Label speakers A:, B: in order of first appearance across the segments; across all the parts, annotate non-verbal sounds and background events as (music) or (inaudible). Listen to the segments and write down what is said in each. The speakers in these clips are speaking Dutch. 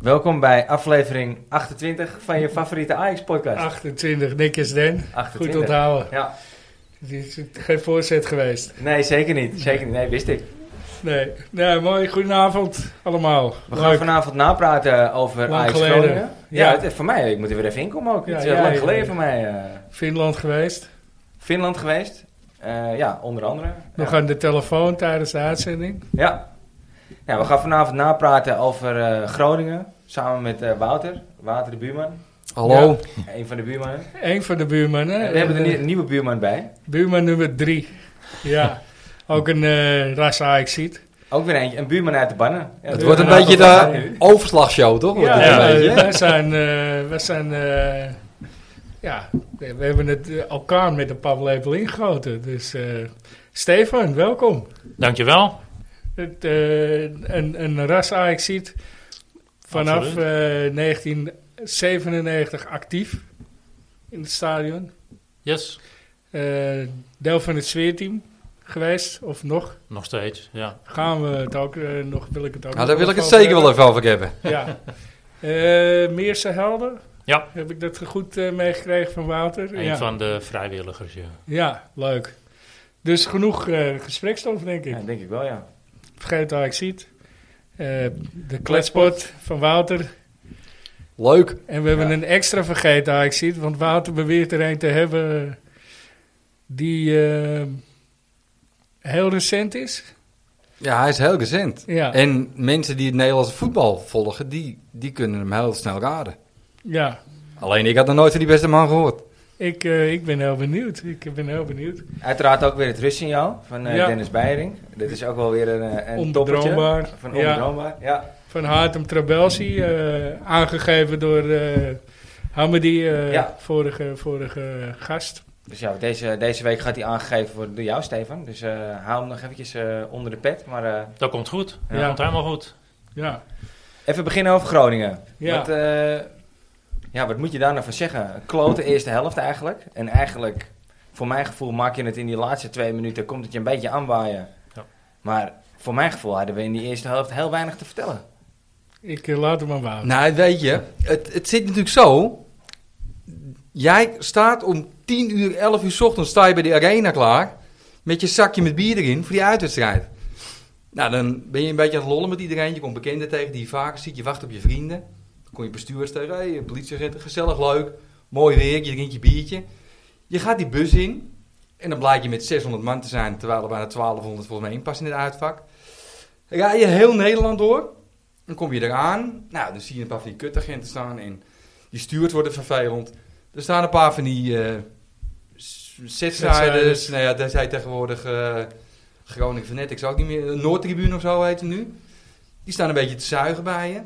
A: Welkom bij aflevering 28 van je favoriete Ajax-podcast.
B: 28, netjes Dan.
A: 28.
B: Goed onthouden.
A: Ja,
B: Het is geen voorzet geweest.
A: nee, zeker niet. Zeker niet. Nee, wist ik.
B: Nee, nee mooi. Goedenavond allemaal.
A: We gaan
B: Leuk.
A: vanavond napraten over
B: Lang
A: Ajax
B: geleden.
A: Groningen. Ja,
B: Ja.
A: het is voor mij. Ik moet er weer even inkomen ook.
B: Ja,
A: het is heel
B: ja,
A: lang
B: ja,
A: geleden
B: ja.
A: voor mij. eh,
B: Finland geweest.
A: Finland geweest. Eh, ja, onder andere.
B: Nog
A: ja.
B: aan de telefoon tijdens de uitzending.
A: Ja. ja, we gaan vanavond napraten over eh, Groningen. Samen met eh, Wouter. Wouter de buurman.
B: Hallo.
A: Een van de buurmannen.
B: Eén van de buurmannen.
A: En we hebben er
B: Eh,
A: nie- een nieuwe buurman bij.
B: Buurman nummer drie.
A: (laughs)
B: Ja. Ook een eh ras ajax ziet.
A: Ook weer eentje. Een buurman uit de bannen. Ja,
C: Het
A: de
B: wordt
C: wordt
B: een
C: een
B: aantal
C: beetje
A: buurman
B: vragen
C: de
A: nu.
C: overslagsshow, toch? Wordt
B: Ja,
C: het een
B: ja,
C: beetje.
B: eh, wij zijn... eh, wij zijn eh, ja, we hebben het eh, elkaar met een paplepel ingegoten. Dus eh, Stefan, welkom.
D: Dankjewel.
B: Het, eh, een, een ras Ajax ziet vanaf
D: Absoluut.
B: eh, 1997 actief in het stadion.
D: Yes.
B: Eh, deel van het sfeerteam geweest, of nog.
D: Nog steeds, ja.
B: Gaan we het ook eh, nog, wil ik het ook
C: Nou, daar wil ik het
B: over
C: zeker wel
B: hebben.
C: even over hebben.
B: Ja. Eh Meerse Helden.
D: Ja.
B: Heb ik dat goed eh, meegekregen van Wouter?
D: Een
B: ja.
D: van de vrijwilligers, ja.
B: ja, leuk. Dus genoeg eh, gesprekstof, denk ik.
A: Ja, denk ik wel, ja.
B: Vergeet Ajax ziet. de kletspot van Wouter.
C: Leuk.
B: En we hebben
A: Ja.
B: een extra vergeten ajax ziet, want Wouter beweert er een te hebben die eh, heel recent is.
C: Ja, hij is heel gezend.
B: Ja,
C: En mensen die het Nederlandse voetbal volgen, die, die kunnen hem heel snel raden.
B: ja.
C: Alleen ik had nog nooit van die beste man gehoord.
B: Ik, eh, ik ben heel benieuwd. Ik ben heel benieuwd.
A: Uiteraard ook weer het rustsignaal van eh,
B: Ja.
A: Dennis Beiring. Dit is ook wel weer een, eh, een toppertje.
B: Onbedroombaar.
A: Van
B: Ja,
A: onbedroombaar. Ja.
B: van Hartem Trabelsi, eh, aangegeven door eh, Hamidi, eh,
A: Ja.
B: vorige, vorige gast.
A: Dus ja, deze, deze week gaat hij aangegeven worden door jou, Stefan. Dus eh hou hem nog eventjes eh, onder de pet. Maar eh,
D: Dat komt goed.
B: Ja.
D: Dat komt helemaal goed.
B: Ja,
A: even beginnen over Groningen.
B: Ja.
A: Wat, eh, ja, wat moet je daar nou van zeggen? Een Klote eerste helft eigenlijk. En eigenlijk, voor mijn gevoel, maak je het in die laatste twee minuten. Komt het je een beetje aanwaaien.
D: Ja.
A: Maar voor mijn gevoel hadden we in die eerste helft heel weinig te vertellen.
B: ik eh, laat hem aan Wouter.
C: Nou, weet je, het, het zit natuurlijk zo. Jij staat om 10 uur, 11 uur 's ochtends sta je bij de arena klaar. Met je zakje met bier erin voor die uitwedstrijd. Nou, dan ben je een beetje aan het lollen met iedereen. Je komt bekenden tegen die je vaker ziet. Je wacht op je vrienden. Dan kom je bestuurders tegen. Hey, politieagenten, gezellig, leuk. Mooi weer, je drinkt je biertje. Je gaat die bus in. En dan blijkt je met 600 man te zijn. Terwijl er bijna 1200 volgens mij inpassen in het uitvak. Rij je heel Nederland door. Dan kom je eraan. Nou, dan zie je een paar van die kutagenten staan. En die stuurt worden vervelend. Er staan een paar van die eh s-
B: Zetzijders.
C: zetzijders. Nou ja, daar zijn tegenwoordig eh Groningen Fanatics ook niet meer. eh, Noordtribune of zo heet het nu. Die staan een beetje te zuigen bij je.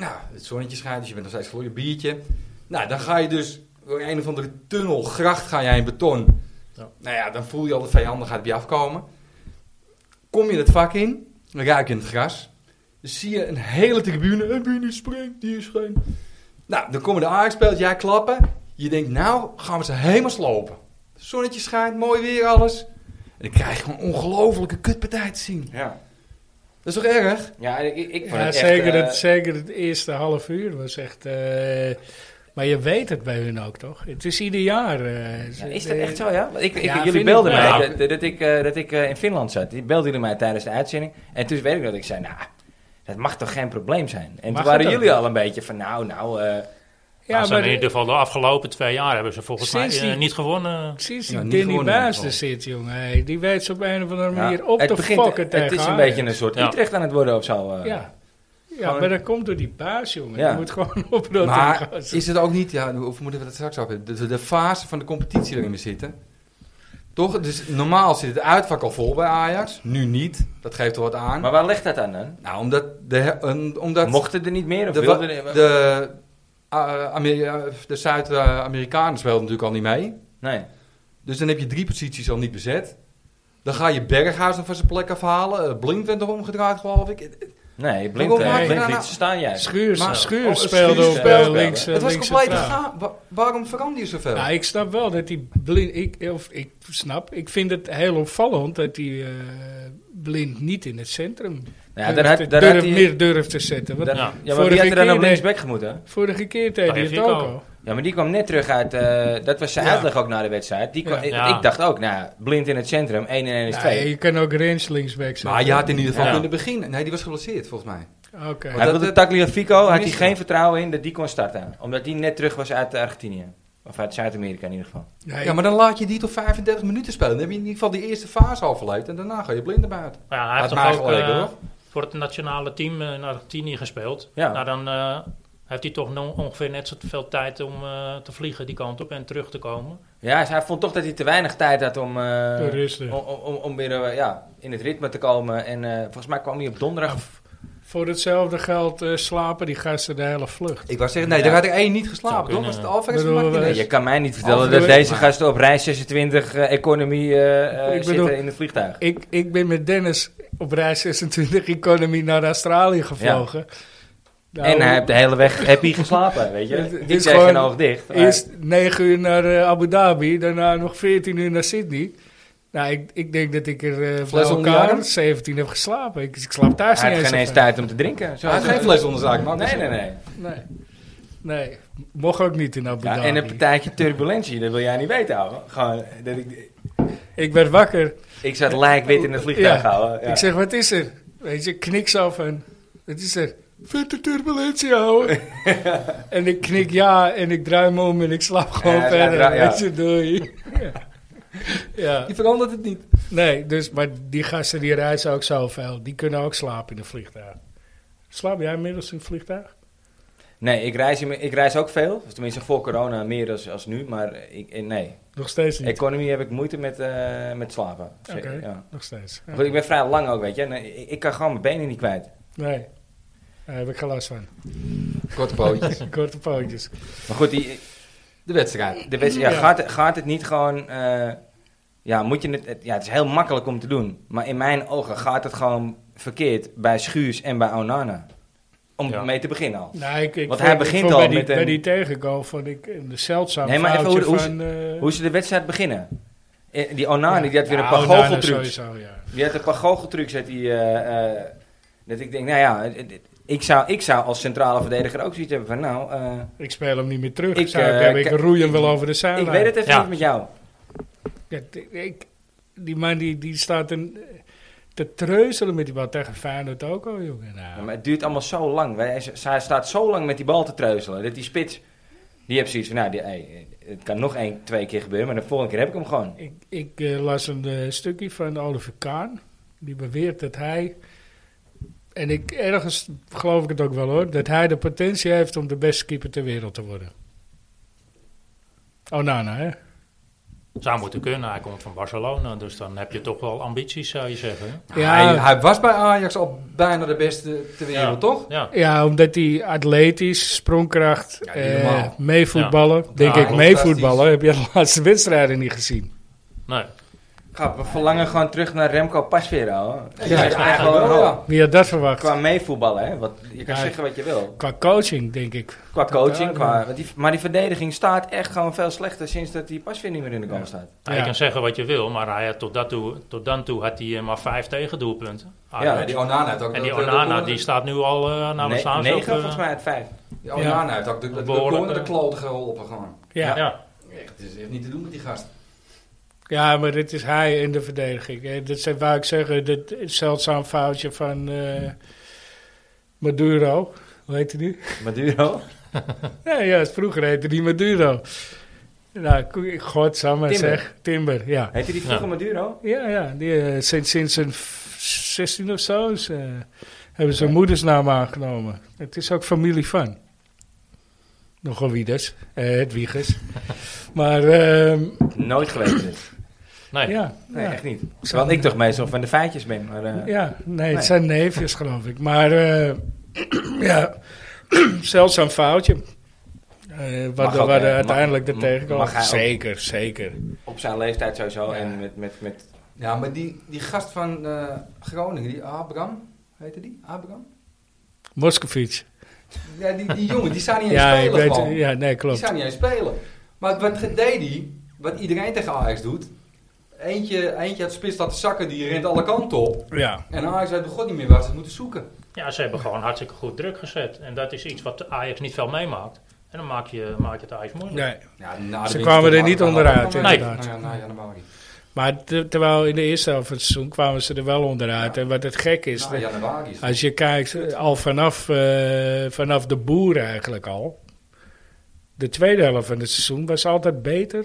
C: Nou, het zonnetje schijnt, dus je bent nog steeds voor je biertje. Nou, dan ga je dus door een of andere tunnel, gracht ga jij in beton.
D: Ja.
C: Nou ja, dan voel je al de vijandigheid bij je afkomen. Kom je het vak in, dan ruik je in het gras. Dan zie je een hele tribune, en wie niet springt, die is geen... Nou, dan komen de aardspeelt, jij klappen. Je denkt, nou gaan we ze helemaal slopen. Zonnetje schijnt, mooi weer alles. En dan krijg je gewoon een ongelofelijke kutpartij te zien.
A: Ja,
C: Dat is toch erg?
A: ja ik, ik ik vond
B: Ja,
A: het echt...
B: zeker,
A: eh,
B: het, zeker het eerste half uur was echt. eh, maar je weet het bij hun ook toch? Het is ieder jaar. eh,
A: Ja,
B: ze-
A: is dat
B: eh,
A: echt zo, ja? Want ik, ik,
B: Ja,
A: jullie
B: vind
A: belden
D: ik
A: mij
D: wel.
C: Nou.
A: dat, dat ik, eh, dat ik eh, in Finland zat. Die belden jullie mij tijdens de uitzending. En toen weet ik dat ik zei, nou, dat mag toch geen probleem zijn? En
B: Mag
A: toen waren
B: het ook
A: jullie al een beetje van, nou, nou... eh,
D: Ja,
B: Ja,
D: maar in
B: maar
D: ieder geval de afgelopen twee jaar hebben ze volgens mij
B: Sinds
D: eh,
B: die-
D: niet gewonnen.
B: precies die
C: Ja, niet
B: Danny
C: gewonnen in
B: Baas
C: ieder
B: er zit, jongen. hey, die weet ze op een of andere
A: ja,
B: manier op
A: het
B: te
A: begint-
B: fokken tegen
A: Het is een
B: Ajax.
A: beetje een soort
D: Ja.
A: Utrecht aan het worden of zo. eh.
B: Ja, ja
A: Gewoon-
B: maar dat komt door die Baas, jongen.
A: Ja.
B: Je moet gewoon (laughs) oprotten.
C: Maar
B: gasten.
C: is het ook niet, ja, of moeten we dat straks af hebben, de, de fase van de competitie waarin we zitten? Toch? Dus normaal zit het uitvak al vol bij Ajax, nu niet. Dat geeft er wat aan.
A: Maar waar ligt dat aan dan?
C: nou, omdat de, he- een- omdat
A: Mochten er niet meer of
C: de, wa-
A: wilden er-
C: de, eh, Ameri- de Zuid-Amerikanen speelden natuurlijk al niet mee.
A: Nee.
C: Dus dan heb je drie posities al niet bezet. Dan ga je Berghuis nog van zijn plek afhalen. Eh, Blind werd nog omgedraaid, geloof ik. Het-
A: Nee, blind,
C: Waarom
A: eh,
C: maken we
A: blind
C: daar
A: liet
C: nou-
A: ze staan juist.
B: Schuurs,
C: maar-
B: Schuurs
C: oh,
B: speelde
C: Schuurs
B: ook eh,
A: speelde.
B: links. eh,
C: het was
B: links
C: compleet
B: centraal.
C: gaaf. Wa- Waarom verander je zoveel?
B: Nou, ik snap wel dat die blind. Ik, of, ik snap. Ik vind het heel opvallend dat die eh, blind niet in het centrum
A: Ja, daar
B: durft
A: had,
B: te-
A: daar had
B: durft-
A: hij...
B: meer durft te zetten. Want
A: daar-
D: Ja.
A: ja, maar
B: Vorige
A: wie had er dan
B: keer
A: op
B: deed-
A: linksback gemoeten?
B: vorige keer deed hij het
D: Tegen
B: ook
D: Fico.
B: al.
A: Ja, maar die kwam net terug uit... eh, dat was zijn
B: Ja.
A: uitleg ook na de wedstrijd. Die kwam-
B: Ja.
A: ik-
D: Ja.
A: Ik dacht ook, nou, blind in het centrum, 1 en 1 is
B: Ja,
A: 2.
B: je kan ook Rens linksback zetten.
C: Maar je had in ieder geval
D: Ja.
C: kunnen beginnen. Nee, die was geblesseerd volgens mij.
B: Oké.
A: Hij
C: dat-
A: wilde
C: dat-
A: Tagliafico, had hij
C: miste
A: geen
C: dat.
A: vertrouwen in dat die kon starten. Omdat die net terug was uit Argentinië. Of uit Zuid-Amerika in ieder geval.
B: Nee,
C: Ja, maar dan laat je die tot 35 minuten spelen. Dan heb je in ieder geval die eerste fase al verleid. En daarna ga je blind naar buiten.
D: Maar ja, hij
C: Had
D: heeft
C: mij
D: toch ook
C: gelijk,
D: eh,
C: hoor.
D: voor het nationale team eh, in Argentinië gespeeld.
A: Ja.
D: Nou, dan eh, heeft hij toch nog ongeveer net zoveel tijd om eh, te vliegen die kant op en terug te komen.
A: Ja, dus hij vond toch dat hij te weinig tijd had om, eh,
B: Te rusten.
A: om, om, om- om weer eh, ja, in het ritme te komen. En eh, volgens mij kwam hij op donderdag.
B: Voor hetzelfde geld eh, slapen die gasten de hele vlucht.
C: Ik wou zeggen, nee,
A: Ja.
C: er werd er één niet
D: Zou
C: geslapen, toch?
D: kunnen,
C: Was het
D: ja.
C: Alvarez of
B: Bedoel,
A: Nee,
C: Martinez?
B: eh,
A: je kan mij niet vertellen dat
B: Alfred,
A: deze
C: maar-
A: gasten op rij 26 eh, economie eh, eh,
B: Ik bedoel-
A: zitten in het vliegtuig.
B: Ik, ik ben met Dennis op reis 26 economie naar Australië gevlogen. Nou,
A: en hij heeft de hele weg happy geslapen, weet
B: (laughs)
A: je.
B: Het- het
A: Ik
B: is
A: kreeg
B: gewoon-
A: een oog dicht. maar-
B: Eerst 9 uur naar eh, Abu Dhabi, daarna nog 14 uur naar Sydney. Nou, ik, ik denk dat ik er eh bij
C: Fles onder je arm?
B: elkaar 17 heb geslapen. Ik, ik slaap thuis
A: hij
B: niet
A: had geen eens
B: zoveel.
A: tijd om te drinken. Zo
C: Hij had
A: is het.
C: geen fles onder zijn zaak, maar
A: Nee, nee, nee.
B: Nee. nee, mocht ook niet in Abu
A: Ja,
B: Dhabi.
A: en een partijtje turbulentie, dat wil jij niet weten, ouwe. Gewoon, dat ik,
B: Ik werd wakker.
A: ik zat lijkwit in het vliegtuig,
B: Ja.
A: houden.
B: Ik zeg, wat is er? Weet je, ik knik zo van, wat is er? Vette turbulentie,
A: (laughs)
B: ouwe. en ik knik ja en ik draai me om en ik slaap gewoon
A: Ja,
B: verder.
A: ja, ja.
B: Weet je, doei. (laughs) ja,
C: Je verandert het niet.
B: nee, dus, maar die gasten die reizen ook zoveel. Die kunnen ook slapen in een vliegtuig. Slaap jij inmiddels in een vliegtuig?
A: Nee, ik reis, in- ik reis ook veel. Dus Tenminste, voor corona meer als, als nu. Maar ik, eh, nee,
B: Nog steeds niet.
A: economie heb ik moeite met, eh, met slapen. Dus, eh,
B: Oké.
A: ja.
B: Nog steeds.
A: Goed, ik ben vrij lang ook, weet je. Nee, ik, ik kan gewoon mijn benen niet kwijt.
B: Nee, daar heb ik geen last van.
C: Korte
D: (laughs)
C: pootjes.
B: Korte pootjes.
A: Maar goed, die,
C: De wedstrijd.
A: de wedstrijd, ja,
B: Ja.
A: gaat, gaat het niet gewoon... eh, ja, moet je het, het- ja, het is heel makkelijk om te doen. Maar in mijn ogen gaat het gewoon verkeerd bij Schuurs en bij Onana. Om
D: Ja.
A: mee te beginnen al.
B: Nou, ik,
A: Want
B: ik vond-
A: hij
B: ik
A: begint
B: vond
A: al
B: bij die,
A: met een-
B: Bij die tegengoal vond ik een zeldzaam
A: Nee, maar even
B: foutje
A: hoe- hoe
B: van... eh,
A: Hoe ze de wedstrijd beginnen. Eh, Die Onana, die had weer een
B: Ja,
A: paar
B: Onana
A: goocheltrucs.
B: sowieso, ja.
A: Die had een paar goocheltrucs uit die... eh, eh, dat ik denk, nou ja, het- het- ik zou, ik zou als centrale verdediger ook zoiets hebben van... Nou, eh,
B: Ik speel hem niet meer terug.
A: Ik,
B: Ik, zou ik
A: eh,
B: hebben, ik
A: k-
B: roei hem wel over de zijlijn.
A: ik weet het even
D: Ja.
A: niet met jou.
B: Ja, t- ik- die man die, die staat een, eh, te treuzelen met die bal tegen Feyenoord ook al, jongen. Nou,
A: Ja, maar het duurt allemaal zo lang. Wij- Hij hij staat zo lang met die bal te treuzelen. Dat die spits... Die heeft zoiets van, nou, die, hey, het kan nog één, twee keer gebeuren. Maar de volgende keer heb ik hem gewoon.
B: Ik, ik eh, las een eh, stukje van Oliver Kahn. Die beweert dat hij... En ik, ergens geloof ik het ook wel hoor. Dat hij de potentie heeft om de beste keeper ter wereld te worden. Onana, hè?
D: Zou moeten kunnen. Hij komt van Barcelona, dus dan heb je toch wel ambities, zou je zeggen.
B: Ja.
C: Hij, hij was bij Ajax al bijna de beste ter wereld,
D: Ja.
C: toch?
D: Ja,
B: Ja, omdat hij atletisch, sprongkracht,
C: Ja, niet
B: eh,
C: normaal.
B: meevoetballen. Denk
D: Ja,
B: ik meevoetballen. Heb je de laatste wedstrijden niet gezien?
D: nee.
A: Grap, we verlangen gewoon terug naar Remco Pasveer, ouwe. Dat is eigenlijk
C: eigenlijk
A: wel een
C: wel,
A: hoop.
C: ja.
B: Wie had dat verwacht?
A: Qua
B: Qua,
A: meevoetballen, hè. Want je kan
B: Ja.
A: zeggen wat je wil.
B: coaching, denk ik.
A: Qua coaching,
B: Ja,
A: qua, want die- maar die verdediging staat echt gewoon veel slechter sinds dat die pas weer niet meer in de goal staat.
D: Nou,
B: Ja.
D: Je kan zeggen wat je wil, maar hij had tot, dat toe, tot dan toe had hij eh, maar vijf tegendoelpunten.
A: Ja,
C: Ja,
D: die,
C: die Onana heeft ook...
D: en die
C: dat- dat-
D: Onana
C: dat-
D: die staat nu al eh
B: Nou,
D: naar de
A: Ne-
D: staan.
A: negen volgens mij uit vijf.
C: die Onana heeft ook de, de, de,
D: Behoorlijk,
C: corner de
D: eh,
C: kloten geholpen gewoon.
B: Ja. Ja.
D: ja.
C: Echt, het is echt niet te doen met die gast.
B: maar dit is hij in de verdediging. Eh, Dat zijn, wou ik zeggen, dit zeldzaam foutje van eh, Maduro. Hoe heet hij nu?
A: Maduro.
B: Ja, ja, vroeger heette hij Maduro. Nou, ko- godsamme
A: Timber.
B: zeg. Timber, ja.
A: Heette die vroeger
D: Ja.
A: Maduro?
B: Ja, ja. Die, eh, sinds, sinds een f- 16 of zo is, eh, hebben ze hun moedersnaam aangenomen. Het is ook familie van. Nogal Wieders, eh, het
A: (laughs)
B: Wiegers. maar ehm,
A: Nooit geweest dus.
D: Nee.
B: ja,
A: Nee,
B: ja,
A: echt niet.
B: zou-
A: Terwijl ik toch meestal van de feitjes ben. Maar, eh,
B: ja, nee,
A: Nee.
B: het zijn neefjes geloof ik. Maar eh, (clears throat) ja, (clears throat) zelfs een foutje. Eh, wat
A: Mag
B: de-
A: ook,
B: waar
A: hè?
B: de-
A: Mag-
B: uiteindelijk de
A: mag
B: tegenkomt.
A: hij ook.
B: Zeker, zeker.
A: Op zijn leeftijd sowieso.
B: Ja.
A: En met, met, met,
C: Ja, maar die, die gast van eh, Groningen, die Abraham, heette die? Abraham?
B: Moscovic.
C: Ja, die, die jongen, die zou niet eens
B: Ja, ik
C: spelen
B: weet,
C: gewoon.
B: ja, nee,
C: Die
B: klopt.
C: zou niet eens spelen. Maar wat deed hij, wat iedereen tegen Ajax doet, Eentje, eentje uit de spits laten zakken, die rent alle kanten op.
B: Ja.
C: En Ajax weet begot niet meer waar ze het moeten zoeken.
D: Ja, ze hebben gewoon hartstikke goed druk gezet. En dat is iets wat de Ajax niet veel meemaakt. En dan maak je, maak je het Ajax moeilijk.
B: Nee.
C: Ja, nou, na de
B: Ze
C: winst
B: kwamen er
C: van
B: niet
C: Marokko
B: onderuit,
C: hadden we-
B: inderdaad.
C: Nou ja, na januari.
B: Maar te- terwijl in de eerste helft van het seizoen kwamen ze er wel onderuit.
C: Ja.
B: En wat het gek is,
A: Nou,
C: Na
B: dat-
C: Nou, januari is het.
B: als je kijkt eh, al vanaf, eh, vanaf de boer eigenlijk al. De tweede helft van het seizoen was altijd beter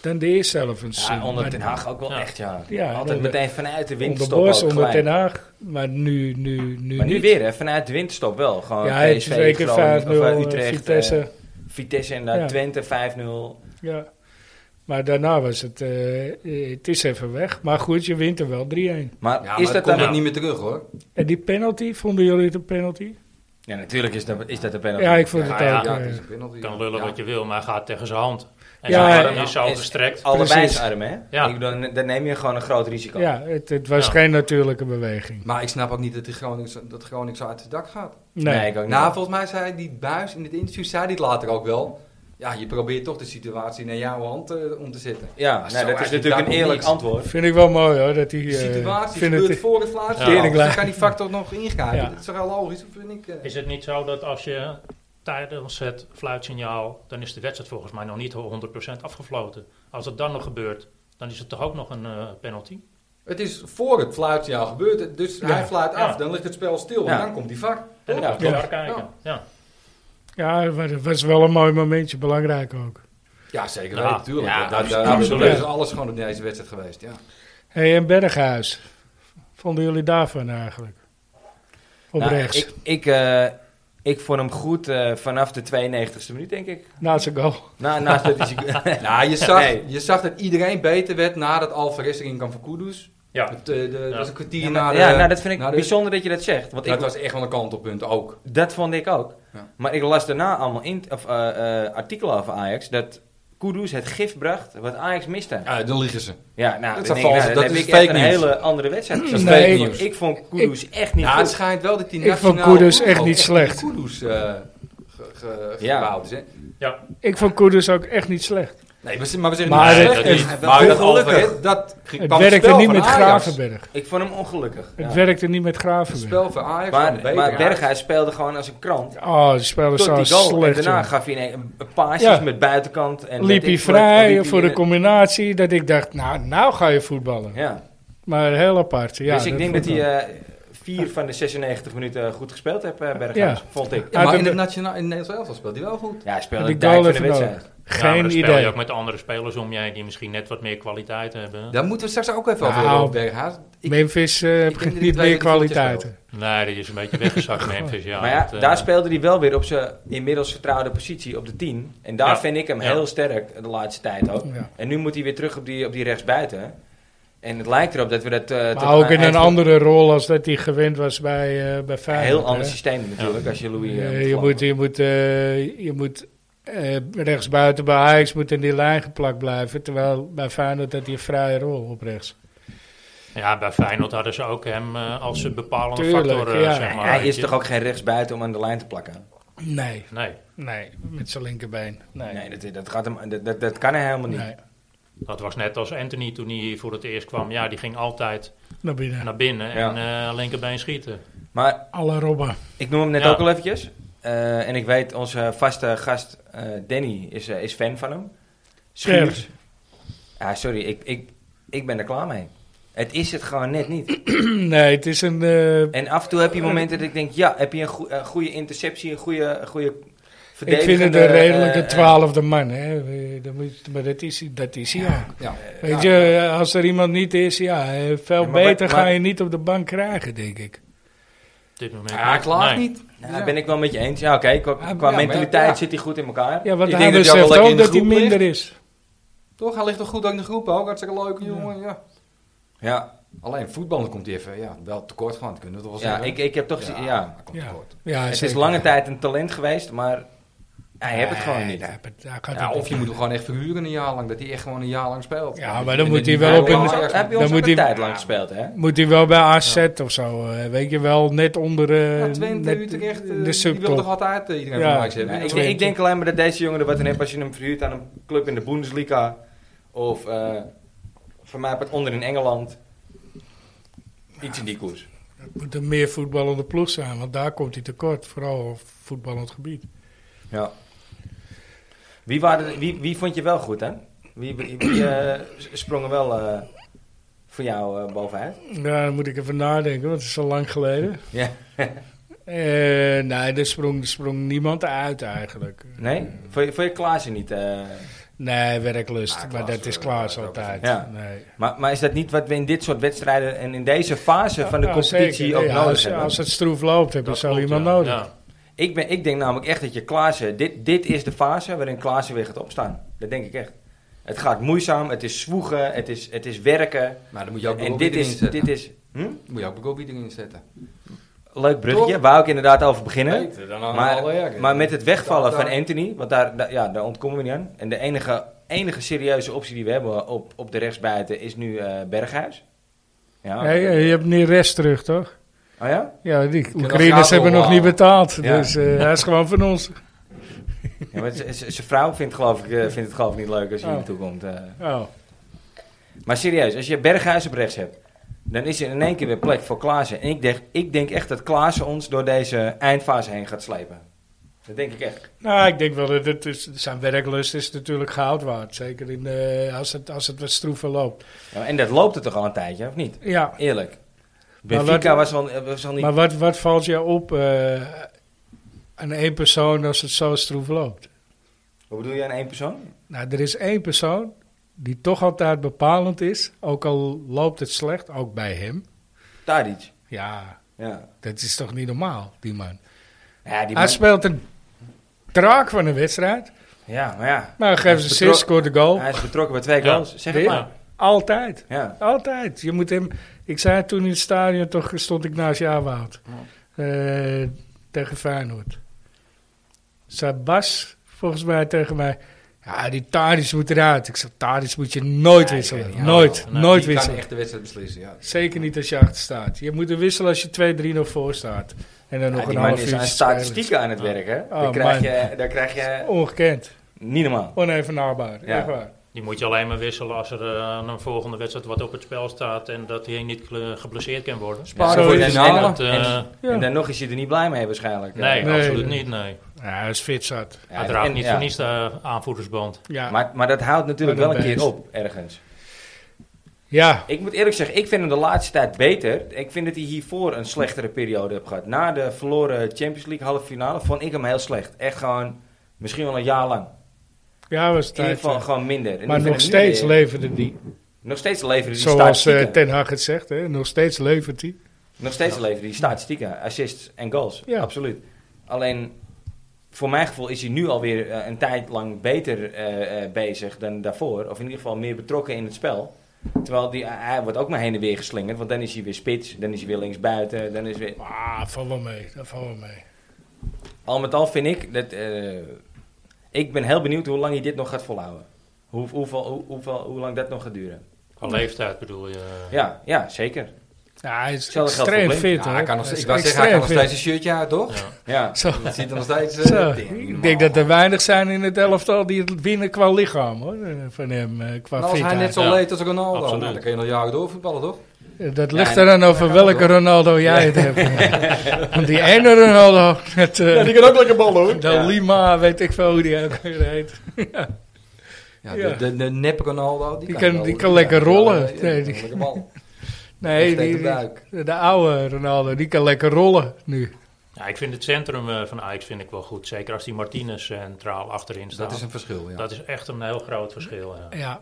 B: dan de eerste helft van het seizoen.
A: Ja, onder
B: Maar-
A: Ten Haag ook wel
D: Ja.
A: echt, ja.
B: Ja, en
A: Altijd
B: onder-
A: meteen vanuit de
B: Onder
A: windstop
B: Bos,
A: ook
B: onder
A: gelijk.
B: Ten Haag. Maar nu, nu, nu
A: Maar nu
B: niet.
A: weer, Oh, hè? Vanuit de windstop wel. Gewoon
B: Ja, het is
A: PSV,
B: zeker 5-0
A: Groningen, of, eh, Utrecht,
B: Utrecht, Vitesse.
A: eh, Vitesse en dan
B: Ja.
A: Twente 5-0.
B: ja. Maar daarna was het... eh, eh, het is even weg. Maar goed, je wint er wel 3-1.
A: Maar
C: Ja, maar
A: is
C: dat
A: dat
C: komt
A: dan...
C: ook
B: nou.
A: Ja.
C: niet meer terug hoor.
B: En die penalty, vonden jullie het een penalty?
A: natuurlijk is dat, is dat de penalty.
B: Ja, ik vond
C: Ja,
B: het
D: ja,
B: ook...
C: ja,
B: eh,
C: het is een penalty.
D: Je kan lullen
C: Ja.
D: wat je wil, maar hij gaat tegen zijn hand. En
B: Ja,
D: zijn arm
B: ja.
D: is zo
A: Is-
D: gestrekt.
A: Allebei
B: Precies.
A: zijn arm, hè?
D: Ja.
A: Ik bedoel, dan neem je gewoon een groot risico.
B: ja, het, het was
D: Ja.
B: geen natuurlijke beweging.
C: Maar ik snap ook niet dat, die Groningen, dat Groningen zo uit het dak gaat.
B: Nee.
A: ik ook niet.
C: Nou, volgens mij zei die buis in het interview, zei dit later ook wel. Ja, je probeert toch de situatie naar jouw hand eh, om te zetten.
A: ja,
C: zo
A: nou, dat is
C: eigenlijk
A: natuurlijk een
C: daar
A: eerlijk
C: niks.
A: antwoord.
B: Vind ik wel mooi hoor, dat die...
C: Die
B: eh,
C: situatie
B: vind
C: gebeurt
B: het-
C: voor het laatste.
D: Ja.
C: jaar.
B: Eerlijk
C: Dus dan
B: laag.
C: kan die factor nog ingrijpen.
B: Ja.
C: Dat is toch wel logisch, vind ik. eh.
D: Is het niet zo dat als je tijdens het fluitsignaal, dan is de wedstrijd volgens mij nog niet 100% afgefloten. Als dat dan nog gebeurt, dan is het toch ook nog een eh, penalty?
C: Het is voor het fluitsignaal gebeurd. het- Dus
B: Ja.
C: hij fluit af.
D: Ja.
C: Dan ligt het spel stil.
A: Ja.
C: En dan komt die vak.
D: En dan
A: Ja,
D: moet je
B: ja.
D: daar kijken.
A: Oh.
D: Ja.
B: Ja, maar het was wel een mooi momentje. Belangrijk ook.
C: Ja, zeker.
D: Ja.
C: natuurlijk.
A: Ja,
C: dat, dat,
A: absoluut.
C: dat-
D: Absoluut.
C: dat is alles gewoon in deze wedstrijd geweest. Ja.
B: hey, en Berghuis. Vonden jullie daarvan eigenlijk? Op
A: Nou,
B: rechts.
A: Ik, ik, eh, ik vond hem goed eh, vanaf de 92e minuut, denk ik.
B: Naast zijn goal.
A: Na,
B: (laughs)
A: naast dat hij...
C: Nou, je zag,
A: Nee.
C: je zag dat iedereen beter werd nadat Alvarez erin kwam voor Kudus.
D: Ja.
C: Het, eh, de- Dat was een kwartier
A: Ja,
C: na
A: maar-
C: de...
A: ja, nou, dat vind ik
C: na de-
A: bijzonder dat je dat zegt. Want
C: Dat
A: ik,
C: was echt wel een kantelpunt ook.
A: Dat vond ik ook.
C: Ja.
A: Maar ik las daarna allemaal in, of, eh, eh, artikelen over Ajax dat Kudus het gif bracht wat Ajax miste. Ja,
C: Ja, dan liegen ze.
B: Hmm.
A: nou,
C: Dat
A: dan
C: is
A: denk ik,
C: vals,
A: nou, dan
C: dat
A: heb
C: is
A: ik
C: fake
A: echt een
C: news.
A: hele andere wedstrijd
B: Nee,
A: gezien.
B: Dat is fake
A: Want
C: nieuws.
A: Ik vond Kudus echt niet
C: Ja, het
A: goed.
C: schijnt wel dat die
B: Ik
C: nationale
B: vond Kudus
C: ploeg
B: echt
C: ook
B: niet slecht.
C: door Kudus eh, ge- ge-
A: Ja.
C: gebouwd is. Hè?
D: ja.
B: Ik vond Koeders ook echt niet slecht.
C: Nee, maar, ze- maar we zeggen
B: Maar
C: niet
B: het-
C: slecht.
D: het-
C: is-
A: het-
C: maar dat
A: ongelukkig.
C: Alvarez, dat
B: Het
C: kwam
B: werkte
C: spel
B: niet
C: van
B: met
C: Ajax.
B: Gravenberg.
A: Ik vond hem ongelukkig.
B: Het
A: Ja.
B: werkte niet met
C: Het
B: Gravenberg.
C: spel van Ajax kwam
A: Maar,
C: beter
A: maar
C: uit.
A: Berghuis speelde gewoon als een krant.
B: Oh, die speler
A: Tot
B: zo
A: die goal. en
B: slecht.
A: daarna
B: jongen.
A: gaf hij ineens een, een paasjes
B: Ja.
A: met buitenkant. En
B: Liep
A: weet
B: hij
A: ik wat, liep
B: vrij
A: hij
B: voor
A: in
B: de combinatie. Dat ik dacht, nou, nou ga je voetballen.
A: Ja.
B: Maar heel apart. Ja,
A: dus ik denk dat
B: vond
A: hij
B: ik
A: eh, vier van de 96 minuten goed gespeeld heeft, eh, Berghuis.
B: Ja.
A: Vond ik.
C: Ja,
B: Ja,
C: maar
B: de-
C: in het nationaal, in Nederland zelf speelt hij wel goed.
A: Ja, hij speelde
B: Die
A: een dijk
B: goal
A: van de
B: even
A: wedstrijd.
D: ja, maar
B: Geen
D: dan speel
B: idee.
D: Nou, je ook met andere spelers om je heen die misschien net wat meer kwaliteit hebben.
C: Daar moeten we straks ook even over
B: Nou,
C: hebben, over Berghuis. Ik-
B: Memphis eh,
C: denk dat
B: heeft
C: die
B: niet
C: twee
B: meer
C: van die voetjes
B: kwaliteiten.
D: Nee, die is een beetje weggezakt Memphis. Ja,
A: maar ja,
D: dat, eh,
A: daar speelde hij wel weer op zijn inmiddels vertrouwde positie op de 10. En daar
D: Ja.
A: vind ik hem
D: Ja.
A: heel sterk de laatste tijd ook.
B: Ja.
A: En nu moet hij weer terug op die, op die rechtsbuiten. En het lijkt erop dat we dat... eh, tot
B: Maar ook
A: aan
B: in een
A: eind van-
B: andere rol als dat hij gewend was bij, eh bij
A: Een
B: Feyenoord.
A: heel
B: hè.
A: ander systeem natuurlijk, als je Louis... eh,
B: Eh,
A: moet
B: je,
A: geloven.
B: moet, je moet, eh, je moet eh, rechtsbuiten bij Ajax moet in die lijn geplakt blijven. Terwijl bij Feyenoord had hij een vrije rol op rechts.
D: ja, bij Feyenoord hadden ze ook hem eh, als een bepalende
B: Tuurlijk,
D: factor. eh,
B: ja.
D: zeg maar,
A: Hij
D: weet
A: is
D: je.
A: toch ook geen rechtsbuiten om aan de lijn te plakken?
B: Nee,
D: Nee,
B: nee, met zijn linkerbeen. Nee,
A: Nee, dat, dat, gaat hem, dat, dat, dat kan hij helemaal niet.
B: Nee,
D: dat was net als Anthony toen hij hier voor het eerst kwam. Ja, die ging altijd
B: naar binnen.
D: naar binnen en
A: Ja.
D: eh, linkerbeen schieten.
A: Maar
B: Alle robben.
A: ik noem hem net
D: Ja.
A: ook al eventjes. Eh, en ik weet, onze vaste gast eh, Danny is, eh, is fan van hem. Schuurs.
B: Scherp.
A: Ja, sorry, ik, ik, ik ben er klaar mee. Het is het gewoon net niet.
B: (clears throat) nee, het is een... eh,
A: En af en toe heb je momenten dat ik denk, ja, heb je een goe- eh, goede interceptie, een goede, een goede
B: ik vind het
A: verdedigende...
B: een redelijke
A: eh,
B: twaalfde man. Hè. Eh, dat moet- Maar dat is, hij- dat is hij ook.
C: Ja.
B: Weet je, als er iemand niet is, ja, eh, veel
A: Ja, maar
B: beter
A: wat- maar-
B: ga je niet op de bank krijgen, denk ik.
D: Op dit moment.
C: Ja, klaar
D: Nee.
C: niet.
A: eh, nou, ben ik wel met je eens. Ja, oké, qua,
B: Ja,
A: qua
C: maar-
A: mentaliteit
C: ja.
A: zit hij goed in elkaar.
B: Ja, want
C: Ik
B: hij
C: denk dat hij ook
B: zegt
C: wel lekker in
B: ook
C: de
B: dat hij
C: groep
B: minder is.
C: Toch, hij ligt toch goed ook in de groep ook. Hartstikke leuk, jongen. Ja.
A: Ja,
C: Alleen voetballen komt hij even ja, wel tekort gaan. Dat kunnen we toch wel
A: ja,
C: zeggen.
A: ik, ik heb toch... Ja,
C: Ja, hij komt
B: Ja.
C: tekort.
B: Ja,
A: het is
B: zeker.
A: lange tijd een talent geweest, maar hij heeft het gewoon
B: Nee,
A: niet.
B: daar heb het- daar gaat
C: Ja,
B: het
C: of je moet hem gewoon echt verhuren een jaar lang. Dat hij echt gewoon een jaar lang speelt.
B: Ja, maar dan
C: En
B: moet hij
C: die
B: wel op
A: Heb je
C: bij
B: een-
A: ons
C: Ajax-
A: ook- heb je
B: dan
A: ons ook
B: moet
A: een
B: hij-
A: tijd lang gespeeld, hè?
B: Moet hij wel bij AZ of zo, eh, weet je wel, net onder eh,
C: Ja, Twente,
B: net
C: Utrecht, eh,
B: de
C: die wil toch
B: subtop.
C: altijd eh, iedereen
B: Ja.
C: van Ajax hebben.
A: Nee,
C: Ja,
A: ik,
C: ik-
A: ik denk alleen maar dat deze jongen er wat in heeft als je hem verhuurt aan een club in de Bundesliga. Of eh, Voor mij op het onder in Engeland. Iets in die koers.
B: Het moet een meer voetballende ploeg zijn, want daar komt hij tekort. Vooral op voetballend gebied.
A: Ja. Wie, waren, de- wie, wie vond je wel goed, hè? Wie, wie, wie, eh, sprongen wel eh, voor jou eh, bovenuit?
B: Ja, daar moet ik even nadenken, want het is al lang geleden.
A: Ja.
B: Eh, nee, er sprong, er sprong niemand uit eigenlijk.
A: Nee? Vond je, vond je Klaasje niet? eh,
B: Nee, werklust.
C: Nou,
B: maar
C: Klaas,
B: dat is
C: eh,
B: Klaas
C: dat-
B: altijd.
A: Ja.
B: Nee.
A: maar, maar is dat niet wat we in dit soort wedstrijden en in deze fase van de
B: Ja,
A: competitie
B: zeker.
A: ook
B: Ja,
A: nodig
B: als,
A: hebben?
B: als het stroef loopt, heb je
D: Dat
B: zo
D: klopt,
B: iemand
D: ja.
B: nodig.
D: Ja.
A: Ik, ben, ik denk namelijk echt dat je Klaassen... Dit, dit is de fase waarin Klaassen weer gaat opstaan. Dat denk ik echt. Het gaat moeizaam, het is zwoegen, het is, het is werken.
C: Maar dan moet je ook
A: En
C: Bobby
A: dit
C: erin
A: is...
C: zetten.
A: Dit is hm?
C: Moet je ook Bobby erin zetten.
A: Leuk bruggetje,
C: Toch?
A: waar ik inderdaad over beginnen.
C: Beter dan allemaal
A: Maar,
C: werken.
A: maar met het wegvallen
C: Daar- daar-
A: van Anthony, want daar, daar- ja, daar ontkomen we niet aan. En de enige, enige serieuze optie die we hebben op, op de rechtsbuiten is nu eh, Berghuis. Ja.
B: Nee, je hebt niet rest terug, toch?
A: Oh ja?
B: Ja, die
C: nog
B: Oekraïners
C: Gabel
B: hebben nog niet
C: halen.
B: betaald.
A: Ja.
B: Dus eh, hij is gewoon van ons.
A: ja maar z- z- zijn vrouw vindt, geloof ik, eh, vindt het geloof ik niet leuk als hij
B: Oh.
A: naartoe komt. eh.
B: Oh.
A: Maar serieus, als je Berghuis op rechts hebt, dan is er in één keer weer plek voor Klaassen. En ik denk, ik denk echt dat Klaassen ons door deze eindfase heen gaat slepen. Dat denk ik echt.
B: Nou, ik denk wel dat het is, zijn werklust is natuurlijk goud waard. Zeker in, eh, als, het, als het wat stroever loopt.
A: Ja, en dat loopt er toch al een tijdje, of niet?
B: Ja,
A: Eerlijk.
B: Maar
A: Benfica
B: wat-
A: was al, was al niet...
B: maar wat, wat valt jou op eh, aan één persoon als het zo stroef loopt?
A: Wat bedoel je aan één persoon?
B: Nou, er is één persoon die toch altijd bepalend is. Ook al loopt het slecht, ook bij hem.
A: Tadic.
B: Ja,
A: Ja.
B: dat is toch niet normaal, die man.
A: Ja, die
B: Hij
A: man-
B: speelt een draak van een wedstrijd.
A: ja, maar ja.
B: Maar geeft
A: Hij
B: een
A: is
B: assist, scoort de goal.
A: Hij is betrokken bij twee
D: Ja.
A: goals. Zeg het
B: Oh. Weer?
A: maar.
B: Altijd.
A: Ja.
B: Altijd. Je moet hem. Ik zei toen in het stadion, toch stond ik naast Jawoud. Eh, tegen Feyenoord. Zei Bas, volgens mij, tegen mij. Ja, die Tadic moet eruit. Ik zei, Tadic moet je nooit
A: Ja,
B: wisselen.
A: ik weet niet.
B: nooit,
D: Nou,
B: nooit
C: Die kan
B: wisselen.
C: echt de wedstrijd beslissen, ja.
B: Zeker niet als je achter staat. Je moet er wisselen als je 2-3 nog voor staat. En dan
A: Ja,
B: nog
A: die
B: een
A: man
B: half
A: is
B: uurtje
A: aan
B: spelen.
A: statistieken aan het werk, hè. daar,
B: Oh,
A: krijg
B: man.
A: je, daar krijg je...
B: Ongekend.
A: Niet normaal.
B: Onevenaarbaar.
A: Ja.
B: Echt waar.
D: Die moet je alleen maar wisselen als er eh, aan een volgende wedstrijd wat op het spel staat en dat hij niet gle- geblesseerd kan worden.
B: zo
C: Sparen voor
B: is het.
C: de
A: En,
C: finale.
A: dan-
D: Dat, eh,
A: en,
B: Ja.
A: en dan nog is je er niet blij mee waarschijnlijk.
D: nee,
B: Nee,
D: absoluut
B: nee.
D: niet. Nee.
B: Ja, hij is fit zat.
A: Ja,
D: Uiteraard
A: en-
D: niet
A: ja.
D: voor niets de aanvoerdersband.
B: Ja.
A: Maar, maar dat houdt natuurlijk
B: Maar
A: wel
B: dat
A: een keer
B: best.
A: op, ergens.
B: ja.
A: Ik moet eerlijk zeggen, ik vind hem de laatste tijd beter. Ik vind dat hij hiervoor een slechtere periode heeft gehad. Na de verloren Champions League halve finale vond ik hem heel slecht. Echt gewoon, misschien wel een jaar lang.
B: ja, was
A: In ieder
B: tijd.
A: geval
B: ja.
A: gewoon minder. En
B: Maar
A: ik vind
B: nog
A: hem nu
B: steeds
A: weer-
B: leverde die.
A: Nog steeds leveren
C: Dus
A: die
B: Zoals eh,
A: statistieken.
B: Ten Hag het zegt, hè? nog steeds levert hij.
A: Nog steeds leveren die statistieken. Assists en goals.
B: Ja.
A: Absoluut. Alleen, voor mijn gevoel is hij nu alweer eh, een tijd lang beter eh, eh, bezig dan daarvoor. Of in ieder geval meer betrokken in het spel. Terwijl die, eh, hij wordt ook maar heen en weer geslingerd. Want dan is hij weer spits. Dan is hij weer linksbuiten. Dan is weer...
B: Ah, val wel mee, dat valt wel mee.
A: Al met al vind ik dat. eh, ik ben heel benieuwd hoe lang hij dit nog gaat volhouden. Hoe, hoeveel, hoe, hoeveel, hoe lang dat nog gaat duren.
D: Qua leeftijd bedoel je.
A: Ja, ja zeker.
B: Ja, hij is
A: Hetzelfde geldt
B: extreem
A: voor Blind.
B: fit,
C: Ja,
B: hoor.
C: hij kan nog,
B: Hij is
C: ik wou zeggen, hij kan nog
B: extreem
C: steeds een shirtje uit, toch?
A: Ja.
B: fit. Zo.
C: Dat ziet er nog steeds... eh,
B: Zo.
C: tegen.
B: Ik denk dat er weinig zijn in het elftal die het winnen qua lichaam, hoor. eh, Van hem, eh, qua
C: Nou, als hij net
B: fitheid.
C: zo
D: Ja.
C: leed als Ronaldo,
D: Absoluut.
C: nou, dan kun je nog jaren doorvoetballen, toch?
B: Eh, Dat
A: Ja,
B: ligt
A: en-
B: er dan over
C: Ja,
B: welke
C: hoor.
B: Ronaldo jij het hebt.
C: (laughs)
B: Want die ene Ronaldo, het, eh,
C: kan ook lekker ballen, hoor.
B: de
A: Ja.
B: Lima, weet ik veel hoe die ook weer heet.
C: Ja,
B: Ja.
C: De, de, de nep Ronaldo, die,
B: Die
C: kan,
B: kan-
C: wel-
B: die kan lekker
C: ja,
B: rollen.
C: ja, ja,
B: Nee,
C: ja,
B: die-
C: lekker
A: (laughs)
C: bal.
B: Nee,
C: Steekt
B: die,
C: de buik.
B: die- de oude Ronaldo, die kan lekker rollen nu.
D: Ja, ik vind het centrum eh, van Ajax vind ik wel goed. Zeker als die Martinez centraal achterin staat.
C: Dat is een verschil, ja.
D: Dat is echt een heel groot verschil. Ja.
B: Ja.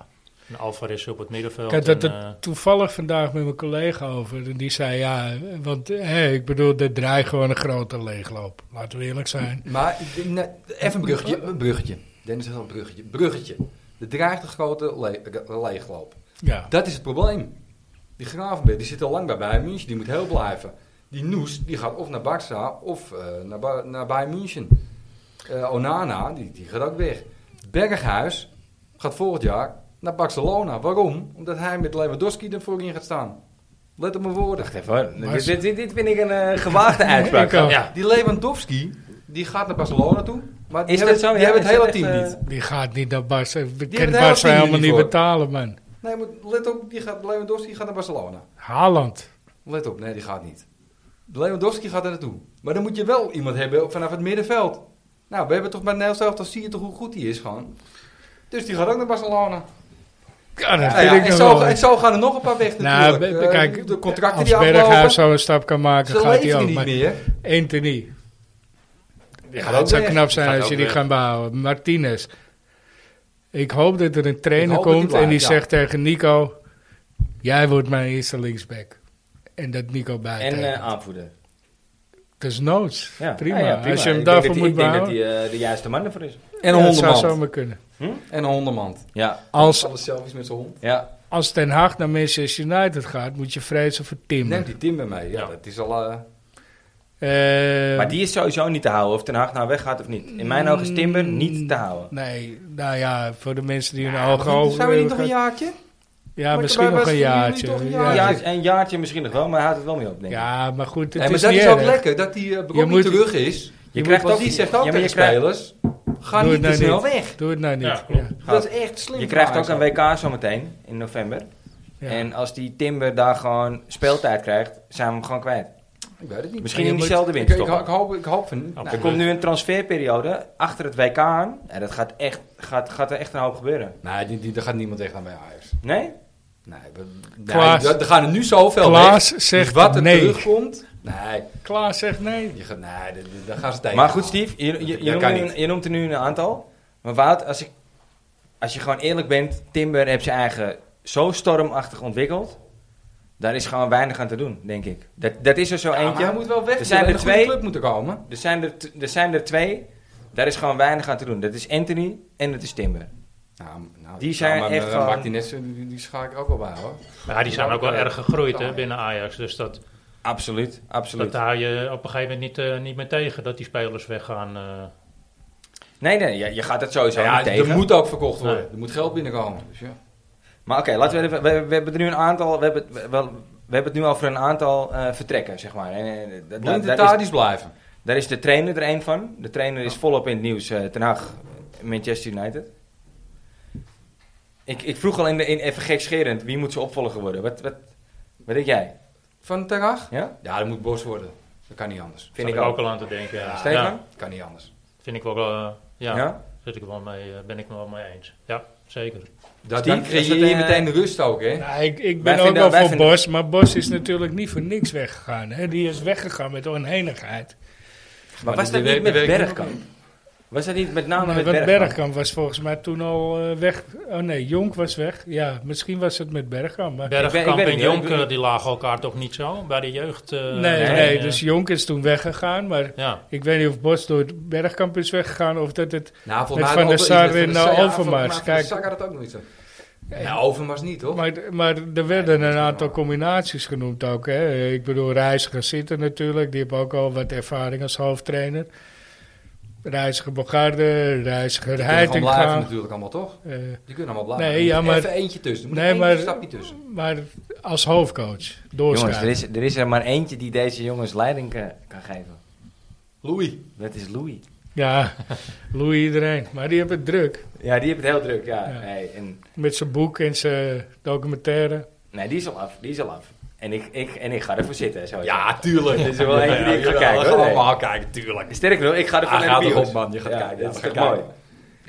D: En Alvarez op het middenveld.
B: Kijk, dat
D: en,
B: het
D: eh,
B: toevallig vandaag met mijn collega over. En die zei, ja, want hè, ik bedoel, dit draait gewoon een grote leegloop. Laten we eerlijk zijn.
C: Maar ik denk, nee, even een bruggetje. Een bruggetje. Dennis is al een bruggetje. Bruggetje. Er dreigt een grote le- le- leegloop.
B: Ja,
C: Dat is het probleem. Die Gravenberg, die zit al lang bij Bayern München. Die moet heel blijven. Die Noes, die gaat of naar Barça of eh, naar, Ba- naar Bayern München. Eh, Onana, die, die gaat ook weg. Berghuis gaat volgend jaar naar Barcelona. Waarom? Omdat hij met Lewandowski er voorin gaat staan. Let op mijn woorden.
A: Wacht even hoor.
B: Maar
A: Dit,
B: is-
A: dit- dit, dit vind ik een eh, gewaagde uitspraak.
B: (laughs) Ik
D: eh,
B: ook.
A: ja.
C: Die Lewandowski, die gaat naar Barcelona toe. Maar die
A: Is dat
C: hebben,
A: zo?
C: die
A: Ja,
C: hebben het
A: is
C: hele
A: dat
C: team
A: echt, eh,
C: niet.
B: die gaat niet naar Barça. Die
C: hebben
B: kan
C: daar ook
B: Barça helemaal
C: niet
B: niet
C: voor.
B: betalen, man.
C: Nee, maar let op, die gaat, Lewandowski gaat naar Barcelona.
B: Haaland.
C: Let op, nee, die gaat niet. Lewandowski gaat daar naartoe. Maar dan moet je wel iemand hebben vanaf het middenveld. Nou, we hebben toch bij Nederlands elftal, zie je toch hoe goed die is gewoon. Dus die gaat ook naar Barcelona.
B: Ja, dat
C: Nou ja,
B: vind ik
C: en,
B: nog
C: zo,
B: wel.
C: en zo gaan er nog een paar weg
B: Nou,
C: natuurlijk.
B: be- be-
C: Eh,
B: kijk,
C: de contracten
B: als
C: die
B: Berghuis
C: aflopen,
B: zo een stap kan maken,
C: ze
B: gaat hij
C: leven
B: ook.
C: niet
B: Maar
C: meer.
B: Anthony. Ja,
C: gaat ook
B: het zou
C: weg.
B: knap zijn
C: Gaat
B: als
C: ook
B: je die
C: weg.
B: gaan behouden. Martinez. Ik hoop dat er een trainer
C: hoop dat die
B: komt en
C: blijft,
B: die
C: ja.
B: zegt tegen Nico... Jij wordt mijn eerste linksback. En dat Nico
A: En
B: buiten.
A: eh, aanvoerder.
B: dat is noods.
A: Ja.
B: Prima.
A: Ja, ja,
B: Ah, Als je hem
A: Ik denk
B: daarvoor
A: dat die-
B: moet
A: Ik denk
B: behouden.
A: dat hij eh, de juiste man ervoor is.
C: En
B: ja,
C: een
B: dat zou
C: hondenmand.
B: zomaar kunnen.
C: En een hondenmand.
A: Ja,
B: Als,
C: Alle selfies met zijn hond.
A: ja.
B: als Ten Haag naar Manchester United gaat, moet je vrezen voor Timber.
C: Neemt die Timber mee. Ja,
D: Ja.
C: dat is al... eh,
B: Eh,
A: Maar die is sowieso niet te houden of Ten Hag nou weggaat of niet. In mijn ogen is Timber niet te houden.
B: mm, Nee, nou ja, voor de mensen die hun
C: maar
B: ogen
C: goed,
B: open
C: zijn we niet nog een
B: willen
C: jaartje?
B: gaan- Ja,
C: Maar
B: misschien
C: wij-
B: nog
C: wij
B: een
C: zijn jullie
B: jaartje.
C: toch een
B: Ja,
A: Een
C: jaartje?
B: ja,
A: jaartje, een jaartje misschien nog wel, maar hij houdt het wel mee op, denk ik.
B: ja, maar goed, het
C: Nee, maar
B: is
C: dat
B: niet
C: is ook
B: erg.
C: lekker, dat die eh, Brobby
B: moet-
C: terug is.
A: Je krijgt
C: Want
A: ook,
C: die zegt ook
A: ja, maar
C: tegen
A: je krijgt,
C: spelers, ga
B: Doe
C: niet
B: het
C: te
B: nou niet.
C: snel weg.
B: Doe het nou niet.
D: Ja, klopt.
B: Ja.
C: Dat is echt slim.
A: je krijgt
C: van
A: ook een
C: Ajax.
A: WK zometeen in november.
B: Ja.
A: En als die Timber daar gewoon speeltijd krijgt, zijn we hem gewoon kwijt.
C: Ik weet het niet.
A: Misschien
B: Maar je
A: in
B: moet-
A: diezelfde
C: Ik, ik,
A: winterstop.
C: ik hoop, ik hoop van...
D: Oh,
C: nou,
A: Er komt nu een transferperiode achter het WK aan. En dat gaat, echt, gaat, gaat er echt een hoop gebeuren.
C: Nou, nee, die, die, daar gaat niemand echt aan bij Ajax.
A: Nee?
C: Nee, we,
B: Klaas.
C: nee, er- er gaan er nu zoveel
B: Klaas
C: weg.
B: zegt
C: dus wat er
B: nee.
C: terugkomt... Nee,
B: Klaas zegt nee.
C: je gaat, nee daar- daar gaan ze tegen.
A: Maar goed, Steve, je,
C: Dat-
A: je, je,
C: dat
A: noemt,
C: kan
A: er
C: niet.
A: een- je noemt er nu een aantal. Maar Wout, als, ik, als je gewoon eerlijk bent, Timber heeft zijn eigen zo stormachtig ontwikkeld. Daar is gewoon weinig aan te doen, denk ik. Dat, dat is er zo
C: Ja, maar
A: eentje.
C: hij moet wel weg.
A: Er zijn er
C: een goede
A: twee.
C: club moeten komen.
A: Er, zijn er, t- er zijn er twee. Daar is gewoon weinig aan te doen. Dat is Anthony en dat is Timber.
C: Nou, nou,
A: Die zijn
C: nou,
A: echt
C: eh,
A: gewoon-
C: Martinez, die, die schaak ik ook wel bij, hoor.
D: Maar die zijn ook wel erg gegroeid hè, binnen Ajax. Dus dat,
A: Absoluut,
D: dat
A: absoluut.
D: daar je op een gegeven moment niet, eh, niet meer tegen dat die spelers weggaan. eh.
A: Nee, nee, je, je gaat het sowieso
C: Ja,
A: niet tegen.
C: er moet ook verkocht worden.
D: Nee.
C: Er moet geld binnenkomen. Dus ja.
A: Maar oké, laten we even. We, we hebben er nu een aantal. We hebben, we, wel- we hebben het nu over een aantal eh, vertrekken, zeg maar. En, eh, da- da-
C: Blind en
A: daar, is,
C: Tadic blijven.
A: daar is de trainer er een van. De trainer is volop in het nieuws. eh Ten Hag, Manchester United. Ik, ik vroeg al in, de, in even gekscherend wie moet ze opvolger worden. Wat, wat, wat denk jij?
C: Van Ten Hag?
A: Ja?
C: Ja, dat moet Bos worden. Dat kan niet anders.
A: Vind
D: zat
A: ik
D: ik
A: ook.
D: ook al aan te denken. Ja.
A: Stefan?
D: Ja,
C: Dat kan niet anders.
D: vind ik wel. eh, ja,
A: Ja?
D: Zit ik wel mee, eh, ben ik me wel mee eens. Ja, zeker.
C: Dat,
A: Steve,
C: dan creëer
A: is dat,
C: je
A: eh,
C: meteen de rust ook, hè?
B: Nou, ik,
A: Wij
B: ik ben ook
A: vinden-
B: wel
A: wij
B: voor
A: vinden-
B: Bos, maar Bos is natuurlijk niet voor niks weggegaan. Hè? Die is weggegaan met onenigheid.
A: Maar was
C: die
A: dat niet
C: werk-
A: met
C: die werkt
A: Bergkamp? Was dat niet met name
B: Nee,
A: met
B: want
A: Bergkamp?
B: Bergkamp was volgens mij toen al eh, weg. Oh nee, Jonk was weg. Ja, misschien was het met Bergkamp. Maar...
A: ben- ik
D: Bergkamp
A: ben
D: en
A: niet, hoor. Ik
D: Jonk
A: ben-
D: eh, die lagen elkaar toch niet zo bij de jeugd. eh,
B: nee, nee,
D: eh,
B: dus Jonk is toen weggegaan. Maar
D: Ja,
B: ik weet niet of Bos door het Bergkamp is weggegaan of dat het...
C: Nou,
B: Met
C: had
B: Van der
C: Over-
B: Sar
C: met Van
B: en,
C: der
B: eh,
C: Sar- ja,
B: Overmars,
C: Van- maar Van der
B: kijk.
C: Sar had het ook nog niet zo. Ja, Overmars niet, toch?
B: Maar, maar er werden een aantal combinaties genoemd ook. Hè? Ik bedoel, Reiziger zitten natuurlijk. Die hebben ook al wat ervaring als hoofdtrainer. Reiziger Bogarde, Reiziger
C: Die kunnen gewoon blijven
B: Heitinga.
C: natuurlijk allemaal, toch?
B: eh,
C: Die kunnen allemaal blijven.
B: Nee, ja,
C: Er moet
B: maar-
C: Even eentje tussen. Er moet
B: Nee,
C: nee, maar...
B: maar-
C: een stapje tussen.
B: maar als hoofdcoach,
A: Jongens, er
B: doorschrijven.
A: is, er is er maar eentje die deze jongens leiding eh, kan geven.
C: Louis.
A: Dat is Louis.
B: Ja, Louis iedereen. Maar die hebben het druk.
A: Ja, die heeft het heel druk, ja.
B: Ja.
A: Nee, en,
B: Met zijn boek en zijn documentaire.
A: nee, die is al af, die is al af. En ik, ik, en ik ga ervoor zitten, zo.
C: Ja, tuurlijk.
A: Dit is er wel
C: Ja,
A: eentje die ik ga
C: ja,
A: kijken,
C: we
A: hoor.
C: gaan allemaal kijken, tuurlijk.
A: Sterker nog, ik ga ervoor
C: Ah,
A: naar de
C: ga
A: bios.
C: erop, man. Je gaat
A: Ja,
C: kijken. Ja,
A: Dat is
C: we
A: toch
C: gaan
A: mooi.
C: kijken.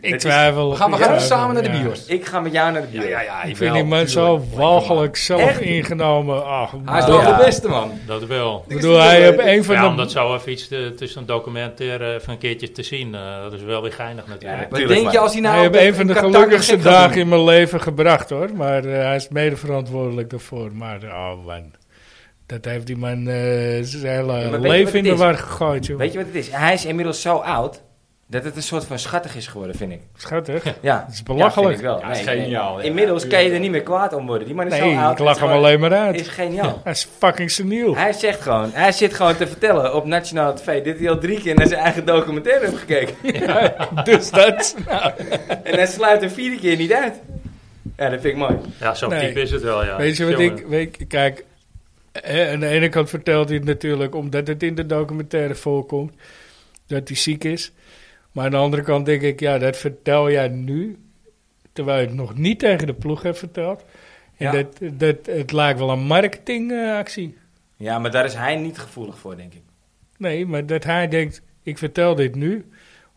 B: Ik
A: Het is-
B: twijfel.
C: We gaan, we
B: ik
C: gaan dus
B: twijfel,
C: samen naar de
B: ja.
C: bios.
A: Ik ga met jou naar de
C: Ja,
A: bios.
C: ja, ja.
B: Ik vind die man zo walgelijk zelf
A: Echt?
B: ingenomen. Ach,
C: Hij is
A: Ja.
C: toch de beste, man.
D: dat wel.
B: Ik bedoel, hij heeft een van
D: Ja,
B: de...
D: om dat zo even iets te, tussen een documentaire even een keertje te zien. eh, dat is wel weer geinig natuurlijk.
A: Ja.
C: Maar
A: Tuurlijk,
C: denk je
A: man.
C: als hij nou...
B: Hij heeft
C: op
B: een van de
C: Qatar
B: gelukkigste
C: nog geen gaat
B: dagen
C: doen?
B: in mijn leven gebracht hoor. Maar eh, hij is mede verantwoordelijk daarvoor. Maar oh man, dat heeft die man eh, zijn hele
A: maar weet je wat
B: leven
A: het
B: in de
A: is?
B: war gegooid. Joh.
A: Weet je wat het is? Hij is inmiddels zo oud dat het een soort van schattig is geworden, vind ik.
B: Schattig.
A: Ja,
B: Het is belachelijk.
A: Ja, vind ik wel.
C: Ja, is
A: Nee,
C: geniaal,
A: nee.
C: ja.
A: Inmiddels
C: Ja,
A: kan je er niet
C: tuurlijk.
A: meer kwaad om worden. Die man is
B: nee,
A: zo oud.
B: ik lach hem
A: Het is
B: alleen maar
A: gewoon-
B: uit.
A: is geniaal.
B: Hij is fucking seniel.
A: Hij zegt gewoon, hij zit gewoon te vertellen op Nationaal TV dit hij al drie keer naar zijn eigen documentaire heeft
B: (laughs)
A: gekeken.
B: dus dat.
A: (laughs) En hij sluit er vierde keer niet uit. Ja, dat vind ik mooi.
D: Ja, zo
B: Nee.
D: diep is het wel, ja.
B: Weet je wat
D: Jongen.
B: ik... Weet, je- kijk, eh, aan de ene kant vertelt hij het natuurlijk omdat het in de documentaire voorkomt. Dat hij ziek is. Maar aan de andere kant denk ik, ja, dat vertel jij nu. Terwijl ik het nog niet tegen de ploeg heb verteld. En
A: Ja.
B: dat, dat, het lijkt wel een marketingactie.
A: Ja, maar daar is hij niet gevoelig voor, denk ik.
B: nee, maar dat hij denkt, ik vertel dit nu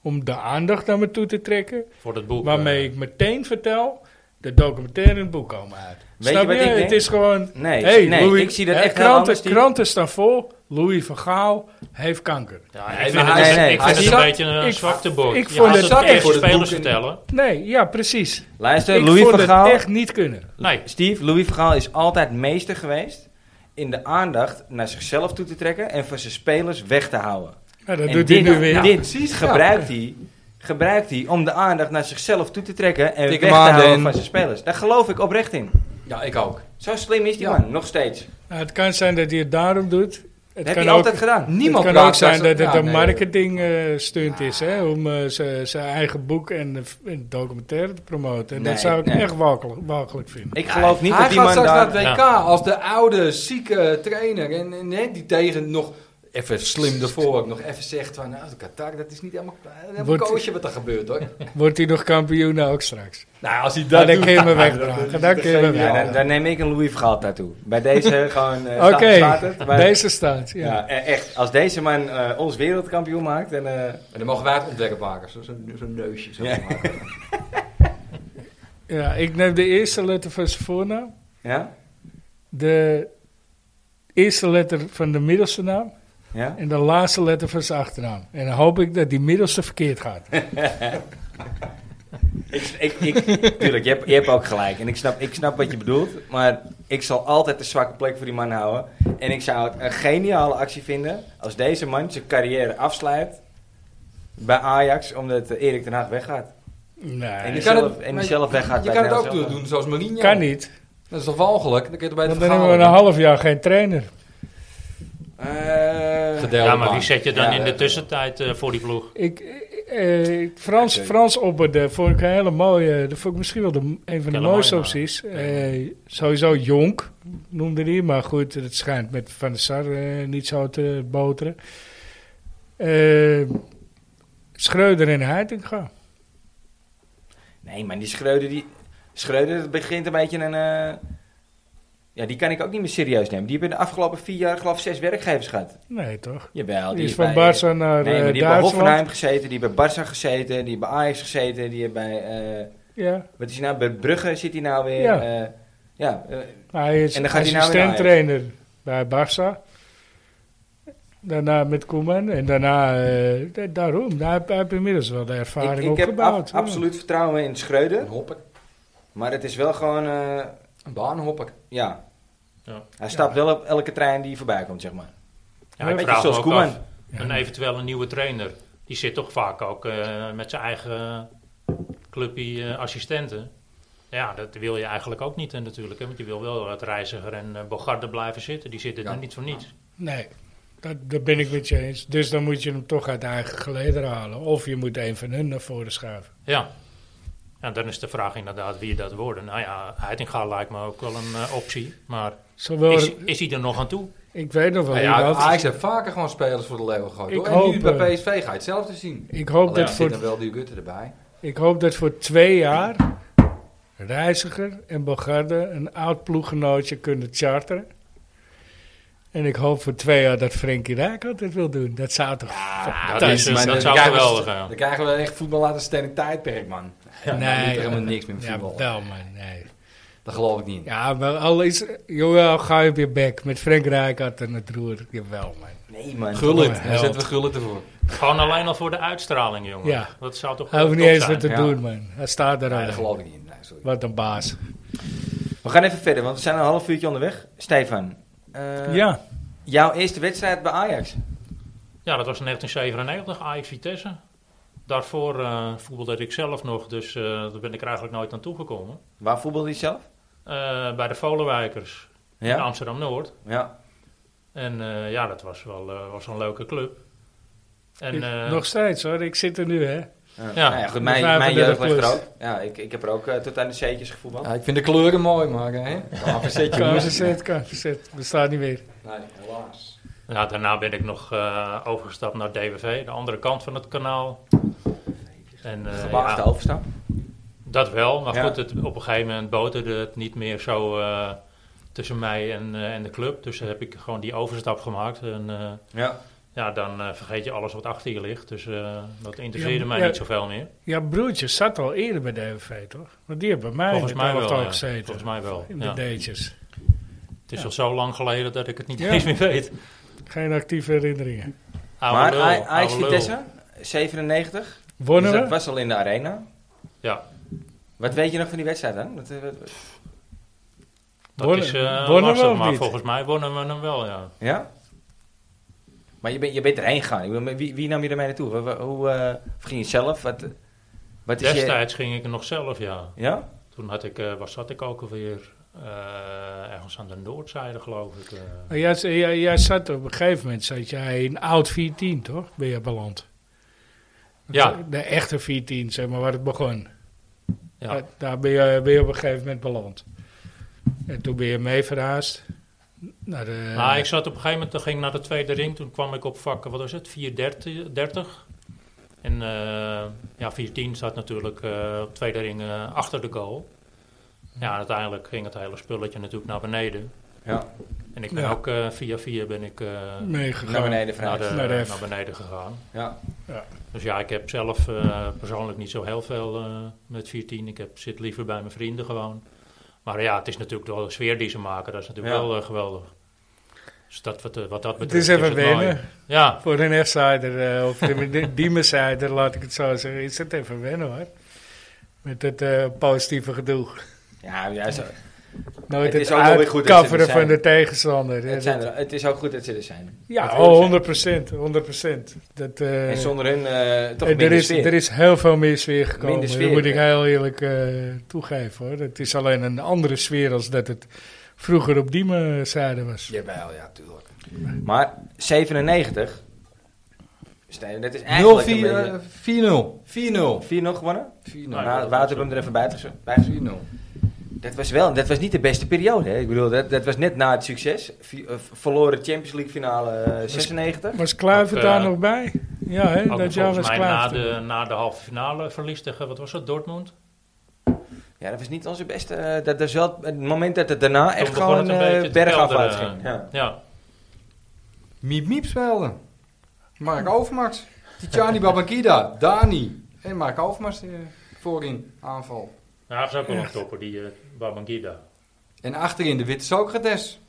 B: om de aandacht naar me toe te trekken.
D: Voor het boek.
B: Waarmee
D: eh,
B: ik meteen vertel, de documentaire en het boek komen uit.
A: Weet
B: Snap
A: je wat ik denk?
B: Het is gewoon,
A: Nee,
B: hey,
A: nee
B: Louis,
A: ik zie dat
B: hè,
A: echt heel
B: kranten,
A: anders. Die-
B: kranten staan vol, Louis van Gaal heeft kanker.
D: ja, ik
A: hij-
D: vind
A: hij-
D: het,
A: nee,
D: ik
A: hij
D: vind het
C: zat-
D: een beetje een
B: ik-
D: zwakte boek.
B: ik
D: Je
B: vond
D: gaat
B: het
D: het
B: zak
D: echt
C: voor het
D: spelers
C: boek in-
D: vertellen.
B: Nee, ja, precies.
A: Luister,
B: ik
A: Louis
B: vond
A: van
B: het
A: Gaal...
B: echt niet kunnen.
D: Nee,
A: Steve, Louis van Gaal is altijd meester geweest in de aandacht naar zichzelf toe te trekken en van zijn spelers weg te houden.
B: Ja, dat
A: En
B: doet
A: dit,
B: hij nu weer.
A: dit
C: precies, ja.
A: gebruikt hij. Gebruikt hij om de aandacht naar zichzelf toe te trekken en
C: Tik
A: weg
C: hem
A: te
C: aan,
A: houden
C: Den.
A: van zijn spelers. Daar geloof ik oprecht in.
C: Ja, ik ook.
A: Zo slim is die
C: Ja.
A: man, nog steeds.
B: Nou, het kan zijn dat hij het daarom doet. Het
A: dat heb
B: kan
A: je
B: ook,
A: altijd gedaan.
B: het
C: Niemand
B: kan
C: praat
B: ook zijn dat
C: ze-
B: het
C: ja,
B: een
C: nee.
B: marketingstunt is, hè, om eh, z- zijn eigen boek en, eh, en documentaire te promoten. En
A: Nee,
B: dat zou ik
A: nee.
B: echt walgelijk, walgelijk vinden.
A: Ik geloof niet
C: Hij
A: dat die
C: gaat
A: man
C: straks
A: daar...
C: naar het WK
D: Ja.
C: als de oude, zieke trainer. En, en hè, die tegen nog even slim ervoor ook nog even zegt van... Nou, de Qatar, dat is niet helemaal, helemaal
B: Wordt-
C: koosje wat er gebeurt hoor.
B: Wordt hij nog kampioen nou ook straks?
C: nou, als hij
B: Ja,
C: dat
B: dan
C: doet...
B: kun je me
C: nou,
B: wegdragen. Dan kun je me
A: Ja,
B: wegdragen.
A: dan, dan neem ik een Louis van Gaal tattoo. Bij
B: (laughs)
A: deze gewoon eh
B: Oké,
A: staat, staat het. Maar-
B: deze staat. Ja.
A: ja, e- echt. Als deze man eh, ons wereldkampioen maakt, dan... eh,
C: En dan mogen wij het ontwerp maken. Zo- Zo'n zo'n neusje. Zo
A: Ja.
C: maken.
B: Ja, ik neem de eerste letter van zijn voornaam,
A: ja?
B: de eerste letter van de middelste naam
A: Ja?
B: en de laatste letter van zijn achternaam. En dan hoop ik dat die middelste verkeerd gaat.
A: Ik, ik, ik- (laughs) tuurlijk, je hebt, je hebt ook gelijk. En ik snap, ik snap wat je bedoelt. Maar ik zal altijd de zwakke plek voor die man houden. En ik zou het een geniale actie vinden als deze man zijn carrière afsluit bij Ajax, omdat eh, Erik ten Hag weggaat. En
B: Nee,
A: die
C: Je kan
A: zelf,
C: het-
A: en
C: maar
A: die
C: je-
A: zelf weggaat
C: Je
A: bij
C: kan het
A: NL
C: ook
A: zelf.
C: doen zoals Mourinho.
B: kan niet.
C: Dat is toch walgelijk? Dan kun je het bij het
B: Want dan hebben we een
C: verhaal
B: half jaar geen trainer.
A: Eh,
C: gedeeld
D: ja, maar wie zet je dan
A: Ja,
D: in de
A: eh,
D: tussentijd eh, voor die ploeg?
B: Ik, eh, eh, Frans,
A: Oké.
B: Frans opperde, vond ik een hele mooie, dat vond ik misschien wel de, een van de
D: Hele
B: mooiste
D: mooie naam.
B: opties. Eh, sowieso Jonk noemde hij, maar goed, het schijnt met Van der Sar eh, niet zo te boteren. Eh, Schreuder en Heitinga.
A: Nee, maar die Schreuder, die... Schreuder dat begint een beetje een... eh, Ja, die kan ik ook niet meer serieus nemen. Die hebben de afgelopen vier jaar, geloof ik, zes werkgevers gehad.
B: Nee, toch?
A: Jawel,
B: Die is
A: bij-
B: van Barca naar
A: Nee, maar
B: eh,
A: die hebben bij
B: Duitsland.
A: Hoffenheim gezeten, die hebben bij Barça gezeten, die hebben bij Ajax gezeten, die hebben bij... eh,
B: Ja.
A: wat is hij nou? Bij Brugge zit hij nou weer.
B: Ja.
A: eh, ja eh,
B: Hij is
A: En dan gaat hij nou weer naar Ajax.
B: assistent-trainer bij Barça. Daarna met Koeman. En daarna, eh, da- daarom, daar heb ik inmiddels wel de ervaring
A: ik, ik heb
B: opgebouwd.
A: ab-
B: hoor.
A: absoluut vertrouwen in Schreuder,
C: Een hopper.
A: maar het is wel gewoon... eh,
C: Een baanhopper.
A: ja.
D: Ja.
A: hij stapt wel op elke trein die voorbij komt, zeg maar.
D: Ja,
A: Beetje
D: ik vraag me
A: zoals
D: ook
A: Koeman.
D: af, een eventueel een nieuwe trainer, die zit toch vaak ook eh, met zijn eigen clubje eh, assistenten. Ja, dat wil je eigenlijk ook niet eh, natuurlijk, hè, want je wil wel het Reiziger en eh, Bogarde blijven zitten. Die zitten
C: Ja.
D: er niet voor niets.
B: Nee, dat, dat ben ik met je eens. Dus dan moet je hem toch uit eigen geleden halen. Of je moet een van hun naar voren schuiven.
D: Ja. ja, dan is de vraag inderdaad wie dat worden. Nou ja, Heitinga lijkt me ook wel een eh, optie, maar
B: Zowel,
D: is, is hij er nog aan toe?
B: ik weet nog wel
C: Nou ja,
B: iemand.
C: Ajax heeft vaker gewoon spelers voor de leeuwen gegooid.
B: Ik
C: hoor.
B: hoop,
C: en nu bij
B: eh,
C: PSV ga je hetzelfde zien.
B: ik,
A: Oh
B: hoop
C: Alleen
B: dat
C: Oh er zit
B: voor,
C: dan wel die Gutte erbij.
B: ik hoop dat voor twee jaar Reiziger en Bogarde een oud ploeggenootje kunnen charteren. En ik hoop voor twee jaar dat Frenkie Rijkaard het wil doen. Dat zou toch...
D: dat
B: thuis
D: is, eh,
B: is- eh,
D: dat
C: dan
D: zou
C: krijgen we-
D: geweldig zijn.
C: Dan krijgen we echt voetbal uit een sterk tijdperk, man.
B: nee,
C: Nee, helemaal niks meer met
B: ja,
C: voetbal.
B: wel maar nee.
C: Dat geloof ik niet.
B: Ja, maar al is... Jawel, ga je op je bek. Met Frank Rijkaard en het roer. Jawel man.
A: Nee, man.
C: Gullit,
B: Oh,
C: daar zetten
B: held.
C: we Gullit ervoor.
D: Gewoon alleen al voor de uitstraling, jongen.
B: Ja.
D: Dat zou toch
B: Hij hoeft niet
D: top
B: eens
D: zijn.
B: wat te
C: Ja.
B: doen man. Hij staat er
C: Nee,
B: al.
C: dat geloof ik niet. Nee, sorry.
B: Wat een baas.
A: We gaan even verder, want we zijn een half uurtje onderweg. Stefan, eh,
B: ja.
A: jouw eerste wedstrijd bij Ajax.
D: Ja, dat was in 1997, Ajax Vitesse. Daarvoor eh, voetbalde ik zelf nog, dus eh, daar ben ik er eigenlijk nooit aan toegekomen.
A: Waar voetbalde je zelf?
D: Eh, bij de Volenwijkers in
A: Ja.
D: Amsterdam-Noord.
A: ja.
D: En eh, ja, dat was wel eh, was een leuke club. En,
B: Ik-
D: eh,
B: nog steeds hoor, ik zit er nu hè.
A: Ja.
D: Ja.
A: Nou ja, goed,
B: De
A: mijn,
B: 35
A: mijn jeugd was er
B: plus.
A: ook. Ja, ik, ik heb er ook eh, tot aan de C'tjes gevoetbald.
C: Ja, ik vind de kleuren mooi, maar (laughs) hè? Kan een verzetje doen.
B: Kamerzet, kamerzet, bestaat niet meer.
C: Nee, helaas.
D: ja, daarna ben ik nog eh, overgestapt naar DWV, de andere kant van het kanaal. En, eh,
A: Gewaagde
D: ja,
A: overstap.
D: Dat wel, maar
A: Ja.
D: goed, het, op een gegeven moment boterde het niet meer zo eh, tussen mij en, eh, en de club. Dus heb ik gewoon die overstap gemaakt. En eh,
A: Ja.
D: ja, dan eh, vergeet je alles wat achter je ligt. Dus eh, dat interesseerde
B: Ja,
D: mij
B: ja.
D: niet zoveel meer.
B: Ja, broertje zat al eerder bij de MV, toch? Want die hebben bij mij
D: Volgens
B: in
D: mij
B: het
D: wel.
B: elftal
D: ja.
B: gezeten.
D: Volgens mij wel.
B: In de
D: ja.
B: D'tjes.
D: Het is al zo lang geleden dat ik het niet
B: Ja.
D: eens meer weet.
B: Geen actieve herinneringen.
D: Oude
A: Maar
D: lul,
A: A-
D: oude
A: Ajax
D: lul.
A: Vitesse, 97. Dus
B: Wonnen
A: dat
B: we?
A: was al in de arena.
D: Ja,
A: Wat weet je nog van die wedstrijd dan? Wat, eh, wat- wat-
D: dat
B: Wonnen-
D: is eh,
B: wonnen we
D: lastig,
B: of
D: maar
B: niet?
D: volgens mij wonnen we hem wel, ja.
A: ja? Maar je bent, je bent erheen gegaan. Ik bedoel, Wie, wie nam je ermee naartoe? Wa- wa- Hoe, eh, of ging je zelf? Wat, wat is je...
D: Destijds ging ik nog zelf, ja.
A: Ja?
D: Toen had ik, eh waar zat ik ook alweer? Eh, ergens aan de noordzijde, geloof ik. eh.
B: Maar Jij, jij, jij zat op een gegeven moment zat jij in oud 14, toch? Ben je beland?
D: Ja.
B: De echte 14, zeg maar, waar het begon.
D: ja.
B: Daar- Daar ben je, ben je op een gegeven moment beland. En toen ben je mee verhuisd naar eh, de...
D: Nou, ik zat op een gegeven moment, toen ging ik naar de tweede ring. Toen kwam ik op vak, wat was het, 430. En eh, ja, 410 zat natuurlijk eh, op tweede ring eh, achter de goal. Ja, en uiteindelijk ging het hele spulletje natuurlijk naar beneden.
A: Ja.
D: En ik ben
B: Ja.
D: ook eh, via via ben ik eh,
B: meegegaan.
A: Naar beneden
D: naar,
A: vanuit.
D: de,
B: Naar de F.
D: naar beneden gegaan.
A: Ja.
D: Dus ja, ik heb zelf eh, persoonlijk niet zo heel veel eh, met 14. Ik heb, zit liever bij mijn vrienden gewoon. Maar ja, het is natuurlijk wel de sfeer die ze maken. Dat is natuurlijk
A: Ja.
D: wel eh, geweldig. Dus dat, wat, eh, wat dat
B: Het
D: betreft
B: is even
D: het mooi.
B: wennen.
D: Ja,
B: Voor een F-sider eh, of de (laughs) Diemensider, laat ik het zo zeggen, is het even wennen hoor. Met het eh, positieve gedoe.
A: Ja, ja zo-
B: Nooit
A: Het
B: het,
A: is ook wel weer goed dat ze er
B: uitcoveren van
A: zijn.
B: de tegenstander.
A: het, zijn er, het is ook goed dat ze er zijn.
B: ja,
A: Dat wil ik
B: oh,
A: zeggen.
B: 100%. 100%. Dat, eh,
A: En zonder hun eh, toch
B: eh,
A: minder
B: er, is,
A: sfeer.
B: er is heel veel meer sfeer gekomen.
A: Minder sfeer,
B: dat moet ik
A: ja.
B: heel eerlijk eh, toegeven hoor. Het is alleen een andere sfeer als dat het vroeger op Diemensider was.
C: Jawel, ja, tuurlijk.
A: Maar 97, Stijn, dat is
C: 0-4,
A: eigenlijk een
C: eh, 4-0. 4-0.
A: 4-0 gewonnen.
C: 4-0.
A: Nou,
D: ja, dat
A: Wouter
D: was-
A: hem er even buiten. gez- buiten gezet.
C: 4-0.
A: Dat was wel, dat was niet de beste periode. Hè. Ik bedoel, dat, dat was net na het succes. Vi- eh, verloren Champions League finale eh, 96.
B: Was Kluivert
D: Ook, eh,
B: daar nog bij? Ja, hè?
D: ook
B: dat jaar
D: volgens
B: was
D: mij na
B: Kluivert. er.
D: de, na de halve finale verlies tegen, wat was dat, Dortmund?
A: Ja, dat was niet onze beste. eh, dat, dat is wel het moment dat het daarna echt
D: begon
A: gewoon
D: het een beetje
A: eh
D: te
A: bergafwaarts
D: kelderen.
A: ging. Ja.
D: Ja,
C: Miep Miep speelde. Mark Overmars. Tijani Babakida. Dani. En Mark Overmars eh, voorin aanval.
D: ja dat is ook wel een topper, die eh, Babangida.
C: En achterin de witte Socrates.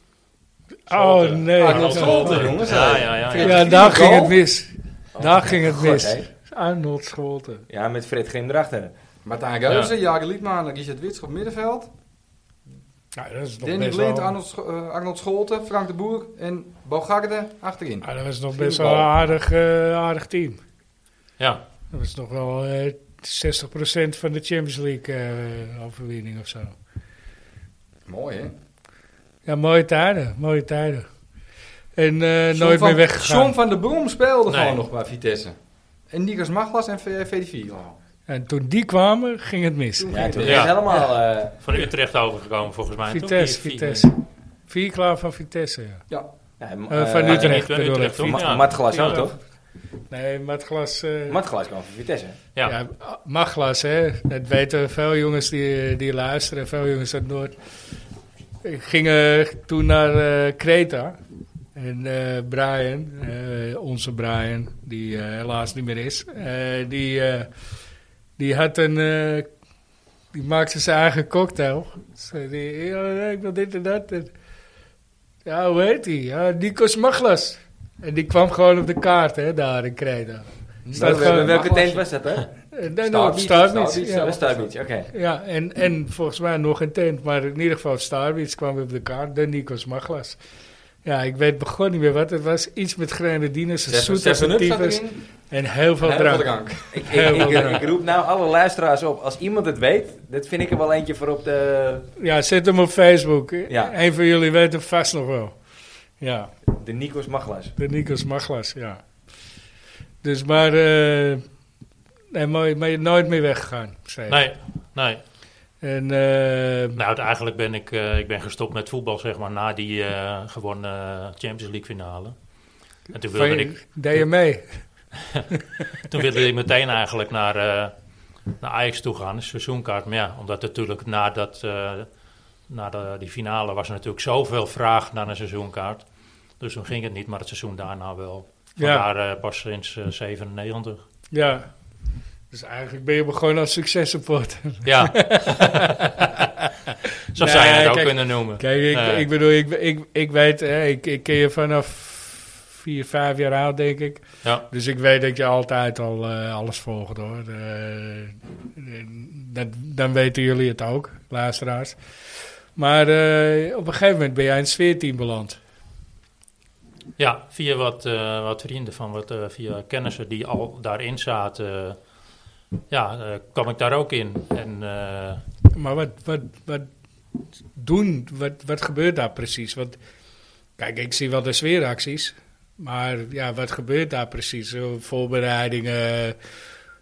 B: Oh
D: Scholten.
B: nee.
C: Arnold
B: dat-
C: Scholten, jongens.
D: Ja, ja, ja. ja.
C: Fred.
B: Ja,
C: Is
B: daar
C: die een
B: ging
C: goal?
B: het mis.
D: Oh.
B: Daar ging het
A: God,
B: mis.
A: hè.
B: Arnold Scholten.
A: Ja, met Fred Grim erachter.
C: Martijn Reuzen, Jari Liedman, Richard Wits op middenveld.
B: Nou, dat is nog
C: Danny
B: best
C: Blind,
B: wel...
C: Arnold, Scho- eh, Arnold Scholten, Frank de Boer en Bogarde achterin.
B: Ah, dat was nog
C: Vier
B: best wel een
C: ballen.
B: aardig, eh, aardig team. Dat was nog wel eh 60% van de Champions League eh, overwinning of zo.
C: Mooi, hè?
B: Ja, mooie tijden. Mooie tijden. En eh,
C: John
B: nooit
C: van-
B: meer weggegaan.
C: John van der Brom speelde
D: Nee.
C: gewoon nog bij Vitesse. En Nikos Maglas en V- VD4. al.
B: En toen die kwamen, ging het mis.
C: Toen
A: Ja,
C: ging
A: toen
C: het.
A: is
D: Ja.
A: het helemaal... eh,
D: van Utrecht overgekomen volgens mij.
B: Vitesse,
D: Toch? Die-
B: Vitesse. Vier klaar van Vitesse, ja.
C: Ja,
A: ja,
B: Eh,
A: eh,
B: van
D: Ja, die
B: Utrecht,
D: niet-
B: bedoel ik.
D: Ah, Utrecht, toch?
A: Ma-
D: Ja.
A: Matglas ook,
B: Ja.
A: toch?
B: Nee, maar het glas... eh,
A: Matglas kwam van Vitesse.
D: Ja.
B: Ja, Maglas, hè. Dat weten veel jongens die, die luisteren, veel jongens uit Noord. Ik ging eh, toen naar eh Creta. En eh, Brian, eh, onze Brian, die eh, helaas niet meer is, eh, die, eh, die had een... eh, die maakte zijn eigen cocktail. Zei die, ja, ik wil dit en dat. En- ja, hoe heet die? Ja, Nikos Maglas. En die kwam gewoon op de kaart, hè, daar in Creta. Staat
A: Welke-
B: gewoon-
A: welke
C: Matglas.
A: tent was dat, hè?
B: En dan
C: Starbeach,
B: op Starbeach,
C: Starbeach,
A: Ja,
B: nou, ja.
A: dat is Starbeach, oké.
B: Ja, en, en volgens mij nog een tent, maar in ieder geval Starbeach kwam op de kaart. De Nikos Maglas. Ja, ik weet begon niet meer wat het was. Iets met grenadines, een zoet als een
C: Seven-Up zat
B: tyfus
C: erin.
B: en heel veel
C: Heel veel
B: drank.
C: drank.
A: Ik, ik, ik-
B: Heel belangrijk.
A: ik roep nou alle luisteraars op. Als iemand het weet, dat vind ik er wel eentje voor op de,
B: Ja, zet hem op Facebook.
A: Ja.
B: Een van jullie weet hem vast nog wel. Ja,
A: de Nikos Maglas.
B: de Nikos Maglas, ja. Dus maar, eh nee, maar, maar je nooit meer weggegaan, zei je.
D: Nee, nee.
B: En, eh,
D: Nou, eigenlijk ben ik, eh, ik ben gestopt met voetbal, zeg maar, na die eh, gewonnen Champions League finale. En toen
B: van
D: wilde,
B: je-
D: ik,
B: deed je mee?
D: toen wilde ik meteen eigenlijk naar, eh, naar Ajax toe gaan, een seizoenkaart. Maar ja, omdat natuurlijk na, dat, eh, na de, die finale was er natuurlijk zoveel vraag naar een seizoenkaart. Dus toen ging het niet, maar het seizoen daarna wel.
B: Ja.
D: Vandaar eh, pas sinds eh, 97.
B: Ja. Dus eigenlijk ben je begonnen als successupport. (laughs)
D: Ja. Zo zou je
B: Nee,
D: het ook
B: kijk,
D: kunnen noemen.
B: Kijk, ik,
D: Nee.
B: ik bedoel, ik, ik, ik weet, hè, ik, ik ken je vanaf vier, vijf jaar oud, denk ik.
D: Ja.
B: Dus ik weet dat je altijd al eh, alles volgt, hoor. Eh, eh, dat, dan weten jullie het ook, luisteraars. Maar eh, op een gegeven moment ben jij in het sfeerteam beland.
D: Ja, via wat, eh, wat vrienden van wat, eh, via kennissen die al daarin zaten, eh, ja, eh, kwam ik daar ook in. En eh,
B: Maar wat, wat, wat doen, wat, wat gebeurt daar precies? Want, kijk, ik zie wel de sfeeracties, maar ja, wat gebeurt daar precies? Zo, Voorbereidingen.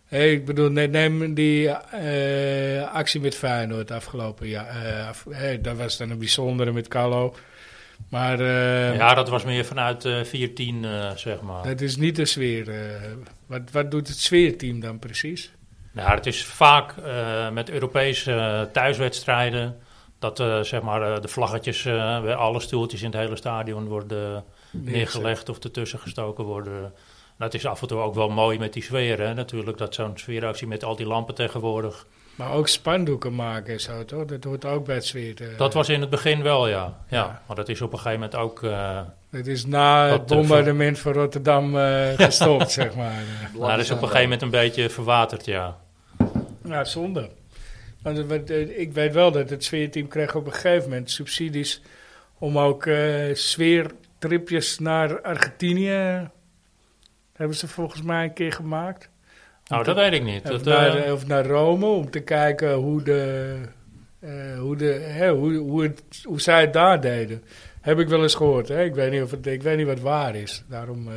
B: Hey, ik bedoel, ne- neem die eh, actie met Feyenoord afgelopen jaar. eh, af- hey, dat was dan een bijzondere met Carlo. Maar eh,
D: ja, dat was meer vanuit eh 410, eh, zeg maar.
B: dat is niet de sfeer. eh. wat, wat doet het sfeerteam dan precies?
D: Nou, het is vaak eh, met Europese eh, thuiswedstrijden dat eh, zeg maar, eh, de vlaggetjes eh, bij alle stoeltjes in het hele stadion worden neergelegd of ertussen gestoken worden. Dat is af en toe ook wel mooi met die sfeer, hè? natuurlijk. Dat zo'n sfeeractie met al die lampen tegenwoordig.
B: Maar ook spandoeken maken en zo, toch? Dat hoort ook bij het sfeer. eh.
D: Dat was in het begin wel, ja. ja.
B: Ja.
D: Maar dat is op een gegeven moment ook... eh,
B: Het is na het
D: Wat de-
B: bombardement van Rotterdam
D: (laughs)
B: eh, gestopt, zeg maar.
D: nou, dat is op een gegeven moment een beetje verwaterd, ja. Nou,
B: Ja, zonde. Want, het- want, eh, ik weet wel dat het sfeerteam kreeg op een gegeven moment subsidies om ook eh, sfeertripjes naar Argentinië. Hebben ze volgens mij een keer gemaakt.
D: Nou, dat weet ik niet.
B: Of
D: Dat,
B: naar,
D: eh,
B: of naar Rome, om te kijken hoe, de, eh, hoe, de, hè, hoe, hoe, het, hoe zij het daar deden. Heb ik wel eens gehoord. Hè? Ik, weet niet of het, ik weet niet wat waar is. Daarom. eh,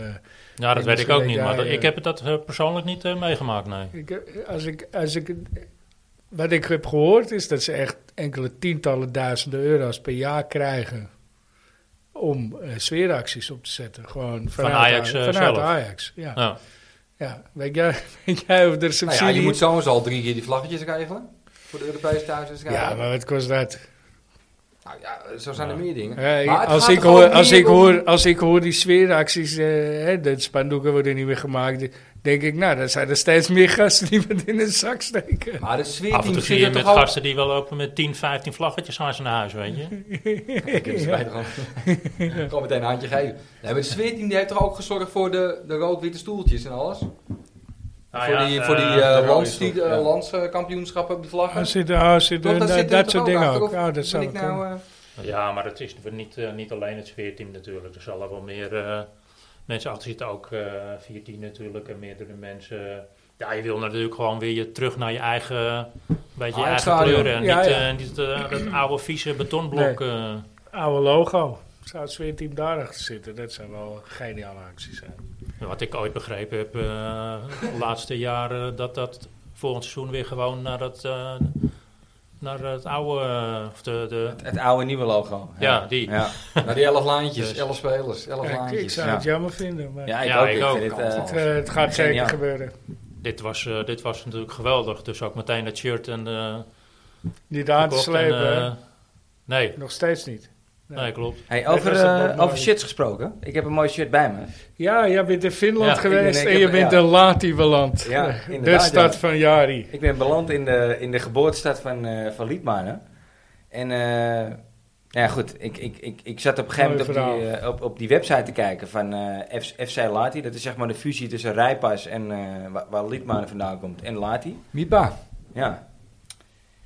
D: ja, dat
B: ik
D: weet ik ook
B: misschien
D: niet.
B: weet
D: Maar
B: jij,
D: dat- ik
B: eh,
D: heb het dat eh, persoonlijk niet eh, meegemaakt, nee.
B: Ik, als ik, als ik, wat ik heb gehoord is dat ze echt enkele tientallen duizenden euro's per jaar krijgen om eh, sfeeracties op te zetten. Gewoon vanuit
D: Ajax, eh,
B: vanuit
D: zelf.
B: Ajax, ja. ja.
D: Ja.
B: Weet, jij, (laughs) weet jij of er
C: Nou
B: subsidie...
C: ja, je moet sowieso al drie keer die vlaggetjes regelen. Voor de Europese thuiswedstrijden.
B: Ja, maar wat kost dat?
C: Nou ja, zo zijn er meer dingen.
B: Eh,
C: Maar het
B: als,
C: gaat
B: ik
C: toch
B: hoor,
C: ook
B: als,
C: meer
B: ik
C: om-
B: hoor, als ik hoor die sfeeracties, eh, hè, de spandoeken worden niet meer gemaakt, denk ik, nou, dan zijn er steeds meer gasten die wat in de zak steken.
C: Maar de
D: Af en
C: sfeerteam
D: toe zie je
C: zit er
D: met
C: toch al...
D: gasten die wel lopen met 10, 15 vlaggetjes aan zijn huis, weet je.
C: Ik heb ze
B: (laughs)
C: bijna gewoon- Gewoon meteen een handje geven. Nee, maar de sfeerteam die heeft toch ook gezorgd voor de, de rood-witte stoeltjes en alles?
A: Ah,
D: Nou
C: voor die, voor die eh,
A: rode
C: lands-
A: stoel,
C: die, eh,
A: ja.
C: landskampioenschappen op de vlaggen.
B: Ah, zit, ah, zit,
C: Toch,
B: dat,
C: zit er
B: dat
C: toch
B: soort
C: ook
B: dingen
C: achter,
B: ook.
C: of
B: Ah, dat
C: ben
B: zou
C: ik
B: kunnen.
C: nou, eh,
D: Ja, maar het is niet, eh, niet alleen het sfeerteam natuurlijk. Er zal er wel meer eh, mensen achter zitten. Ook eh 14 natuurlijk en meerdere mensen. Ja, je wil natuurlijk gewoon weer je terug naar je eigen, beetje je
C: Ah,
D: eigen
C: stadion.
D: kleuren. En
B: Ja,
D: niet,
B: ja.
D: eh, niet eh, dat oude vieze betonblok. eh.
B: Oude logo. Zou het sfeerteam daarachter zitten? Dat zou wel geniale acties zijn.
D: wat ik ooit begrepen heb eh, de laatste jaren. eh, dat dat volgend seizoen weer gewoon naar het, eh, naar het oude... eh, of de, de,
A: Het oude nieuwe logo.
D: ja, die. (laughs)
A: Ja,
C: Nou, die elf lijntjes,
D: Dus.
C: elf spelers, elf
B: Ja, ik, ik
C: lijntjes.
B: zou
A: ja.
B: het jammer vinden, maar
A: ja ik
D: Ja,
A: ook.
D: ik
A: Ik
D: ook.
A: vind het, eh,
B: het, eh, het gaat
A: Geniaal.
B: zeker gebeuren.
D: Dit was, eh, dit was natuurlijk geweldig. Dus ook meteen dat shirt en... eh,
B: Niet aan te
D: Gekocht
B: slepen.
D: en,
B: hè?
D: eh, nee,
B: Nog steeds niet. Nee.
D: nee, klopt.
A: hey,
B: Dat
A: over,
B: was het nog
A: eh, over
B: nooit.
A: shirts gesproken. Ik heb een mooi shirt bij me.
B: Ja, jij bent in Finland
D: Ja, ik
A: ben-
B: geweest
A: ik
B: en je
A: heb-
B: bent
A: ja.
B: in Latiweland.
A: Ja,
B: de
A: inderdaad,
B: stad
A: ja.
B: van Jari.
A: Ik ben beland in de, in de geboortestad van, eh van Liedmanen. En eh, ja, goed, ik, ik, ik, ik zat op een gegeven moment op
B: Mooi
A: die, eh, op, op die website te kijken van eh, F- FC Lati. Dat is zeg maar de fusie tussen Rijpas en eh, waar, waar Liedmanen vandaan komt en Lati.
C: Mipa.
A: Ja.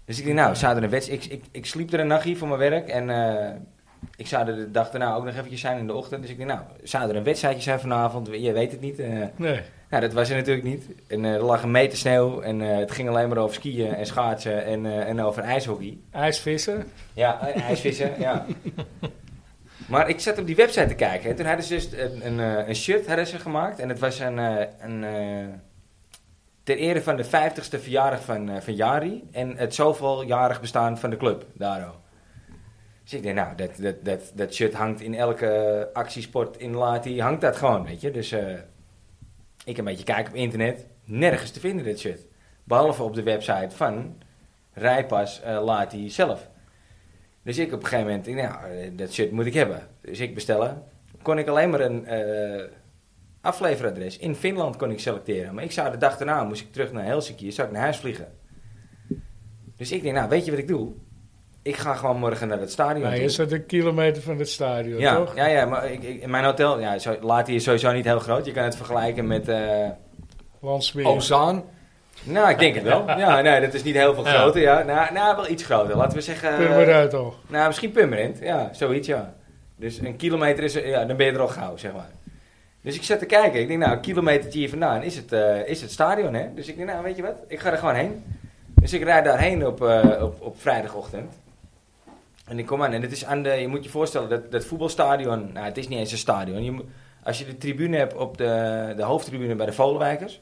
A: Dus ik dacht, nou, zaterdag een wedstrijd. Ik, ik, ik sliep er een nachtje voor mijn werk en eh, ik zou er de dag daarna ook nog eventjes zijn in de ochtend. Dus ik dacht, nou, zou er een wedstrijdje zijn vanavond? Je weet het niet. eh.
B: Nee.
A: Nou, dat was er natuurlijk niet. En eh, er lag een meter sneeuw en eh, het ging alleen maar over skiën en schaatsen en, eh, en over ijshockey.
B: IJsvissen.
A: Ja, eh, ijsvissen, ja. Maar ik zat op die website te kijken en toen hadden ze dus een, een, eh, een shirt hadden ze gemaakt. En het was een, eh, een, eh, ter ere van de 50ste verjaardag van, eh, van Jari en het zoveeljarig bestaan van de club, daarom. Dus ik denk, nou, dat, dat, dat, dat shirt hangt in elke actiesport in Lati, hangt dat gewoon, weet je. Dus eh, ik een beetje kijken op internet, nergens te vinden dit shirt. Behalve op de website van Rijpas eh, laat hij zelf. Dus ik op een gegeven moment, ik denk, nou, eh, dat shirt moet ik hebben. Dus ik bestellen. Kon ik alleen maar een eh, afleveradres in Finland kon ik selecteren. Maar ik zou de dag daarna, moest ik terug naar Helsinki, zou ik naar huis vliegen. Dus ik denk, nou, weet je wat ik doe? Ik ga gewoon morgen naar het stadion.
B: Nou,
A: toe.
B: je zat een kilometer van het stadion,
A: Ja,
B: toch?
A: ja, ja, maar ik, ik- mijn hotel, ja, zo, laat hier is sowieso niet heel groot. Je kan het vergelijken met. eh,
B: Landsmeer.
A: Oh,
C: Ozaan.
A: nou, ik denk het wel. Ja, nee, dat is niet heel veel
D: Ja.
A: groter. Ja. Nou, nou, wel iets groter. Laten we zeggen. eh,
B: Purmerend al.
A: nou, misschien Purmerend. Ja, zoiets, ja. Dus een kilometer is, ja, dan ben je er al gauw, zeg maar. Dus ik zat te kijken. Ik denk, nou, een kilometertje hier vandaan is het, eh, is het stadion, hè? Dus ik denk, nou, weet je wat? Ik ga er gewoon heen. Dus ik rijd daarheen op, eh, op, op vrijdagochtend. En ik kom aan. En het is aan de, je moet je voorstellen, dat, dat voetbalstadion... Nou, het is niet eens een stadion. Je, moet- als je de tribune hebt op de, de hoofdtribune bij de Volenwijkers...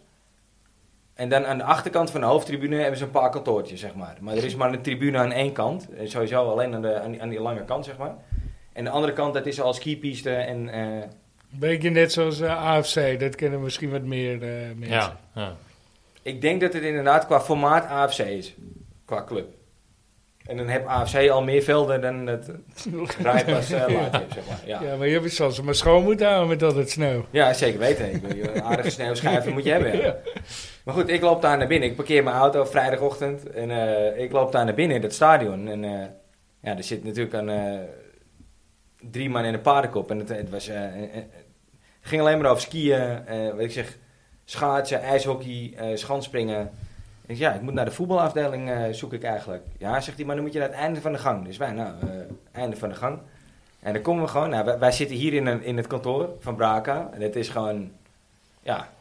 A: En dan aan de achterkant van de hoofdtribune hebben ze een paar kantoortjes, zeg maar. Maar er is maar een tribune aan één kant. Eh, Sowieso alleen aan, de, aan, die, aan die lange kant, zeg maar. En de andere kant, dat is al skipiste en... eh,
B: Een beetje net zoals eh, AFC, dat kennen misschien wat meer eh, mensen.
D: Ja, ja.
A: Ik denk dat het inderdaad qua formaat AFC is. Qua club. En dan heb AFC al meer velden dan het Rijpas eh, laat heeft, zeg maar. Ja,
B: Ja, maar je hebt zelfs maar schoon moeten houden met al dat sneeuw.
A: ja zeker weten. Ik bedoel, een aardige sneeuwschijven moet je hebben. ja.
B: Ja.
A: Maar goed, ik loop daar naar binnen. Ik parkeer mijn auto vrijdagochtend. En eh, ik loop daar naar binnen in dat stadion. En eh, ja, er zit natuurlijk een, eh, drie man in een paardenkop. En het, het was, eh, eh, eh, het ging alleen maar over skiën, eh, wat ik zeg, schaatsen, ijshockey, eh schanspringen. Ik zeg, ja, ik moet naar de voetbalafdeling eh, zoek ik eigenlijk. Ja, zegt hij, maar dan moet je naar het einde van de gang. Dus wij, nou, eh, einde van de gang. En dan komen we gewoon, nou, wij, wij zitten hier in, een, in het kantoor van Braka. En het is gewoon, ja,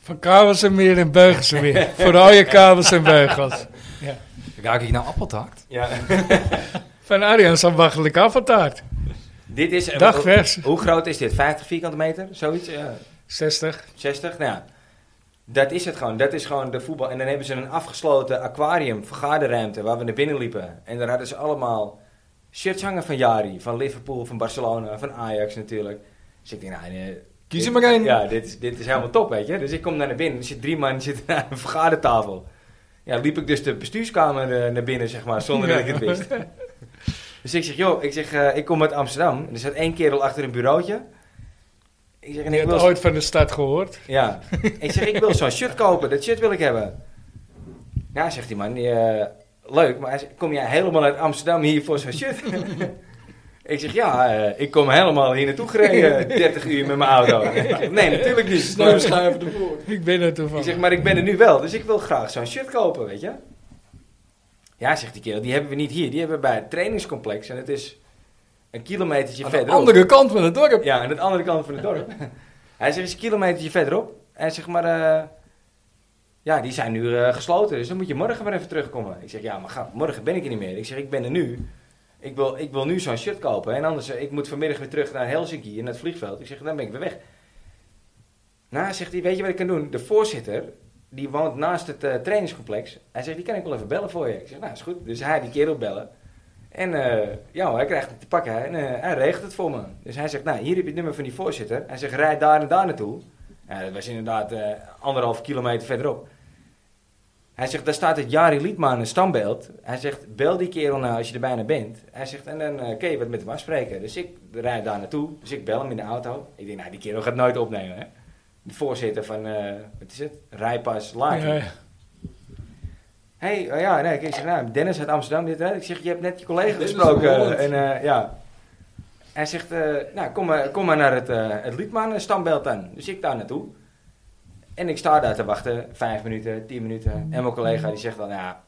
B: Van kabels en meer en beugels en
A: (laughs)
B: meer. Vooral je kabels en beugels.
C: Raak ik nou appeltaart?
A: ja.
B: Van Arjan ambachtelijk appeltaart.
A: Dit is... eh,
B: Dag
A: hoe-
B: vers.
A: Hoe groot is dit? 50 vierkante meter? Zoiets? Ja.
B: 60.
A: 60? Nou ja. Dat is het gewoon. Dat is gewoon de voetbal. En dan hebben ze een afgesloten aquarium, vergaderruimte, waar we naar binnen liepen. En daar hadden ze allemaal shirts hangen van Jari, van Liverpool, van Barcelona, van Ajax natuurlijk. Dus ik denk, nou... eh,
C: Kies er
A: dit-
C: maar één.
A: Ja, dit is, dit is helemaal top, weet je. Dus ik kom daar naar binnen. Er zitten drie man zitten aan een vergadertafel. Ja, liep ik dus de bestuurskamer eh, naar binnen, zeg maar, zonder dat ik het wist. (laughs) Dus ik zeg, joh, ik, zeg, eh, ik kom uit Amsterdam. En er zat één kerel achter een bureautje. Ik zeg, en
B: Je
A: ik wil,
B: hebt ooit van de stad gehoord.
A: ja. ik zeg, ik wil zo'n shirt kopen. Dat shirt wil ik hebben. Ja, zegt die man. die, eh, leuk, maar hij zegt, kom jij helemaal uit Amsterdam hier voor zo'n shirt? (laughs) ik zeg, ja, eh, ik kom helemaal hier naartoe gereden. 30 uur met mijn auto. nee, natuurlijk niet.
C: Sneeuwschuiven ervoor.
B: Ik ben er
A: Ik
B: toevallig.
A: zeg, maar ik ben er nu wel, dus ik wil graag zo'n shirt kopen, weet je? Ja, zegt die kerel, die hebben we niet hier. Die hebben we bij het trainingscomplex. En het is een kilometertje
C: Aan de
A: verderop.
C: andere kant van het dorp.
A: Ja, aan de andere kant van het dorp. (laughs) Hij zegt, is een kilometertje verderop. Hij zegt, maar... eh, ja, die zijn nu eh, gesloten, dus dan moet je morgen maar even terugkomen. Ik zeg, ja, maar ga, morgen ben ik er niet meer. Ik zeg, ik ben er nu. Ik wil, ik wil nu zo'n shirt kopen. En anders, eh, ik moet vanmiddag weer terug naar Helsinki, in het vliegveld. Ik zeg, dan ben ik weer weg. Nou, zegt hij, weet je wat ik kan doen? De voorzitter, die woont naast het eh, trainingscomplex. Hij zegt, die kan ik wel even bellen voor je. Ik zeg, nou, is goed. Dus hij die kerel bellen. En eh, ja, hoor, hij krijgt het te pakken en eh, hij regelt het voor me. Dus hij zegt, nou, hier heb je het nummer van die voorzitter. Hij zegt, rijd daar en daar naartoe. Ja, dat was inderdaad eh, anderhalf kilometer verderop. Hij zegt, daar staat het Jari Liedman een standbeeld. Hij zegt, bel die kerel nou als je er bijna bent. Hij zegt, en dan eh, kun je wat met hem afspreken. Dus ik rijd daar naartoe. Dus ik bel hem in de auto. Ik denk, nou, die kerel gaat nooit opnemen, hè. De voorzitter van, eh, wat is het? Rijpas Laken.
B: Ja, ja.
A: Hé, hey, ja, nee, ik zeg, nou, Dennis uit Amsterdam, dit, hè. ik zeg, je hebt net je collega
C: Dennis uit
A: gesproken.
C: Holland.
A: En, eh, ja. Hij zegt, eh, nou, kom maar, kom maar naar het, eh het Liedman-standbeeld aan. Dus ik daar naartoe. En ik sta daar te wachten, vijf minuten, tien minuten. En mijn collega die zegt dan, ja,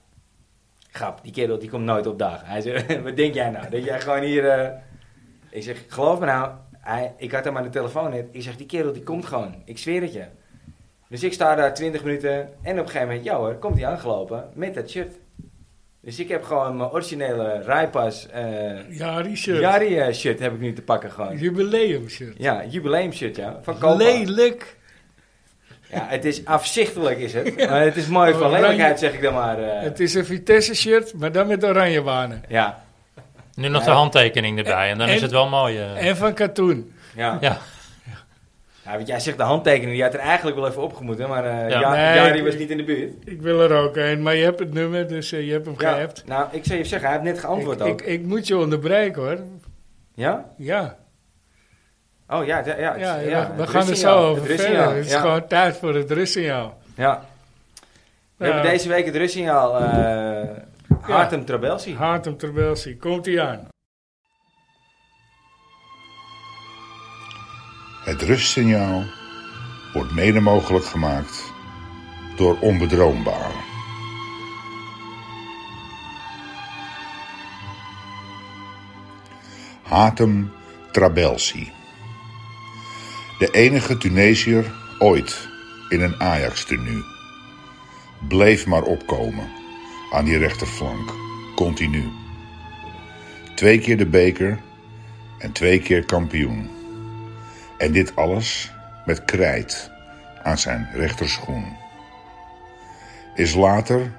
A: grap, die kerel die komt nooit opdagen. Hij zegt, (laughs) wat denk jij nou? Dat jij gewoon hier... eh?" Ik zeg, geloof me nou, hij, ik had hem aan de telefoon net. Ik zeg, die kerel die komt gewoon, ik zweer het je. Dus ik sta daar 20 minuten en op een gegeven moment, ja hoor, komt hij aangelopen met dat shirt. Dus ik heb gewoon mijn originele Rijpas eh
B: Ja, die shirt.
A: Jari eh, shirt heb ik nu te pakken gewoon.
B: Jubileum shirt.
A: Ja, jubileum shirt ja, van Kopa.
B: Lelijk.
A: Ja, het is afzichtelijk is het, maar het is mooi van
B: Oranje.
A: lelijkheid zeg ik dan maar. eh.
B: Oh, Het is een Vitesse shirt, maar dan met oranje banen.
A: Ja,
D: Nu nog
A: Ja.
D: de handtekening erbij en dan
B: En-
D: is het wel mooi. eh.
B: En van katoen.
A: ja.
D: ja.
A: Ja, want jij zegt de handtekening, die had er eigenlijk wel even opgemoeten, maar eh
D: Ja.
A: ja,
B: Nee,
A: Jari
B: ik-
A: was niet in de buurt.
B: Ik wil er ook een, maar je hebt het nummer, dus eh, je hebt hem
A: Ja,
B: gehept.
A: Nou, ik zou je zeggen, hij heeft net
B: Ik,
A: geantwoord ook.
B: ik, ik moet je onderbreken hoor.
A: Ja?
B: Ja,
A: Oh ja, ja, ja,
B: ja,
A: het-
B: ja,
A: het
B: we gaan er
A: rustsignaal,
B: zo over
A: het
B: verder.
A: rustsignaal,
B: Het is
A: ja.
B: gewoon tijd voor het rustsignaal.
A: Ja. We
B: Ja.
A: hebben deze week het rustsignaal. eh Hartem Trabelsi.
B: Hartem Terbelsi, komt hij aan.
E: Het rustsignaal wordt mede mogelijk gemaakt door onbedroombare. Hatem Trabelsi. De enige Tunesiër ooit in een Ajax-tenue. Bleef maar opkomen aan die rechterflank, continu. Twee keer de beker en twee keer kampioen. En dit alles met krijt aan zijn rechterschoen. Is later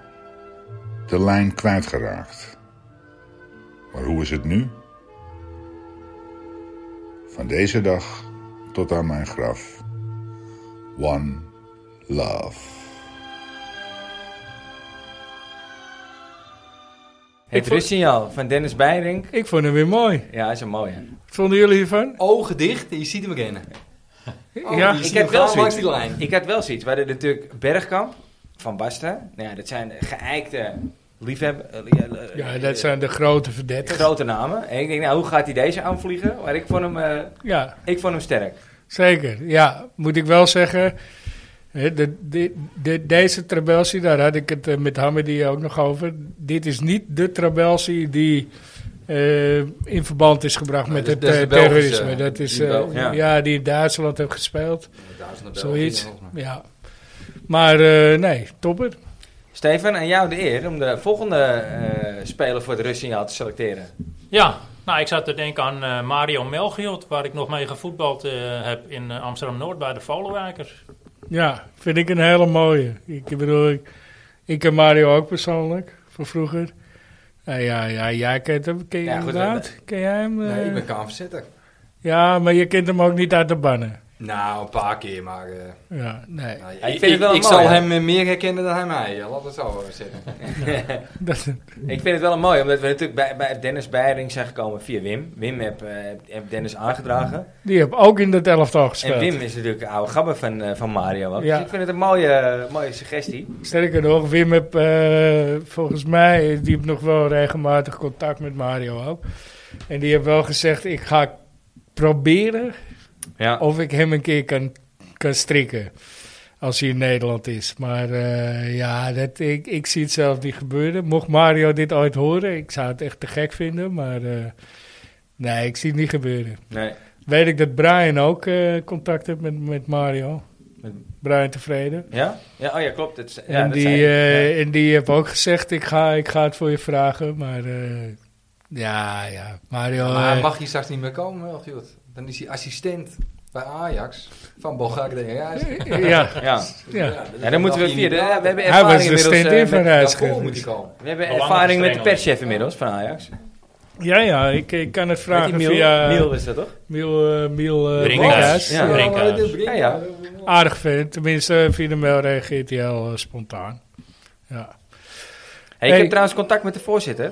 E: de lijn kwijtgeraakt. Maar hoe is het nu? Van deze dag tot aan mijn graf. One love.
A: Het rustsignaal van Dennis Beirink.
B: Ik vond hem weer mooi.
A: Ja, dat is een mooie.
B: Wat vonden jullie hiervan?
C: Ogen dicht en je ziet hem rennen. Oh,
B: ja,
C: je ziet
A: ik heb
C: hem
A: wel
C: gaan
A: zoiets.
C: langs die lijn.
A: Ik had wel zoiets. We hadden natuurlijk Bergkamp van Basten. Nou ja, dat zijn geëikte liefhebber.
B: ja, dat zijn de grote verdetters.
A: eh, grote namen. En ik denk, nou, hoe gaat hij deze aanvliegen? Maar ik vond hem, eh,
B: Ja,
A: ik vond hem sterk.
B: zeker. Ja, moet ik wel zeggen. hè, de, de, de- deze Trabelsi, daar had ik het eh, met Hamidi ook nog over. Dit is niet de Trabelsi die eh, in verband is gebracht
C: Nee,
B: met
C: dat
B: het
C: is- dat is
B: eh,
C: de Belgische,
B: terrorisme. Dat is,
C: die
B: eh,
C: Belg-
A: ja.
B: ja. die in Duitsland heeft gespeeld.
C: Duizenden Belgen,
B: Zoiets.
C: volgens mij.
B: Ja. Maar eh, nee, topper.
A: Steven, aan jou de eer om de volgende eh, speler voor het rustsignaal te selecteren.
D: Ja, nou, ik zat te denken aan eh, Mario Melchiot, waar ik nog mee gevoetbald eh, heb in eh, Amsterdam-Noord bij de Volenwijkers.
B: Ja, vind ik een hele mooie. Ik bedoel, ik, ik ken Mario ook persoonlijk, van vroeger. Ja, ja, ja jij kent hem, ken je
A: Ja,
B: hem
A: goed,
B: inderdaad? Ken jij hem?
C: Nee,
B: eh?
C: ik ben kamerzitter.
B: Ja, maar je kent hem ook niet uit de bannen.
C: Nou, een paar keer, maar... eh,
B: Ja, nee.
C: nou,
A: ik vind het wel
C: ik
A: mooi,
C: zal
A: hè?
C: hem eh, meer herkennen dan hij mij. Ja, laat het zo eh, zeggen.
B: Dat,
A: Ik vind het wel een mooi, omdat we natuurlijk bij, bij Dennis Beiring zijn gekomen via Wim. Wim heb, eh, heb Dennis aangedragen.
B: die heb ook in dat elftal
A: En
B: gespeeld.
A: Wim is natuurlijk een oude gabber van, eh, van Mario. ook.
B: Ja.
A: Dus ik vind het een mooie, mooie suggestie.
B: Sterker nog, Wim heb eh, volgens mij, die heeft nog wel regelmatig contact met Mario ook. En die heeft wel gezegd, ik ga proberen
A: Ja.
B: of ik hem een keer kan, kan strikken. Als hij in Nederland is. Maar eh, ja, dat, ik, ik zie het zelf niet gebeuren. Mocht Mario dit ooit horen, ik zou het echt te gek vinden. Maar eh, nee, ik zie het niet gebeuren.
A: Nee.
B: Weet ik dat Brian ook eh, contact heeft met, met Mario. Brian tevreden.
A: Ja? ja? Oh ja, klopt. Het, is- ja,
B: en,
A: dat
B: die,
A: zei
B: eh,
A: je. Ja.
B: en die heeft ook gezegd, ik ga, ik ga het voor je vragen. Maar eh, ja, ja, Mario...
C: Maar
B: eh,
C: mag hij straks niet meer komen, Melchiot? Dan is hij assistent bij Ajax van Bulgarije en Rijs.
B: (laughs) ja,
A: Ja.
B: ja.
A: Ja, dan moeten we via de... We hebben
B: Hij was
A: ervaring
B: de
A: inmiddels... eh,
B: stand-in van
A: met-
C: Daarvoor
B: Rijsken.
C: moet hij komen.
A: we hebben
D: Belangen
A: ervaring met de
D: verstrengelen.
A: perschef inmiddels van Ajax.
B: Ja, ja, ik, ik kan het
A: Met die
B: vragen
A: Miel.
B: via...
A: Miel is dat toch?
B: Miel, eh, Miel eh,
D: Brinkhuis.
B: Brinkhuis.
A: Ja.
B: Ja.
D: Brinkhuis.
C: dit Brinkhuis.
A: Ja,
C: (clears throat)
B: Aardig vent. Tenminste, via de mail reageert hij heel eh, spontaan. Ja,
A: Hey, ik
B: Hey.
A: heb trouwens contact met de voorzitter.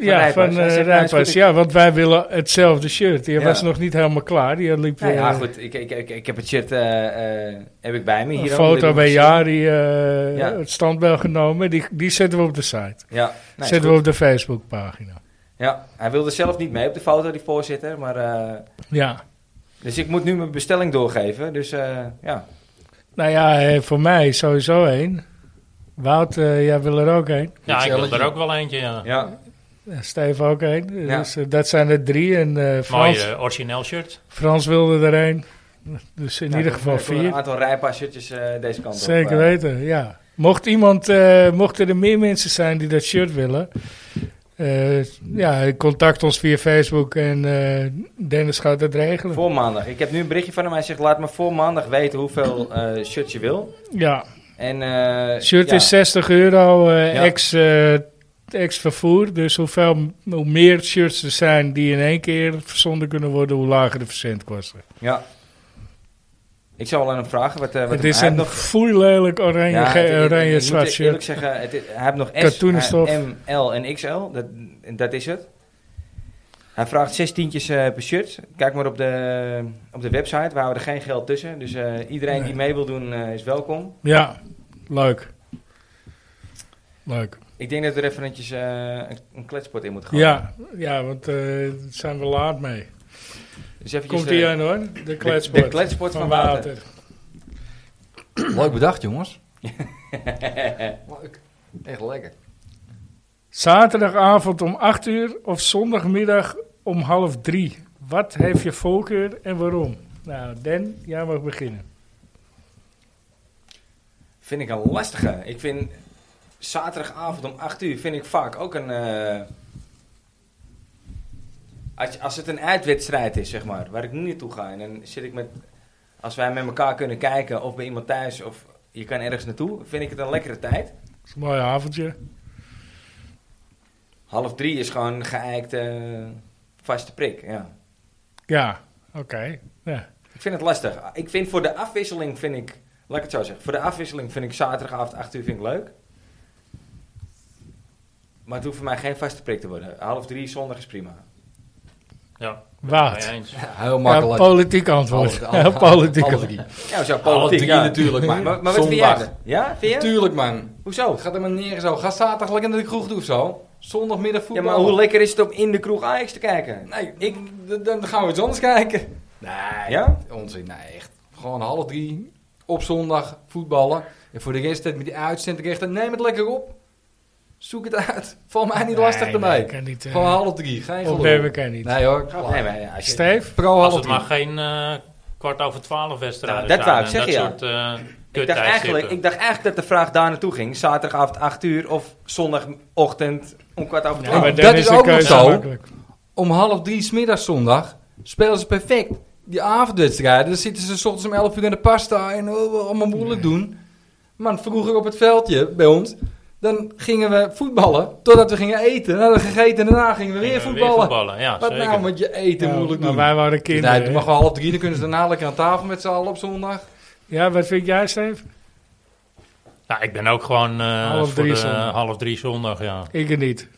B: ja
A: Rijpas.
B: van
A: Hij
B: eh
A: zegt, nou, is
B: Rijpas.
A: goed,
B: Ja, want wij willen hetzelfde shirt. Die
A: Ja.
B: was nog niet helemaal klaar. Die liep
A: Nou ja,
B: eh,
A: goed. Ik, ik, ik, ik heb het shirt eh, eh, heb ik bij me
B: een
A: hier. ook.
B: foto bij Jari, eh
A: Ja.
B: het standbeeld genomen. Die, die zetten we op de site.
A: Ja, nou, is
B: zetten
A: goed.
B: we op de Facebookpagina.
A: Ja, hij wilde zelf niet mee op de foto, die voorzitter. Maar, eh,
B: Ja.
A: dus ik moet nu mijn bestelling doorgeven. Dus eh, ja.
B: Nou ja, eh, voor mij sowieso één. Wout, eh, jij wil er ook één.
D: Ja, ik wil
C: Jelletje.
D: er ook wel eentje, ja.
A: ja.
B: Eh, Steve ook één.
A: Ja.
B: Dus eh, dat zijn er drie. En eh, Frans,
D: Mooi eh, origineel shirt.
B: Frans wilde er één. Dus in
A: Nou,
B: ieder
A: ik
B: geval
A: heb Een
B: vier.
A: aantal rijpassertjes eh deze kant op.
B: Zeker
A: eh.
B: weten, ja. Mocht iemand, eh, mochten er meer mensen zijn die dat shirt willen, eh, ja, contact ons via Facebook en eh, Dennis gaat het regelen.
A: Voor maandag. Ik heb nu een berichtje van hem. Hij zegt, laat me voor maandag weten hoeveel eh shirts je wil.
B: Ja,
A: En, eh,
B: shirt
A: ja.
B: is 60 euro eh,
A: Ja.
B: ex, eh, ex vervoer, dus hoeveel, hoe meer shirts er zijn die in één keer verzonden kunnen worden, hoe lager de verzendkosten.
A: Ja. Ik zou wel aan hem vragen wat, eh wat
B: Het
A: hem-
B: is
A: hij
B: een
A: heeft
B: foeilijk oranje,
A: Ja,
B: ge-
A: het- het-
B: oranje
A: ik
B: zwart
A: moet eerlijk
B: shirt.
A: zeggen, het, is- hij heeft nog
B: Katoenen
A: S,
B: stof.
A: hij- M, L en XL. Dat, dat is het. Hij vraagt zes tientjes eh, per shirt. Kijk maar op de, op de website. We houden er geen geld tussen. Dus eh, iedereen
B: Nee.
A: die mee wil doen eh, is welkom.
B: Ja, leuk. Leuk.
A: Ik denk dat we er even eventjes, eh, een, een kletspot in moet gaan.
B: Ja, ja want eh, daar zijn we laat mee.
A: Dus eventjes,
B: Komt
A: eh,
B: ie aan hoor, de kletspot.
A: de kletspot van
C: Leuk bedacht, jongens. (laughs) Leuk. Echt lekker.
B: Zaterdagavond om 8 uur of zondagmiddag om half 3. Wat heeft je voorkeur en waarom? Nou, Dan, jij mag beginnen.
A: Vind ik een lastige. Ik vind zaterdagavond om 8 uur vind ik vaak ook een. eh, als, als het een uitwedstrijd is, zeg maar, waar ik niet naartoe ga. En dan zit ik met. Als wij met elkaar kunnen kijken, of bij iemand thuis, of je kan ergens naartoe, vind ik het een lekkere tijd.
B: Het is een mooi avondje.
A: Half drie is gewoon een geëikte vaste prik. Ja.
B: Ja, oké. Ja.
A: Ik vind het lastig. Ik vind voor de afwisseling vind ik. Laat ik het zo zeggen. Voor de afwisseling vind ik zaterdagavond 8 uur vind ik leuk. Maar het hoeft voor mij geen vaste prik te worden. Half drie zondag is prima.
D: Ja,
B: Waard.
D: mee eens.
C: Heel
B: Ja,
C: makkelijk.
B: politiek antwoord.
C: Alle-
B: Ja,
C: alle-
B: politiek
C: alle
B: antwoord.
C: drie.
A: Ja, zo
C: Alle
A: politiek.
C: drie
A: ja.
C: natuurlijk,
A: Maar,
C: man.
A: (laughs) maar, maar wat vind jij?
C: Zondag.
A: dan? Ja, vind jij?
C: Tuurlijk, man.
A: Hoezo?
C: Gaat er maar neer zo. Ga zaterdag lekker naar de kroeg toe of zo. Zondagmiddag
A: Ja,
C: voetbal.
A: maar hoe lekker is het om in de kroeg Ajax te kijken?
C: Nee, ik, d- dan gaan we iets anders kijken. Nee,
A: Ja?
C: onzin. Nee, echt. Gewoon half drie op zondag voetballen. En voor de rest met die uitzendrechten. Neem het lekker op. Zoek het uit. Val mij niet lastig
B: Nee,
C: ermee.
B: nee, kan niet, eh,
C: Gewoon half drie. Geen
B: Opnemen
C: geloof.
B: kan niet.
C: Nee Oh, hoor.
A: Nee, maar ja, als je-
B: Steve?
C: Pro
D: Als
C: half
D: het
C: drie.
D: maar geen eh, kwart over twaalf wedstrijden
A: Nou, dat
D: zijn
A: wou ik
D: en
A: zeggen,
D: dat soort eh
A: ik, dacht eigenlijk, ik dacht eigenlijk dat de vraag daar naartoe ging. Zaterdagavond 8 uur of zondagochtend om kwart over
B: Ja,
A: twaalf.
B: maar
C: dat
B: dan
C: is
B: is de
C: ook nog
B: keuze
C: zo.
B: makkelijk.
C: Om half drie smiddags zondag spelen ze perfect. Die avondwedstrijden, dan zitten ze 's ochtends om 11 uur aan de pasta en oh, oh, allemaal moeilijk doen. Man, vroeger op het veldje bij ons, dan gingen we voetballen totdat we gingen eten. Dan hadden we gegeten en daarna gingen we weer voetballen.
D: eh, Ja,
C: Wat
D: zeker.
C: nou met je eten
B: Ja,
C: moeilijk
B: maar
C: doen? Dus
B: wij waren kinderen.
C: nee, doe maar gewoon half drie, dan kunnen ze daarna lekker aan tafel met z'n allen op zondag.
B: Ja, wat vind jij, Steve?
D: Ja, Nou, ik ben ook gewoon eh,
B: Half
D: voor
B: drie
D: de,
B: zondag.
D: half drie zondag, ja.
B: Ik er niet.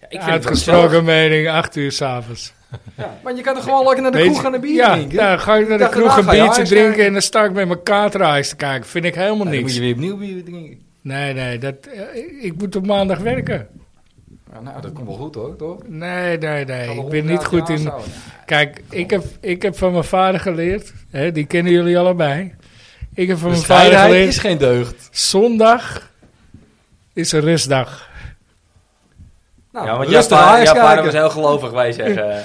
A: Ja, ik vind het wel gezellig.
B: Uitgesproken mening, 8 uur s'avonds.
C: Maar je kan er gewoon lekker naar de kroeg gaan en bier
B: ja,
C: drinken.
B: Ja, ga ik naar de
C: Dag
B: kroeg
C: erna
B: een
C: ga je
B: biertje
C: huis
B: drinken
C: kijken.
B: en dan sta ik met mijn kaartreis te kijken. Vind ik helemaal
C: Nou, dan moet
B: niks.
C: je weer opnieuw bier drinken.
B: Nee, nee, dat, eh, ik- ik moet op maandag werken.
C: Ja, nou, dat komt wel goed hoor, toch?
B: Nee, nee, nee. Ik
C: Alle
B: ben niet
C: honderd
B: goed
C: jaar
B: in.
C: zo.
B: Kijk, ik heb, ik heb van mijn vader geleerd. Hè, die kennen jullie allebei. Ik heb van mijn vader
C: Bescheidenheid Dus is
B: geleerd.
C: geen deugd.
B: Zondag is een rustdag.
C: Nou,
A: Ja, want jouw
C: rustig
A: vader,
C: Ajax
A: jouw vader
C: kijken.
A: was heel gelovig, wij zeggen.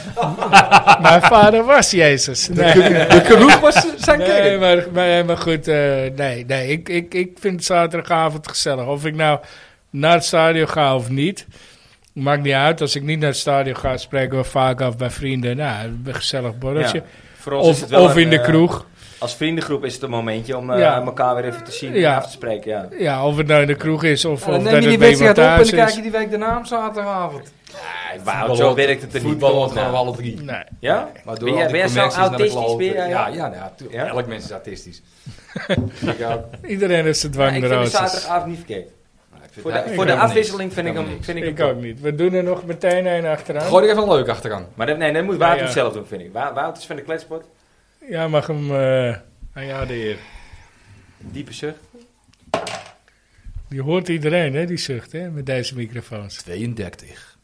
B: mijn vader was Jezus. Nee. (laughs)
C: De kroeg was zijn
B: Nee,
C: kerk.
B: maar, maar, maar goed, eh, nee, nee. Ik, ik, ik vind zaterdagavond gezellig. Of ik nou naar het stadion ga of niet, maakt niet uit. Als ik niet naar het stadion ga, spreken we vaak af bij vrienden. Nou, een gezellig borreltje.
A: Ja, Voor ons is
B: of
A: het wel
B: of
A: een,
B: in de
A: eh,
B: kroeg.
A: Als vriendengroep is het een momentje om eh,
B: Ja.
A: elkaar weer even te zien
B: Ja.
A: en af te spreken. Ja.
B: Ja, of het nou in de kroeg is of,
C: Ja,
B: of
C: dan
B: dat
C: neem je die
B: het bij iemand
C: wedstrijd op en
B: thuis
C: dan kijk
B: is.
C: je die week daarna op zaterdagavond.
A: Wauw, zo werkt het er niet.
C: Voetbal wordt gewoon
A: Ja.
C: alle drie.
B: Nee.
A: Ja?
C: Maar
A: Ben jij- ben jij zo autistisch, ben jij,
C: Ja,
A: ja?
C: ja, ja, ja, tu-
A: Ja?
C: elk mens is
A: (laughs)
C: autistisch. ik ook.
B: Iedereen heeft zijn
A: Ja, ik vind de
B: dwangneurosis.
A: zaterdagavond niet verkeerd.
C: Maar ik vind
A: Voor
C: het-
A: de,
C: ik
A: voor de
C: helemaal niks.
A: afwisseling vind ik
C: helemaal
A: hem...
C: niks.
A: Vind ik
B: Ik
A: hem
B: ook niet. We doen er nog meteen een achteraan.
C: Gooi er even een leuk achteraan.
A: maar dat, nee, dat moet Wouter
B: Ja, ja.
A: het zelf doen, vind ik. Wa- Wouter is van de kletspot.
B: Ja, mag hem eh aan jou de eer.
A: Diepe zucht.
B: Die hoort iedereen, hè, die zucht, hè, met deze microfoons.
C: 32.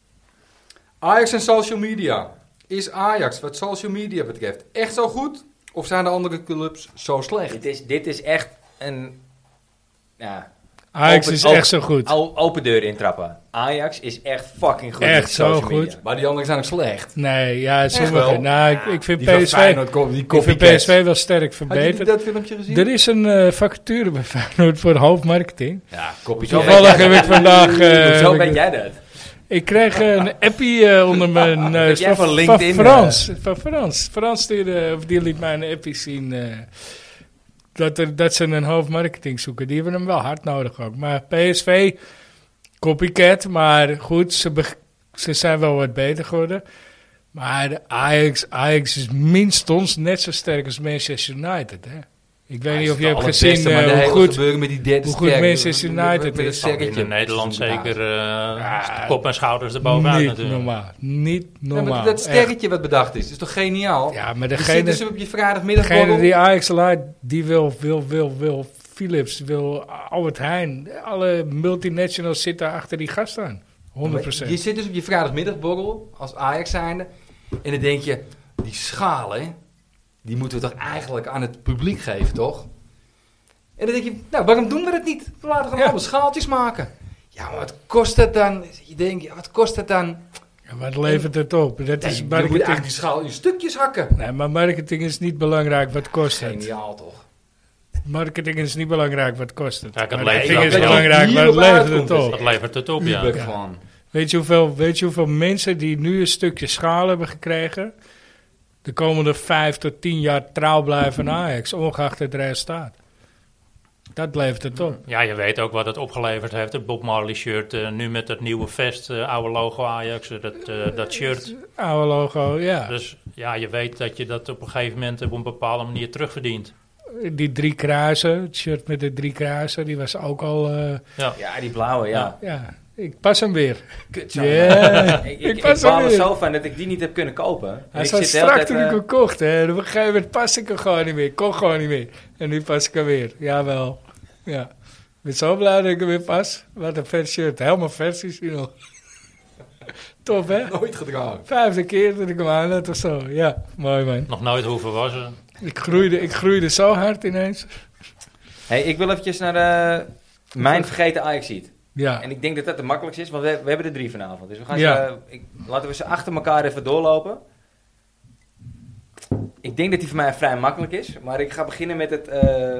C: Ajax en social media. Is Ajax wat social media betreft echt zo goed? Of zijn de andere clubs zo slecht?
A: Dit is, dit is echt een... Ja,
B: Ajax
A: Open-
B: is
A: open-
B: echt zo goed.
A: o- open deur intrappen. Ajax is echt fucking goed.
B: Echt
A: op
B: zo
A: social media.
B: goed.
C: Maar die anderen zijn ook slecht.
B: Nee, ja, sommige.
C: wel?
B: Nou, ik, ik vind
C: Die van
B: PSV,
C: Feyenoord, ko- die
B: ik vind
C: copycats.
B: PSV wel sterk
C: Had je die-
B: verbeterd.
C: dat filmpje gezien?
B: Er is een eh, vacature bij (laughs) Feyenoord voor hoofdmarketing.
C: Ja, kopje
A: Zo
C: zo.
A: weet
B: Toevallig
A: jij
B: heb ik vandaag...
A: (laughs)
B: eh,
A: Zo
B: heb (laughs)
A: ben
B: ik-
A: jij dat.
B: Ik kreeg een appie eh,
A: (laughs)
B: onder mijn neus
A: jij van LinkedIn, eh?
B: van Frans. Van Frans. Frans stuurde, of die liet mij een appie zien eh, dat, er, dat ze een hoofdmarketing zoeken. Die hebben hem wel hard nodig ook. Maar PSV, copycat, maar goed, ze, beg- ze zijn wel wat beter geworden. Maar de Ajax, Ajax is minstens net zo sterk als Manchester United. Hè? Ik weet niet of je hebt gezien eh, hoe goed...
C: met die derde
B: hoe goed
C: sterke.
B: Manchester
C: Met- met-
B: United
C: met een
B: is.
D: In
C: sterretje.
D: Nederland
C: Dat is een
D: zeker
C: baas.
D: eh, kop en schouders erbovenaan
B: niet
D: natuurlijk.
B: normaal. Niet
C: Ja, maar
B: normaal.
C: dat
B: Echt.
C: sterretje wat bedacht is, is toch geniaal?
B: Ja, maar
C: je zit
B: degene,
C: dus op je vrijdagmiddag
B: degene die Ajax leidt, die wil, wil, wil, wil Philips, wil Albert Heijn. Alle multinationals zitten achter die gast aan. 100
C: Je zit dus op je vrijdagmiddagborrel als Ajax zijnde. En dan denk je, die schalen, die moeten we toch eigenlijk aan het publiek geven, toch? En dan denk je, nou, waarom doen we dat niet? We laten gewoon
B: Ja.
C: allemaal schaaltjes maken. Ja, maar wat kost dat dan? Je denkt, ja, wat kost dat dan?
B: Ja, wat levert het op? Dat
C: Nee,
B: is
C: je moet eigenlijk
B: marketing.
C: die schaal in stukjes hakken.
B: Nee, maar marketing is niet belangrijk wat kost het.
C: Geniaal, toch?
B: Marketing is niet belangrijk wat kost het.
D: Ja, ik had
B: marketing
D: leven
B: is
D: wel geld.
B: belangrijk
C: Hier
B: wat
C: op
B: levert
C: uitkomt,
B: het
C: dus.
B: op.
D: Dat levert het op, ja.
C: Uber
D: ja.
C: gewoon.
B: Weet je, hoeveel, weet je hoeveel mensen die nu een stukje schaal hebben gekregen, de komende vijf tot tien jaar trouw blijven aan Ajax, ongeacht het resultaat? Dat levert het op.
D: je weet ook wat het opgeleverd heeft. Het Bob Marley shirt, eh, nu met dat nieuwe vest, eh, oude logo Ajax, eh, dat, eh, dat shirt.
B: Oude logo, ja.
D: Dus ja, je weet dat je dat op een gegeven moment op een bepaalde manier terugverdient.
B: Die drie kruisen, het shirt met de drie kruisen, die was ook al. eh,
A: Ja, die blauwe, ja.
B: ja, ik pas hem weer.
A: Kut,
B: Ja,
A: zo. (laughs) Ik, ik,
B: ik
A: ik
B: pas
A: baal
B: hem
A: er
B: weer.
A: zo van dat ik die niet heb kunnen kopen.
B: Hij
A: ik
B: zat
A: zit de hele
B: strak
A: tijd,
B: toen ik
A: eh,
B: hem kocht. Hè. En op een gegeven moment paste ik hem gewoon niet meer. Kon gewoon niet meer. En nu pas ik hem weer. Jawel. Ja. Ik ben zo blij dat ik hem weer pas. Wat een vet shirt. Helemaal vers is hij nog. (laughs) Top, hè?
C: Nooit gedragen.
B: Vijfde keer dat ik hem aan had of zo. Ja, mooi man.
D: Nog nooit hoeven wassen.
B: Ik groeide, ik groeide zo hard ineens.
A: hey, ik wil eventjes naar eh, mijn vergeten Ajax-seat.
B: Ja.
A: En ik denk dat dat de makkelijkste is, want we, we hebben er drie vanavond. Dus we gaan
B: Ja.
A: ze, ik, laten we ze achter elkaar even doorlopen. Ik denk dat die voor mij vrij makkelijk is, maar ik ga beginnen met het... eh,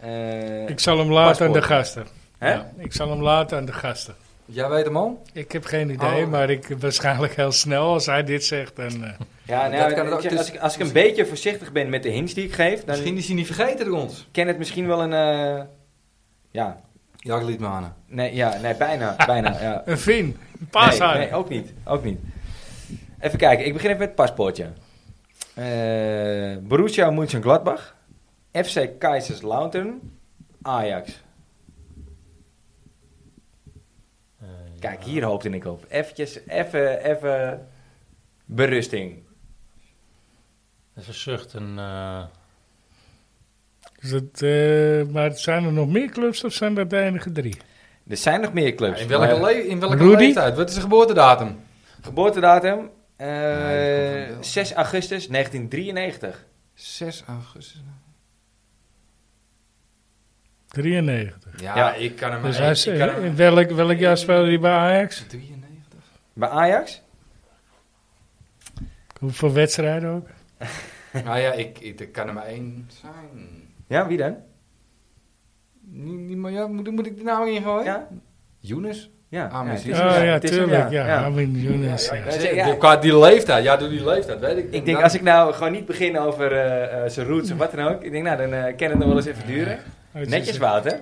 A: eh,
B: Ik zal hem laten aan de
A: Paspoort.
B: gasten.
A: hè?
B: Ja, ik zal hem laten aan de gasten.
C: Jij weet hem al?
B: Ik heb geen idee,
C: Oh.
B: maar ik waarschijnlijk heel snel als hij dit zegt. Dan, eh,
A: Ja, nou,
C: Dat kan
A: weet
C: het ook,
A: je, als,
C: dus-
A: ik, als ik een beetje voorzichtig ben met de hints die ik geef, dan
C: Misschien is hij niet vergeten door ons.
A: ken het misschien wel een... eh, ja,
C: Ja, Liedmanen.
A: nee, ja, nee, bijna, bijna, ja.
B: een Vin, een paashaar.
A: Nee, nee, ook niet. Ook niet. Even kijken, ik begin even met het paspoortje. Eh Borussia Mönchengladbach. FC Kaiserslautern. Ajax.
B: Eh,
A: Kijk, hier hoopte ik op. Eventjes, even, even berusting.
D: Dat is een zucht. En, eh,
B: Is het, eh, maar zijn er nog meer clubs of zijn dat de enige drie?
A: Er zijn nog meer clubs.
C: In welke,
A: Maar-
C: le- in welke
B: Rudy?
C: leeftijd? Wat is de geboortedatum?
A: Geboortedatum? eh,
C: Ja, die komt wel.
A: 6 augustus 1993.
C: 6 augustus.
B: 93.
C: Ja,
A: Ja.
C: ik kan hem...
B: Dus
C: ik-
B: hij
C: ik
B: is-
C: kan hem-
B: in welk, welk jaar speelde hij bij Ajax?
C: 93.
A: Bij Ajax?
B: Hoeveel wedstrijden ook?
C: Nou ja, ik, ik, er kan er maar één zijn.
A: Ja, wie dan?
C: Niet, niet, maar ja, moet, moet ik de naam ingooien?
A: Ja?
C: Younes?
A: Ja,
C: Ah,
A: ja,
C: maar
A: het
C: zie
A: is
B: Oh
C: je.
A: hem,
B: ja,
A: het is hem,
B: tuurlijk. Ja,
A: ja.
B: Armin Younes, ja.
A: ja.
C: Zeg, door- Qua die leeftijd, ja, door die leeftijd, weet ik.
A: Ik denk, als ik nou gewoon niet begin over eh, eh, zijn roots of wat dan ook. Ik denk, nou, dan eh kan het nog wel eens even duren.
B: Uit-
A: Netjes, Wouter.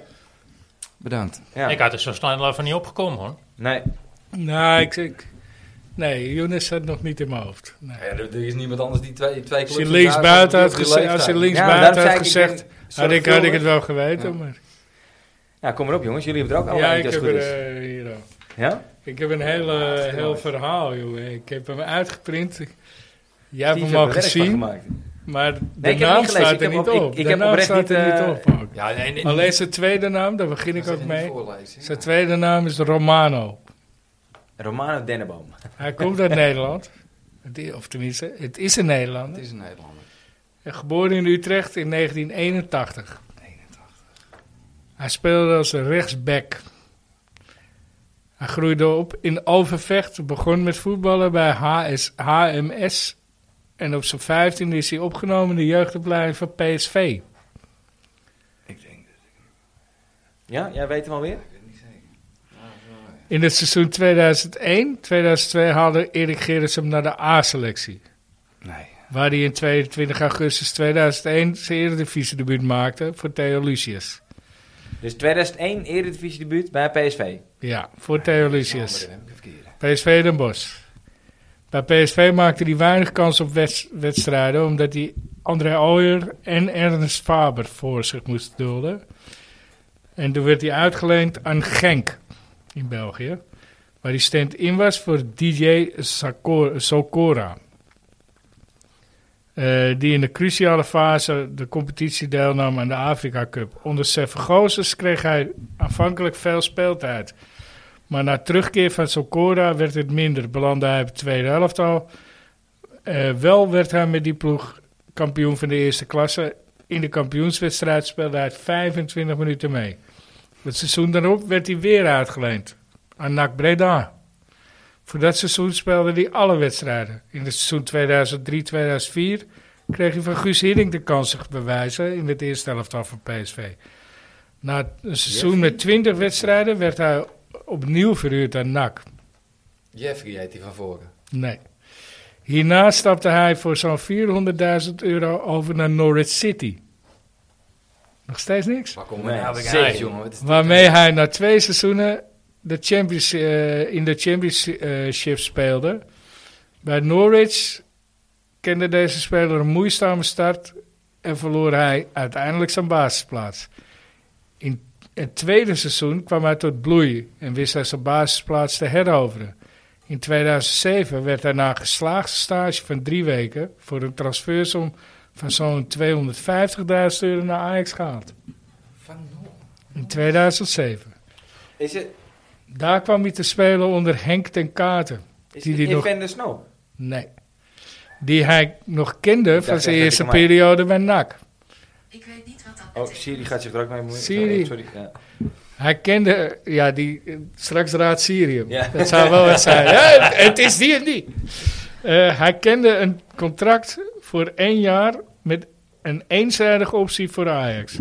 C: Bedankt.
A: Ja.
D: Ik had er zo snel even niet opgekomen hoor.
A: Nee.
B: Nou, ik, ik, nee, Younes zat nog niet in mijn hoofd. Nee.
C: Ja, er, er is niemand anders die twee, twee
B: Als je links buiten had gezegd, als je links
A: Ja, daarom
B: buiten
A: zei
B: had
A: ik, ik
B: gezegd,
A: ben
B: had ik, had ik
A: zorgvuldig.
B: het wel geweten.
C: Ja.
B: Maar,
A: Nou, kom Nou, maar op, jongens. Jullie hebben er ook allemaal
B: ja,
A: ja,
B: ik
A: als
B: heb
A: het goed is.
B: er eh, hier ook.
A: Ja?
B: Ik heb een hele, heel verhaal, jongen. Ik heb hem uitgeprint. Jij hebt
A: Steve
B: hem
A: heeft
B: al
A: er werk van
B: gezien.
A: gemaakt.
B: Maar de
A: ik heb
B: naam
A: niet gelezen.
B: staat
A: Ik
B: er
A: heb
B: niet
A: op- ik-
B: op.
A: ik
B: de
A: heb
B: naam
A: oprecht
B: staat er
A: niet, eh,
B: niet op. ook.
C: Ja, nee, nee,
B: Alleen zijn tweede naam, daar begin ik ook mee. Zijn
C: Voorlezen,
B: tweede naam is Romano.
A: Romano Denneboom.
B: Hij
A: (laughs)
B: komt uit Nederland. Het i- Of tenminste, het is een
C: Het
B: Nederlander.
C: is een Nederlander.
B: Hij is Geboren in Utrecht in 1981. Hij speelde als rechtsback. Hij groeide op in Overvecht, begon met voetballen bij HS, HMS. En op zijn 15 is hij opgenomen in de jeugdopleiding van PSV.
C: Ik denk dat.
A: Ja, jij weet hem alweer?
C: Ik weet het niet zeker.
B: In het seizoen 2001-2002 haalde Erik Gerrits hem naar de A-selectie.
C: Nee.
B: Waar hij in 22 augustus 2001 zijn eredivisie debuut maakte voor Theo Lucius.
A: Dus 2001 Eredivisie debuut bij PSV.
B: Ja, voor Theo Lucius.
C: heb ik verkeerd.
B: PSV Den Bosch. Bij PSV maakte hij weinig kans op wets- wedstrijden, omdat hij André Ooyer en Ernst Faber voor zich moest dulden. En toen werd hij uitgeleend aan Genk in België, waar hij stand-in was voor DJ Sacor- Socora. Eh, die in de cruciale fase de competitie deelnam aan de Afrika Cup. Onder Severgozes kreeg hij aanvankelijk veel speeltijd. Maar na terugkeer van Socora werd het minder. Belandde hij op de tweede helft al. Eh, wel werd hij met die ploeg kampioen van de eerste klasse. In de kampioenswedstrijd speelde hij 25 minuten mee. Het seizoen daarop werd hij weer uitgeleend aan NAC Breda. Voor dat seizoen speelde hij alle wedstrijden. In het seizoen 2003-2004 kreeg hij van Guus Hiddink de kans zich bewijzen in het eerste helftal van PSV. Na een seizoen met 20 wedstrijden werd hij opnieuw verhuurd aan NAC.
C: Jeffrey heet die van voren.
B: Nee. Hierna stapte hij voor zo'n 400.000 euro over naar Norwich City. Nog steeds niks?
C: Waar komen we
A: Nee,
C: nou weer
A: zeker.
C: uit, jongen? Wat is dit?
B: Waarmee hij na twee seizoenen de Champions, eh, in de Championship speelde. Bij Norwich kende deze speler een moeizame start en verloor hij uiteindelijk zijn basisplaats. In het tweede seizoen kwam hij tot bloei en wist hij zijn basisplaats te heroveren. In 2007 werd hij na een geslaagde stage van drie weken voor een transfersom van zo'n 250.000 euro naar Ajax gehaald.
C: Van Noor.
B: In 2007.
A: Is het,
B: Daar kwam hij te spelen onder Henk ten Katen.
A: is
B: Die
A: het
B: die nog-
A: Evander Snow?
B: Nee. Die hij nog kende van
A: echt
B: zijn
A: dat
B: eerste
A: ik hem had.
B: periode bij NAC.
F: Ik weet niet wat dat
A: Oh,
F: betekent.
A: Siri gaat zich er ook mee bemoeien.
B: Siri.
A: Sorry. Ja.
B: Hij kende, ja, die, eh, straks raadt Sirium.
A: Ja.
B: Dat zou wel wat zijn. Ja, het- het is die en die. Eh, hij kende een contract voor één jaar met een eenzijdige optie voor Ajax.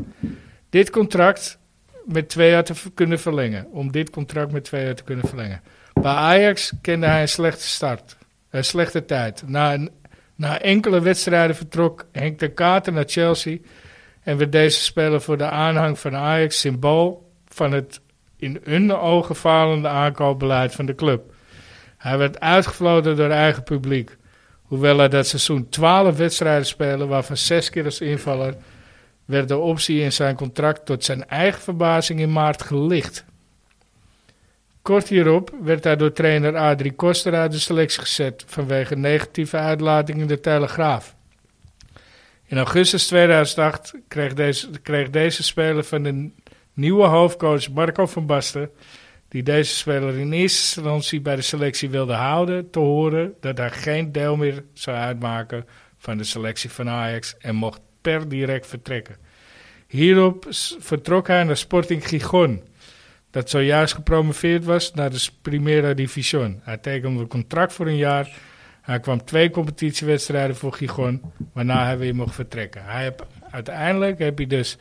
B: Dit contract met twee jaar te v- kunnen verlengen. Om dit contract met twee jaar te kunnen verlengen. Bij Ajax kende hij een slechte start. Een slechte tijd. Na, een- na enkele wedstrijden vertrok Henk de Kater naar Chelsea. En werd deze speler voor de aanhang van Ajax symbool van het in hun ogen falende aankoopbeleid van de club. Hij werd uitgefloten door eigen publiek. Hoewel hij dat seizoen 12 wedstrijden speelde, waarvan 6 keer als invaller, werd de optie in zijn contract tot zijn eigen verbazing in maart gelicht. Kort hierop werd hij door trainer Adrie Koster uit de selectie gezet vanwege negatieve uitlating in de Telegraaf. In augustus 2008 kreeg deze, kreeg deze speler van de nieuwe hoofdcoach Marco van Basten, die deze speler in eerste instantie bij de selectie wilde houden, te horen dat hij geen deel meer zou uitmaken van de selectie van Ajax en mocht per direct vertrekken. Hierop s- vertrok hij naar Sporting Gijon, dat zojuist gepromoveerd was naar de Primera Division. Hij tekende een contract voor een jaar. Hij kwam twee competitiewedstrijden voor Gijon, waarna hij weer mocht vertrekken. Hij heb, uiteindelijk heb hij dus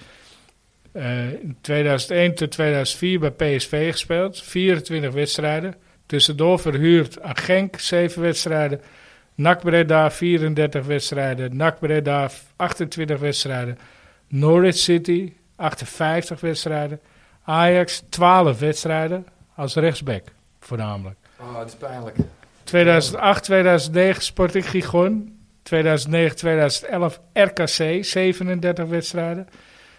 B: eh, in 2001 tot 2004 bij PSV gespeeld. 24 wedstrijden. Tussendoor verhuurd aan Genk, 7 wedstrijden. NAC Breda, 34 wedstrijden. NAC Breda, 28 wedstrijden. Norwich City, 58 wedstrijden. Ajax, 12 wedstrijden. Als rechtsback, voornamelijk.
C: Oh, het is pijnlijk.
B: 2008, 2009 Sporting Gijon. 2009, 2011 RKC, 37 wedstrijden.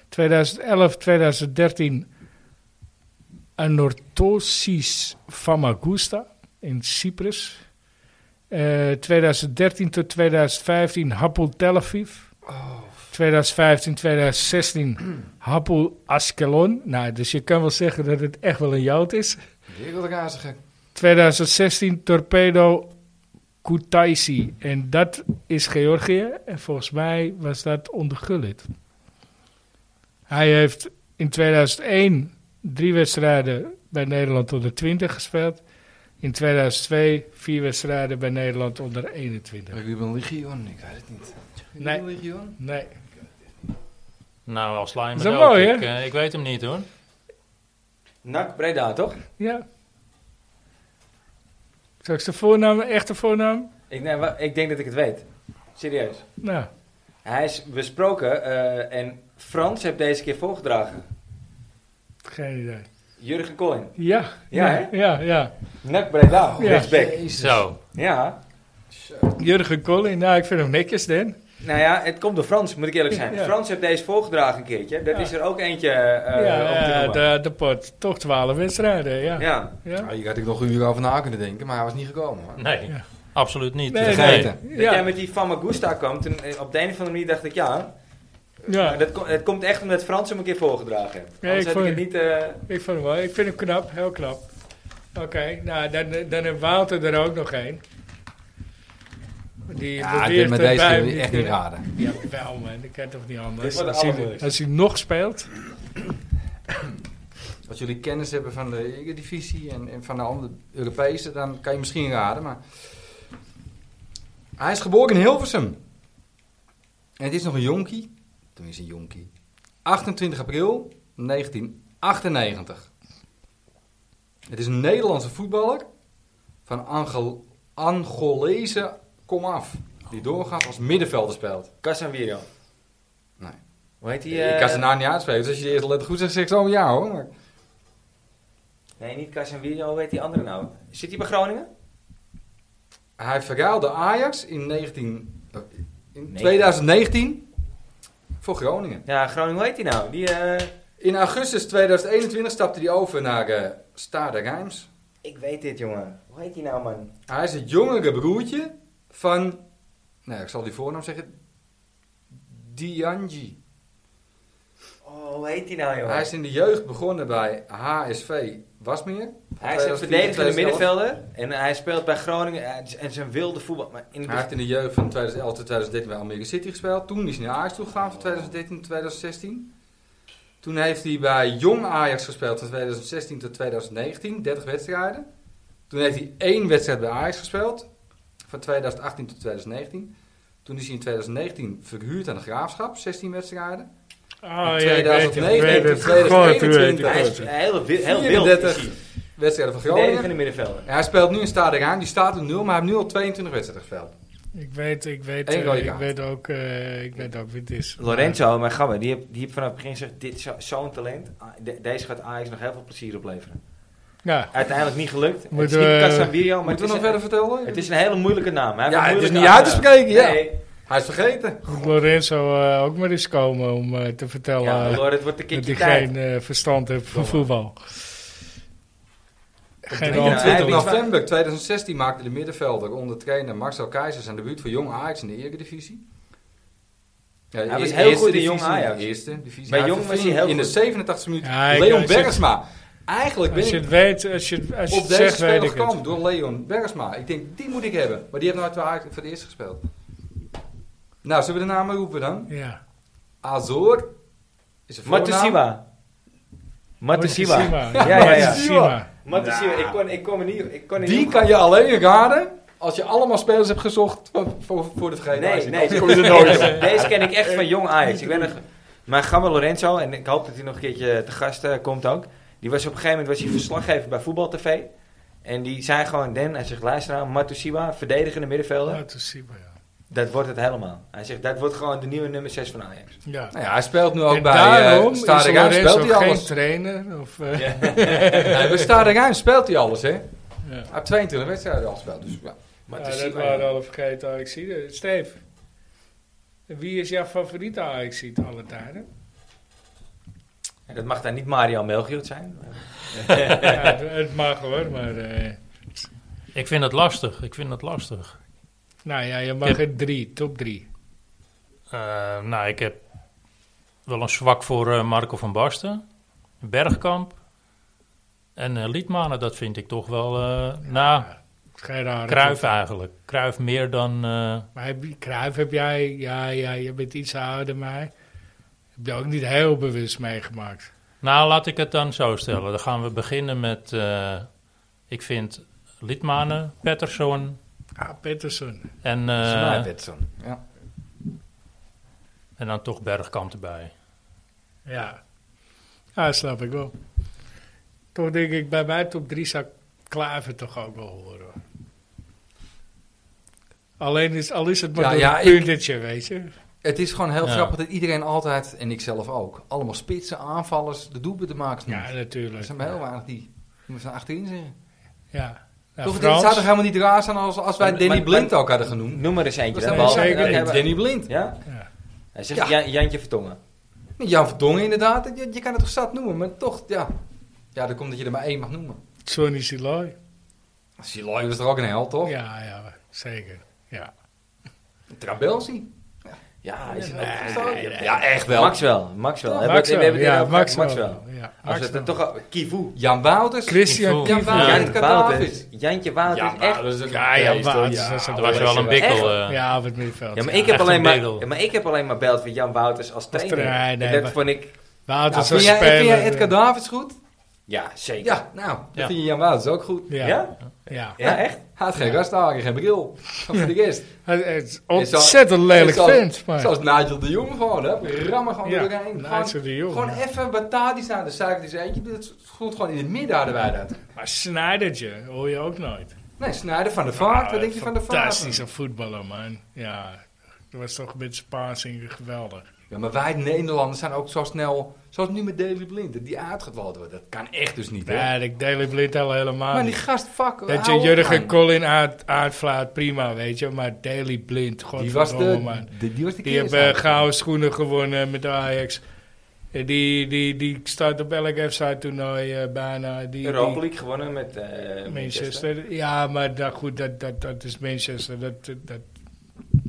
B: 2011, 2013 Anorthosis Famagusta in Cyprus. Eh, 2013 tot 2015 Hapoel Tel Aviv. 2015, 2016 Hapoel Askelon. Nou, dus je kan wel zeggen dat het echt wel een jout is.
C: Wereldraziger.
B: 2016 Torpedo Kutaisi. En dat is Georgië. En volgens mij was dat onder Gullit. Hij heeft in 2001 drie wedstrijden bij Nederland onder 20 gespeeld. In 2002 vier wedstrijden bij Nederland onder 21.
C: Ruben Legion, ik weet het niet. Ruben
B: Nee.
C: Legion?
B: Nee.
D: Nou, als sla je me
B: Is dat
D: dood.
B: mooi, hè?
D: ik, eh, ik weet hem niet hoor.
A: Nak Breda, toch?
B: Ja. Zal ik zijn voornaam, echte voornaam?
A: Ik, nee, wa- ik denk dat ik het weet. Serieus.
B: Nou,
A: Hij is besproken eh, en Frans heeft deze keer voorgedragen.
B: geen idee.
A: Jurgen Cohen.
B: Ja.
A: Ja,
B: Ja, ja. ja.
A: Nak Breda,
B: Ja.
A: rechtsback.
C: Jezus.
D: Zo.
A: Ja.
B: Jurgen Collin, nou, ik vind hem netjes, Dan.
A: Nou ja, het komt door Frans, moet ik eerlijk zijn.
B: Ja.
A: Frans heeft deze voorgedragen een keertje. Dat
B: Ja.
A: is er ook eentje eh om te
B: ja,
A: noemen.
B: de, de pot. Toch twaalf wedstrijden, ja. ja.
A: Ja.
C: Ja, hier had ik nog een uur over na kunnen denken, maar hij was niet gekomen. hoor.
D: Nee,
B: Ja.
D: absoluut niet. Eh,
B: Nee,
C: Vergeten.
A: Dat
B: Ja.
A: jij met die Famagusta kwam, toen, eh, op de een of andere manier dacht ik, ja, maar
B: Ja,
A: dat, ko- het komt echt omdat Frans hem een keer voorgedragen heeft.
B: Ja,
A: Anders
B: ik
A: heb ik
B: vond-
A: het niet... eh,
B: ik vind hem wel. Ik vind hem knap, heel knap. Oké, nou, dan, dan heeft Wouter er ook nog één. Die
C: Ja,
B: probeert
C: dit met
B: het
C: deze
B: bij
C: kunnen
B: hem
C: we echt
B: te-
C: niet raden.
B: Ja, wel man, dat kan toch niet anders.
A: Dit wordt
B: Als
A: de
B: hij,
A: allermoeilijkste.
B: als hij nog speelt.
C: Als jullie kennis hebben van de Eredivisie en, en van de andere Europese, dan kan je misschien raden. Maar hij is geboren in Hilversum. En het is nog een jonkie. Toen is hij een jonkie. 28 april 1998. Het is een Nederlandse voetballer van Angol Angolese komaf. Die doorgaat als middenvelder speelt.
A: Casemiro.
C: Nee.
A: Hoe heet die?
C: ik
A: eh,
C: kan zijn naam niet uitspreken, dus als je de eerste letter goed zegt, zeg ik zo ja hoor. Maar
A: Nee, niet Casemiro, hoe heet die andere nou? Zit hij bij Groningen?
C: Hij verruilde Ajax in, 19, eh, in
A: Nee.
C: 2019 voor Groningen.
A: Ja, Groningen, hoe heet die nou? Die, eh,
C: In augustus 2021 stapte hij over naar eh Stade Reims.
A: ik weet dit, jongen. Hoe heet die nou, man?
C: Hij is het jongere broertje van, nou ik zal die voornaam zeggen, Dianji.
A: Oh, hoe heet die nou, jongen?
C: Hij is in de jeugd begonnen bij HSV Wasmeer.
A: Hij is een
C: 2004,
A: verdedigende
C: 2011.
A: middenvelder en eh, hij speelt bij Groningen eh, het is- en zijn wilde voetbal. Maar in het
C: Hij heeft in de jeugd van 2011 tot 2013 bij Almere City gespeeld. Toen is hij naar Ajax toegegaan van 2013 tot 2016. Toen heeft hij bij Jong Ajax gespeeld van 2016 tot 2019, 30 wedstrijden. Toen heeft hij één wedstrijd bij Ajax gespeeld, van 2018 tot 2019. Toen is hij in 2019 verhuurd aan de Graafschap, 16 wedstrijden.
B: Oh, ja, ik weet het, ik
C: 2019
B: weet het.
C: tot
B: Goed, u weet het.
C: 2021
A: hij is heel, wi- heel wild. is
C: 34
A: hij.
C: wedstrijden van Groningen.
A: Verdedigende middenvelder.
C: Hij speelt nu in Stade Rijn, die staat op 0, maar hij heeft nu al 22 wedstrijden gespeeld.
B: Ik weet, ik weet,
C: Eén
B: eh,
C: rode
B: ik
C: kaart.
B: weet ook, eh, ik weet ook wie het is.
A: Lorenzo, mijn gabber, die heeft, die heeft vanaf het begin gezegd: dit is zo- zo'n talent. Ah, de- deze gaat Ajax nog heel veel plezier opleveren.
B: Ja,
A: Uiteindelijk niet gelukt. het is
B: Moeten
A: niet
B: we-
A: Casemiro, maar het
C: Moeten
A: is,
C: we nog
A: een,
C: verder vertellen?
A: het is een hele moeilijke naam. Hij
C: Ja,
A: heeft een
C: het is
A: moeilijke
C: niet uit te
A: achternaam.
C: spreken, ja.
A: Nee.
C: Hij is vergeten.
B: moet Lorenzo eh, ook maar eens komen om eh, te
C: Oh,
B: vertellen
A: Ja,
B: eh,
A: Lord, het wordt een
B: dat
A: keertje
B: hij
A: tijd.
B: geen eh, verstand heeft van voetbal. Geen
A: drie-
B: antwoord.
A: hij
C: 23
A: heeft iets
C: november 2016 maakte de middenvelder onder trainer Marcel Keizer zijn debuut voor Jong Ajax in de Eredivisie. Ja, e-
A: Hij was
C: eerste
A: heel goed in
C: divisie,
A: Jong Ajax.
C: Eerste divisie.
A: Bij
C: Hij
A: Jong was hij
C: verving
A: heel
C: In
A: goed.
C: de 87e minuut
B: Ja, ik-
C: Leon
B: ik zeg-
C: Bergsma. Eigenlijk ben
B: Als je het
C: ik
B: weet, als je, als je
C: op
B: het
C: deze
B: zegt, weet
C: speler
B: ik het.
C: gekomen door Leon Bergsma. Ik denk, die moet ik hebben. Maar die heeft nooit bij Ajax voor het eerst gespeeld. Nou, zullen we de namen roepen dan?
B: Ja.
C: Azor is een voornaam. Oh,
A: Matusiwa. Matusiwa. Ja, ja,
B: Matsushima.
A: ja.
B: Matsushima.
A: Matusiwa, ik kon, ik kon me niet. Ik kon er niet
C: Die
A: op
C: kan je alleen raden als je allemaal spelers hebt gezocht voor, voor, voor de vergeten
A: Nee, (laughs)
C: Ajax.
A: nee.
C: Dan
A: Deze,
C: kom je er nooit op.
A: deze- deze ken ik echt van jong Ajax. Ik ben nog, mijn gamma Lorenzo, en ik hoop dat hij nog een keertje te gast eh, komt ook. Die was op een gegeven moment was hij verslaggever bij Voetbal TV. En die zei gewoon, Den, hij zegt, luister nou, Matusiwa, verdedigende middenvelder.
B: Matsushima, ja.
A: Dat wordt het helemaal. Hij zegt, dat wordt gewoon de nieuwe nummer 6 van Ajax.
B: Ja.
C: Nou ja, hij speelt nu ook
B: en
C: bij
B: daarom
C: daarom
B: is
C: Stade Rijn.
B: Lorenzo
C: Speelt hij
B: geen
C: alles?
B: trainer. Of,
A: (laughs)
B: eh, ja.
C: Nee, bij Stade Rijn speelt hij alles, hè? Hij
B: Ja.
C: heeft 22 wedstrijden al gespeeld. Dus, ja.
B: dat
A: Matusiwa,
B: waren alle vergeten Ajaxiden. Steve, wie is jouw favoriete Ajaxiet alle tijden?
A: ja. dat mag daar niet Mario Melchior zijn.
B: (laughs) ja, het mag hoor, maar... eh,
D: Ik vind het lastig, ik vind het lastig.
B: nou ja, je mag
D: Ik
B: er drie, top drie.
D: Eh, nou, ik heb wel een zwak voor eh, Marco van Basten, Bergkamp en eh Liedmanen. Dat vind ik toch wel, eh nou,
B: Geen rare
D: Kruif eigenlijk. Kruif meer dan, eh,
B: Maar heb, je- Cruijff heb jij, ja, ja, je bent iets ouder, maar heb je ook niet heel bewust meegemaakt.
D: nou laat ik het dan zo stellen. Dan gaan we beginnen met, eh, ik vind Liedmanen, Pettersson
B: Ah, Pettersson.
D: en, eh,
C: Snijdt Pettersson. Ja.
D: en dan toch Bergkamp erbij.
B: Ja. Ja, snap ik wel. Toch denk ik, bij mij top 3 zou Klaver toch ook wel horen. hoor. Alleen is, al is het maar
C: Ja,
B: door
C: ja,
B: een
C: ik-
B: puntetje, weet je.
C: Het is gewoon heel
D: Ja.
C: grappig dat iedereen altijd, en ik zelf ook, allemaal spitsen, aanvallers, de doelpunten maken.
B: Ja,
C: Ja,
B: natuurlijk.
C: dat zijn maar heel weinig die. Je moet ze achterin zeggen.
B: Ja. Nou,
C: Toch, het
B: Frans,
C: zou toch helemaal niet raar zijn als, als wij
A: Maar-
C: Danny
A: maar-
C: Blind
A: maar-
C: ook hadden genoemd?
A: Noem maar eens eentje.
C: Dat
A: dan.
C: zijn
B: wel
A: Behalve-
B: zeker.
A: dan
B: Nee,
A: hebben we-
C: Danny Blind.
A: Ja?
B: Ja.
A: Hij zegt
C: Ja.
A: Jan- Jantje Vertongen.
C: Jan Verdongen inderdaad, je, je kan het toch zat noemen, maar toch, ja. Ja, dan komt dat je er maar één mag noemen.
B: Johnny Siloy.
C: Siloy was toch ook een held, toch?
B: Ja, ja, zeker. Ja.
C: Trabelsi.
A: Ja, hij is
C: Ja, echt wel.
A: Max wel. Max wel. Hebben we het-
B: Max
A: we
B: wel.
A: hebben het
B: Ja,
A: erover
B: Max
A: gehad.
B: wel.
A: Max wel.
B: Ja,
A: Als
B: Max
A: het
B: wel.
A: dan toch... Kivu.
C: Jan Wouters.
B: Christian
D: Kivu.
C: Jan
A: Jantje
B: Kivu.
C: Wouters.
A: Wouters.
C: Katavus.
A: Jantje Wouters.
C: Ja,
A: Echt.
C: Wouters is ook
B: Ja,
C: een
B: ja,
C: beest, hoor.
B: Wouters is
D: Dat
B: een
D: was wel een bikkel. eh.
B: Ja, wat middenveld.
A: Ja, maar
B: ja.
A: ik heb,
D: echt
A: alleen
D: een
A: maar,
D: bedel.
A: ja, maar ik heb alleen maar beeld van Jan Wouters als trainer.
B: trainer,
A: En
B: nee,
A: dat
B: maar-
A: vond ik...
C: Ja,
B: Wouters
C: vind,
B: was
C: jij, vind jij
B: speler.
C: Edgar Davids goed?
A: Ja, zeker.
C: Ja, nou, dan
D: Ja.
C: vind je Jan Wouters ook goed.
A: Ja?
B: Ja. Ja.
A: Ja, echt?
C: Hij had geen rasthagen, geen bril. Of voor de rest.
B: Hij hij is
C: Is al-
B: ontzettend lelijk
C: Zoals-
B: vent. Maar
C: Zoals Nigel de Jong gewoon, hè? Rammen gewoon
B: Ja,
C: doorheen.
B: Nigel
C: Gewoon-
B: de Jong,
C: Gewoon
B: ja.
C: even Batadis aan de suiker die eentje. Dat stond gewoon in het midden hadden wij dat.
B: maar Snijdertje hoor je ook nooit.
C: Nee, Snijder van de Vaart. Wat denk je van de Vaart?
B: Fantastische voetballer, man. Ja, dat was toch met zijn passing geweldig.
C: Ja, maar wij Nederlanders zijn ook zo snel... Zoals nu met Daily Blind, dat die uitgewald wordt. Dat kan echt dus niet, hè?
B: Nee, ik deel het blind al helemaal
C: maar die
B: niet.
C: gast, fuck.
B: Dat je
C: hou op,
B: Jurgen
C: man.
B: Collin aard, aardvlaat, prima, weet je. Maar Daily Blind,
C: Die was
B: godverdomme,
C: de,
B: man.
C: de, die was de
B: Die hebben eh, gouden schoenen gewonnen met de Ajax. Eh, Die, die, die staat op elk FC-toernooi eh, bijna. Die- Die,
A: Europa League gewonnen met eh, Manchester.
B: Manchester. Ja, maar dat, goed, dat, dat, dat is Manchester. Dat, dat, dat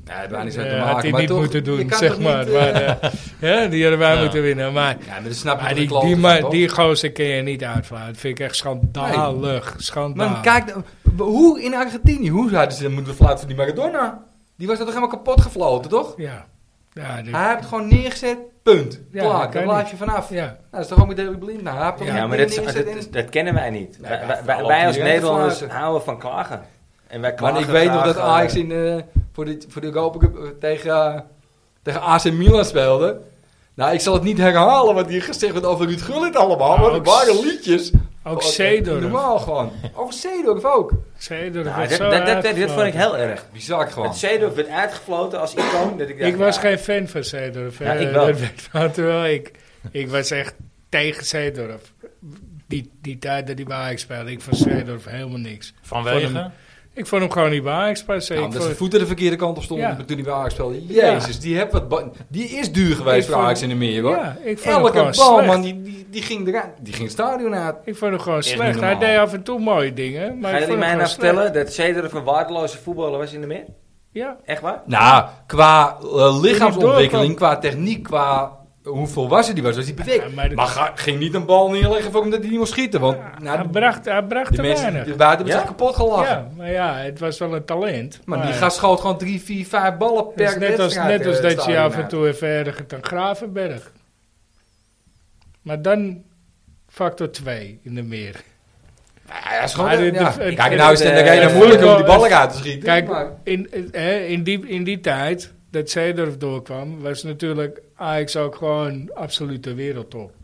C: Ja, daar niks mee
B: eh,
C: te maken.
B: had hij
C: maar
B: niet
C: toch,
B: moeten
C: je
B: doen,
C: kan
B: zeg
C: toch
B: maar.
C: niet, eh,
B: maar eh, (laughs) ja, die hadden wij
D: Ja.
B: moeten winnen. Maar,
C: ja, maar dat snap
B: maar
C: ik
B: die, die, ma- die gozer kun je niet uitvlaan. Dat vind ik echt schandalig. Schandalig.
C: Man, kijk, nou, w- hoe in Argentinië, hoe hadden ze dan moeten fluiten van die Maradona? Die was er toch helemaal kapot gefloten, toch?
B: Ja. Ja, die-
C: Hij heeft het gewoon neergezet, punt.
B: Ja, dat
C: Klaar,
B: kan
C: daar blijf je vanaf. Nou,
B: ja.
C: dat is toch ook met David Blind? Nou, hij heeft toch
A: Ja,
C: niet
A: maar dat, is-
C: neergezet en-
A: dat, dat kennen wij niet.
C: Nee,
A: wij,
C: ja,
A: wij- wij-
C: vooral
A: wij als
C: die rente
A: Nederlanders
C: vlagen.
A: houden van klagen. En wij klagen
C: Maar ik weet nog dat
A: graag,
C: Ajax
A: eh,
C: in, eh, voor, de, voor de Europa Cup eh, tegen, eh, tegen AC Milan speelde. Nou, ik zal het niet herhalen wat hier gezegd werd over Ruud Gullit allemaal.
B: Nou,
C: Maar er
B: ook
C: waren
B: s-
C: liedjes.
B: Ook
C: Oh,
B: Zeedorf.
C: Normaal gewoon. Over Zeedorf ook.
B: Zeedorf
A: nou,
B: werd
A: dat,
B: zo
A: dat, dat, dat vond
B: uitgefloten.
A: ik heel erg.
C: Bizar gewoon.
A: Het Zeedorf werd uitgefloten als icoon. Dat ik dacht,
B: Ik was
A: ja,
B: geen fan van Zeedorf.
A: Ja,
B: hè.
A: ik wel.
B: Dat (laughs) weet wel, terwijl ik, ik was echt tegen Zeedorf. Die, die tijd dat hij bij Ajax speelde, ik vond Zeedorf helemaal niks. Voor
D: Vanwege?
B: hem. Ik vond hem gewoon niet bij Ajax passen.
C: Nou,
B: ik
C: omdat
B: vond-
C: zijn voeten de verkeerde kant op stonden
B: Ja.
C: toen hij bij Ajax speelde.
B: Ja.
C: Jezus, die, heeft wat ba- die is duur geweest
B: Ik
C: voor
B: vond-
C: Ajax in de meer, hoor.
B: ja, ik vond hem
C: Elke
B: gewoon
C: bal,
B: slecht.
C: man, die, die, die ging eraan. Die ging het stadion uit.
B: Ik vond hem gewoon
C: Echt
B: slecht.
C: niet
B: Hij
C: normaal.
B: deed af en toe mooie dingen. Maar
A: Gaan jullie
B: ik vond
A: mij
B: hem
A: nou
B: gewoon slecht.
A: vertellen dat Zeedorf een waardeloze voetballer was in de meer?
B: Ja,
A: Echt waar?
C: Nou, qua eh,
B: Die
C: lichaamsontwikkeling, qua techniek, qua hoe volwassen die was, was hij perfect.
B: Ja,
C: maar
B: maar dat-
C: ga- ging niet een bal neerleggen voor omdat hij niet moest schieten. Want nou,
B: hij bracht, hij bracht
C: de
B: te
C: mensen
B: weinig.
C: die buiten hebben
A: Ja?
C: zich kapot gelachen.
B: Ja, maar ja, het was wel een talent.
C: Maar die gast schoot gewoon drie, vier, vijf ballen
B: het is
C: per
B: net als,
C: wedstrijd.
B: net als
C: eh,
B: dat je
C: stadion
B: af en
C: uit.
B: toe even ergert dan Gravenberg. Maar dan factor 2 in de meer.
C: Ja, ja, is gewoon...
B: Maar de-
C: ja.
B: de-
C: Kijk, nou is het
B: eh,
A: de-
C: de reden
A: de-
C: moeilijk om
B: de-
C: die ballen uit te schieten.
B: Kijk,
C: maar-
B: in, eh, in, die, in die tijd dat Zeedorf doorkwam, was natuurlijk Ajax ook gewoon absolute wereldtop.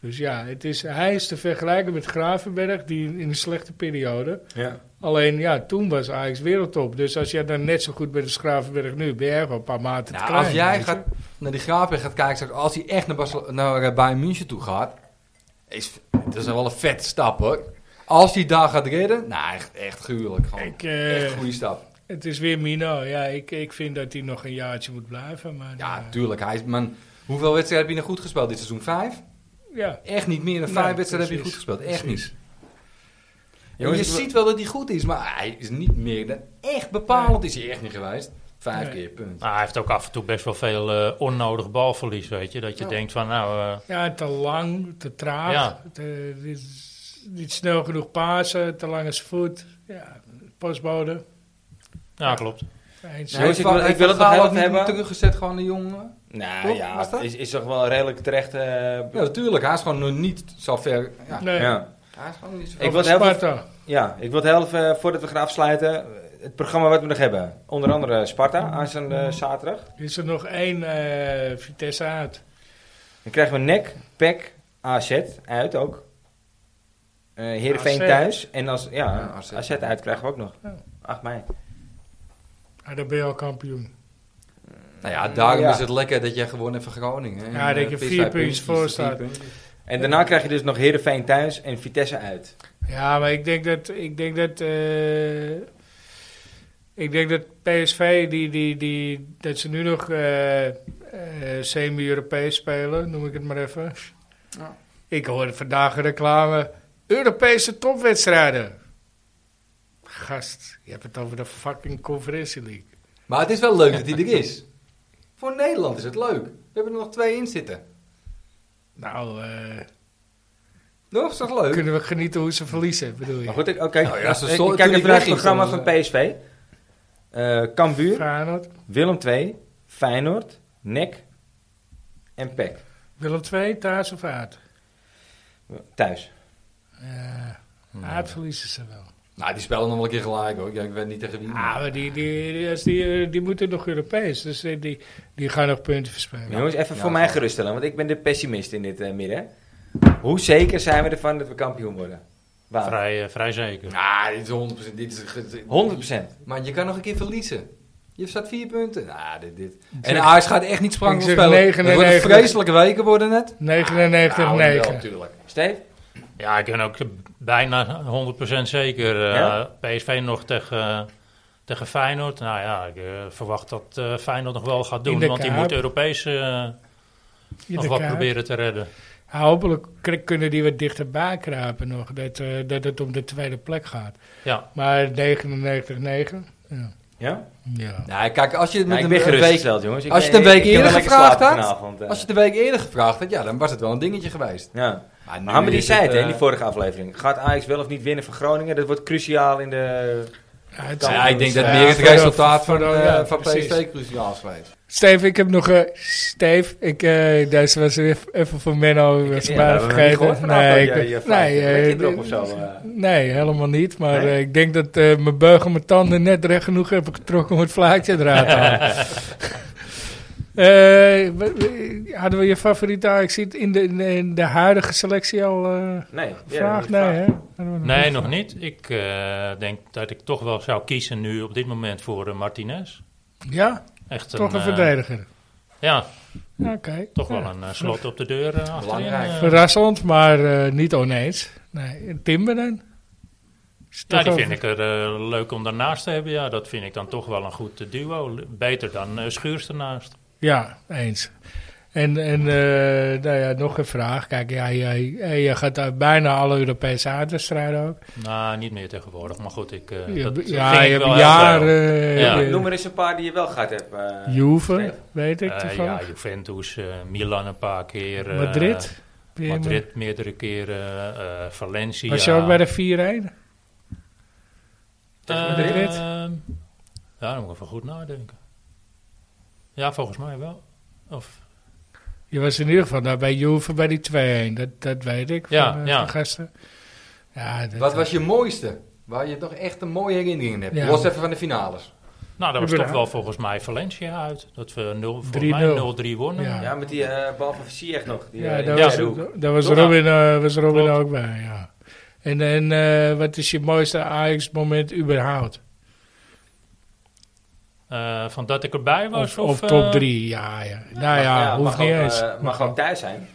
B: Dus ja, het is, hij is te vergelijken met Gravenberg, die in een slechte periode.
A: Ja.
B: Alleen ja, toen was Ajax wereldtop. Dus als jij dan net zo goed bent als Gravenberg nu, ben jij gewoon een paar maten te
C: Nou,
B: klein.
C: als jij
B: weet je.
C: gaat naar die graafweg gaat kijken, straks, als hij echt naar, Barcel- naar eh, Bayern München toe gaat, is, dat is wel een vet stap hoor. Als hij daar gaat redden, nou echt, echt gruwelijk. Gewoon.
B: Ik, eh,
C: echt een goede stap.
B: Het is weer Mino. Ja, ik, ik vind dat hij nog een jaartje moet blijven. Maar,
C: Ja,
B: eh,
C: tuurlijk. Hij is, man, hoeveel wedstrijden heb je nog goed gespeeld dit seizoen? Vijf?
B: eh, ja.
C: Echt niet meer dan
B: Nee,
C: vijf wedstrijden heb je goed
B: precies.
C: gespeeld. Echt
B: Precies.
C: niet.
A: Jongens,
C: je
A: ik wil-
C: ziet wel dat hij goed is, maar hij is niet meer dan echt bepalend. Is hij echt niet geweest. Vijf
B: Nee.
C: keer, punt.
D: Nou, hij heeft ook af en toe best wel veel eh, onnodig balverlies, weet je. Dat je
C: Ja.
D: denkt van, nou, eh,
B: ja, te lang, te traag.
D: Ja.
B: te- niet- niet snel genoeg pasen, te lang is voet. Ja, postbode.
D: ja, klopt.
B: Eens.
A: Nou, jongens, ik wil- ik wil het nog
C: nog
A: heel even hebben.
C: teruggezet gewoon de jongen.
A: Nou
C: Toch? Was
A: ja,
C: dat?
A: is, is toch wel een redelijk terecht... eh,
C: Ja, natuurlijk. Hij is gewoon nog niet zo ver. Ja,
B: nee,
A: ja.
C: hij is gewoon niet zo
A: Ik
B: ik
A: wil
B: wil
A: heel veel-
B: Sparta.
A: Ja, ik wil het heel even, eh, voordat we gaan afsluiten, eh, het programma wat we nog hebben. Onder andere Sparta, aanstaande eh, zaterdag.
B: Is er nog één eh, Vitesse uit?
A: Dan krijgen we NEC, PEC, AZ uit ook. Eh Heerenveen
B: AZ.
A: thuis. En als, ja,
C: Ja,
A: AZ.
C: AZ.
A: uit krijgen we ook nog.
B: Ja.
A: 8 mei.
B: Ah, dan ben je al kampioen.
C: Nou ja, daarom
A: Ja.
C: is het lekker dat jij gewoon even Groningen. hè.
B: Ja, dat je
C: Eh, vis
B: vier
C: bij
B: puntjes
C: puntjes,
B: voor staat.
C: vier punten.
A: En daarna krijg je dus nog Heerenveen thuis en Vitesse uit.
B: Ja, maar ik denk dat. Ik denk dat. eh, ik denk dat PSV, die, die, die, dat ze nu nog eh, eh, semi-Europees spelen, noem ik het maar even.
C: Ja.
B: Ik hoorde vandaag een reclame. Europese topwedstrijden. Gast, je hebt het over de fucking Conferentie League.
C: Maar het is wel leuk dat hij er is. Voor Nederland is het leuk. We hebben er nog twee in zitten.
B: Nou, eh,
C: Nog, is toch leuk?
B: kunnen we genieten hoe ze verliezen, bedoel je?
A: Maar goed, ik- oké.
C: Nou ja, ze
A: Ik-
C: stonden-
A: ik kijk
C: toen
A: even naar
C: die
A: het
C: wegging,
A: programma van
C: stonden
A: PSV. Eh Cambuur,
B: Feyenoord,
A: Willem II, Feyenoord, NEC en E PEC.
B: Willem II, thuis of uit?
A: Thuis.
B: Ja, uit verliezen ze wel.
C: Nou, die spelen nog wel een keer gelijk hoor. Ja, ik weet niet tegen wie.
B: Ah, maar die, die, die, als die, eh, die moeten nog Europees. Dus eh, die, die gaan nog punten verspelen.
A: Jongens, even
C: Ja,
A: voor mij
C: ja.
A: geruststellen, want ik ben de pessimist in dit eh, midden. Hoe zeker zijn we ervan dat we kampioen worden? Waar?
D: Vrij, eh, vrij zeker.
C: Nou, dit is 100%. Dit is, ge-
A: 100%.
C: Maar je kan nog een keer verliezen. Je staat vier punten. Nou, dit, dit. En
B: zeg-
C: Ajax gaat echt niet
B: ik
C: sprankel
B: zeg
C: spelen.
B: negen en
C: het worden
B: negen.
C: vreselijke weken worden het.
B: 99
C: Nou, wel,
B: 9.
C: tuurlijk.
A: Steve?
D: Ja, ik ben ook bijna 100% zeker. eh,
A: Ja?
D: PSV nog tegen, tegen Feyenoord. Nou ja, ik eh, verwacht dat eh, Feyenoord nog wel gaat
B: In
D: doen.
B: de
D: Want die
B: Kuip.
D: moet Europees eh,
B: In
D: nog
B: de
D: wat
B: kaart.
D: proberen te redden.
B: Hopelijk k- kunnen die wat dichterbij kruipen nog. Dat, eh, dat het om de tweede plek gaat.
D: Ja,
B: Maar 99 9. Ja.
A: Ja?
B: ja.
C: Nou, kijk, als je het met
A: Nou, ik ben
C: een, een week,
A: gerustgesteld, jongens. Ik
C: als je
A: ben-
C: het een week
A: ik- ik heb
C: eerder
A: wel lekker
C: gevraagd
A: slapen
C: had,
A: vanavond, eh.
C: als je het een week eerder gevraagd had, ja, dan was het wel een dingetje geweest.
A: Ja.
C: Maar nu
A: Maar Hammer die
C: is
A: zei het, hè, in
C: eh,
A: die vorige aflevering. Gaat Ajax wel of niet winnen van Groningen? Dat wordt cruciaal in de...
B: het-
C: nou ja, ik denk dat
B: Ja,
C: meer het
B: voor de-
C: resultaat
B: voor
C: van,
B: de-
C: eh,
B: ja,
C: van
B: precies.
C: PSV cruciaal is geweest.
B: Steve, ik heb nog... eh Steve, ik, eh deze was weer even voor Menno. Was
A: Ja,
B: mij
A: dat hebben we niet
B: vergeten.
A: gehoord vanavond,
B: nee,
A: dat
B: ik-
A: je- je fluit.
B: nee,
A: Lek
B: eh,
A: je erop of zo, eh?
B: Nee, helemaal niet. Maar
A: Nee?
B: eh, ik denk dat eh, mijn beugel mijn tanden net recht genoeg hebben getrokken om het vlaatje eruit te halen.
A: (laughs)
B: Eh, wa- wa- hadden we je favoriete Ik zie het in de, in de- in de huidige selectie al eh
A: Nee. ja,
B: vraag?
A: dat is
B: Nee,
A: een
B: hè? Hadden we
D: nee,
B: niet
D: nog
B: gevraagd.
D: niet. Ik eh, denk dat ik toch wel zou kiezen nu op dit moment voor eh, Martinez.
B: Ja,
D: Echt
B: toch een
D: eh,
B: verdediger.
D: Ja,
B: Oké.
D: toch wel
B: Ja.
D: een eh, slot op de deur eh, achterin.
C: Belangrijk.
D: eh.
B: Verrassend, maar eh, niet oneens. Nee, en Timber dan? Is
D: Ja,
B: toch
D: die
B: wel-
D: vind ik er eh, leuk om daarnaast te hebben. Ja, dat vind ik dan toch wel een goed eh, duo. Le- Beter dan eh, Schuurs ernaast.
B: Ja, eens. En, en eh, nou ja, nog een vraag. Kijk, ja, jij jij- je gaat uit bijna alle Europese aardwedstrijden ook.
D: Nou, niet meer tegenwoordig. Maar goed, ik, eh,
B: Je
D: dat
B: hebt-
D: ging
B: ja, je
D: ik
B: hebt
D: wel heel snel.
B: jaren.
D: Ja.
A: vraag.
B: eh,
A: Noem er eens een paar die je wel gaat hebben. eh,
B: Juve,
A: Steve.
B: weet ik
D: Eh,
B: toevallig.
D: ja, Juventus, eh, Milan een paar keer. eh,
B: Madrid. weer
D: Madrid meerdere keren. eh, Valencia.
B: maar- Was je ook bij de 4-1?
A: Tegen
D: Eh,
A: Madrid?
D: ja, dan moet ik even goed nadenken. Ja, volgens mij wel. Of,
B: Je was in ieder geval daar bij Juve bij die 2-1. Dat, dat weet ik
D: Ja,
B: van, eh,
D: ja.
B: van gisteren. Ja, dat,
C: Wat was je mooiste? Waar je toch echt een mooie herinnering in hebt.
B: Ja.
C: Los even van de finales.
D: nou, dat
B: Ik
D: was
B: ben
D: toch
B: er-
D: wel volgens mij Valencia uit. Dat we nul- volgens
B: 3-0.
D: mij 0-3 wonnen.
B: Ja.
A: Ja, met die eh, bal van Ziyech nog. Die,
B: Ja,
A: eh,
B: daar
A: in
B: was,
A: de hoek.
B: daar was
D: Toch?
B: Robin, eh, was Robin
D: Klopt.
B: ook bij, ja. En, en eh, wat is je mooiste Ajax-moment überhaupt?
D: Eh, van dat ik erbij was.
B: Of,
D: Of,
B: of top
D: eh,
B: 3, ja, ja. Nou
A: Mag-
B: ja, hoeft
A: mag
B: niet
A: ook,
B: eens.
A: eh, mag ook thuis zijn.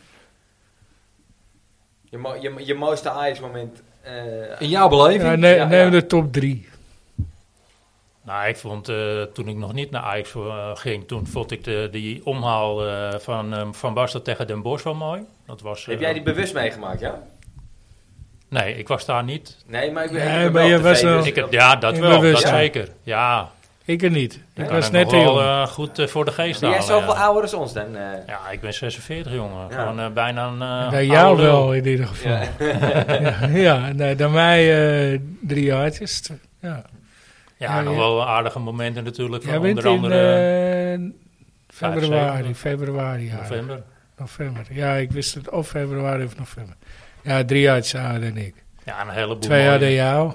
A: Je, mo- je, je mooiste Ajax-moment... eh,
C: In jouw beleving?
B: Ja, neem,
A: Ja,
B: neem
A: ja.
B: de top 3.
D: Nou, ik vond eh, toen ik nog niet naar Ajax eh, ging, toen vond ik de, die omhaal eh, van, eh, van Basten tegen Den Bosch wel mooi. Dat was, eh,
A: heb jij die bewust meegemaakt, ja?
D: Nee, ik was daar niet.
A: Nee, maar ik ben,
B: Nee,
A: ik ben
B: maar
A: wel
B: je
A: op
B: was
A: tv,
B: wel-
A: dus
D: Ik heb,
A: dat-
D: ja, dat
B: In
D: wel, dat
B: bewustzijn.
D: zeker. Ja,
B: Ik er niet.
D: ik
B: Ik
D: kan
B: was
D: het net
B: net te
D: wel
B: jong.
D: eh, goed eh, voor de geest
A: Ben jij
D: halen.
A: zoveel
D: ja.
A: ouder dan ons dan? eh?
D: ja, ik ben 46, jongen.
A: Ja.
D: Gewoon eh, bijna een eh,
B: bij jou
D: oude lul.
B: wel in ieder geval. Ja, (laughs) ja, nee, dan mij eh, drie jaartjes. Ja.
D: Ja,
B: Ja,
D: nog
B: ja.
D: wel aardige momenten natuurlijk. Van
B: Jij bent
D: onder
B: in
D: andere
B: eh, februari,
D: zeven.
B: februari, ja.
D: november.
B: November. Ja, ik wist het of februari of november. Ja, drie jaar ouder dan ik.
D: Ja, een heleboel
B: Twee jaar
D: mooie.
B: dan jou.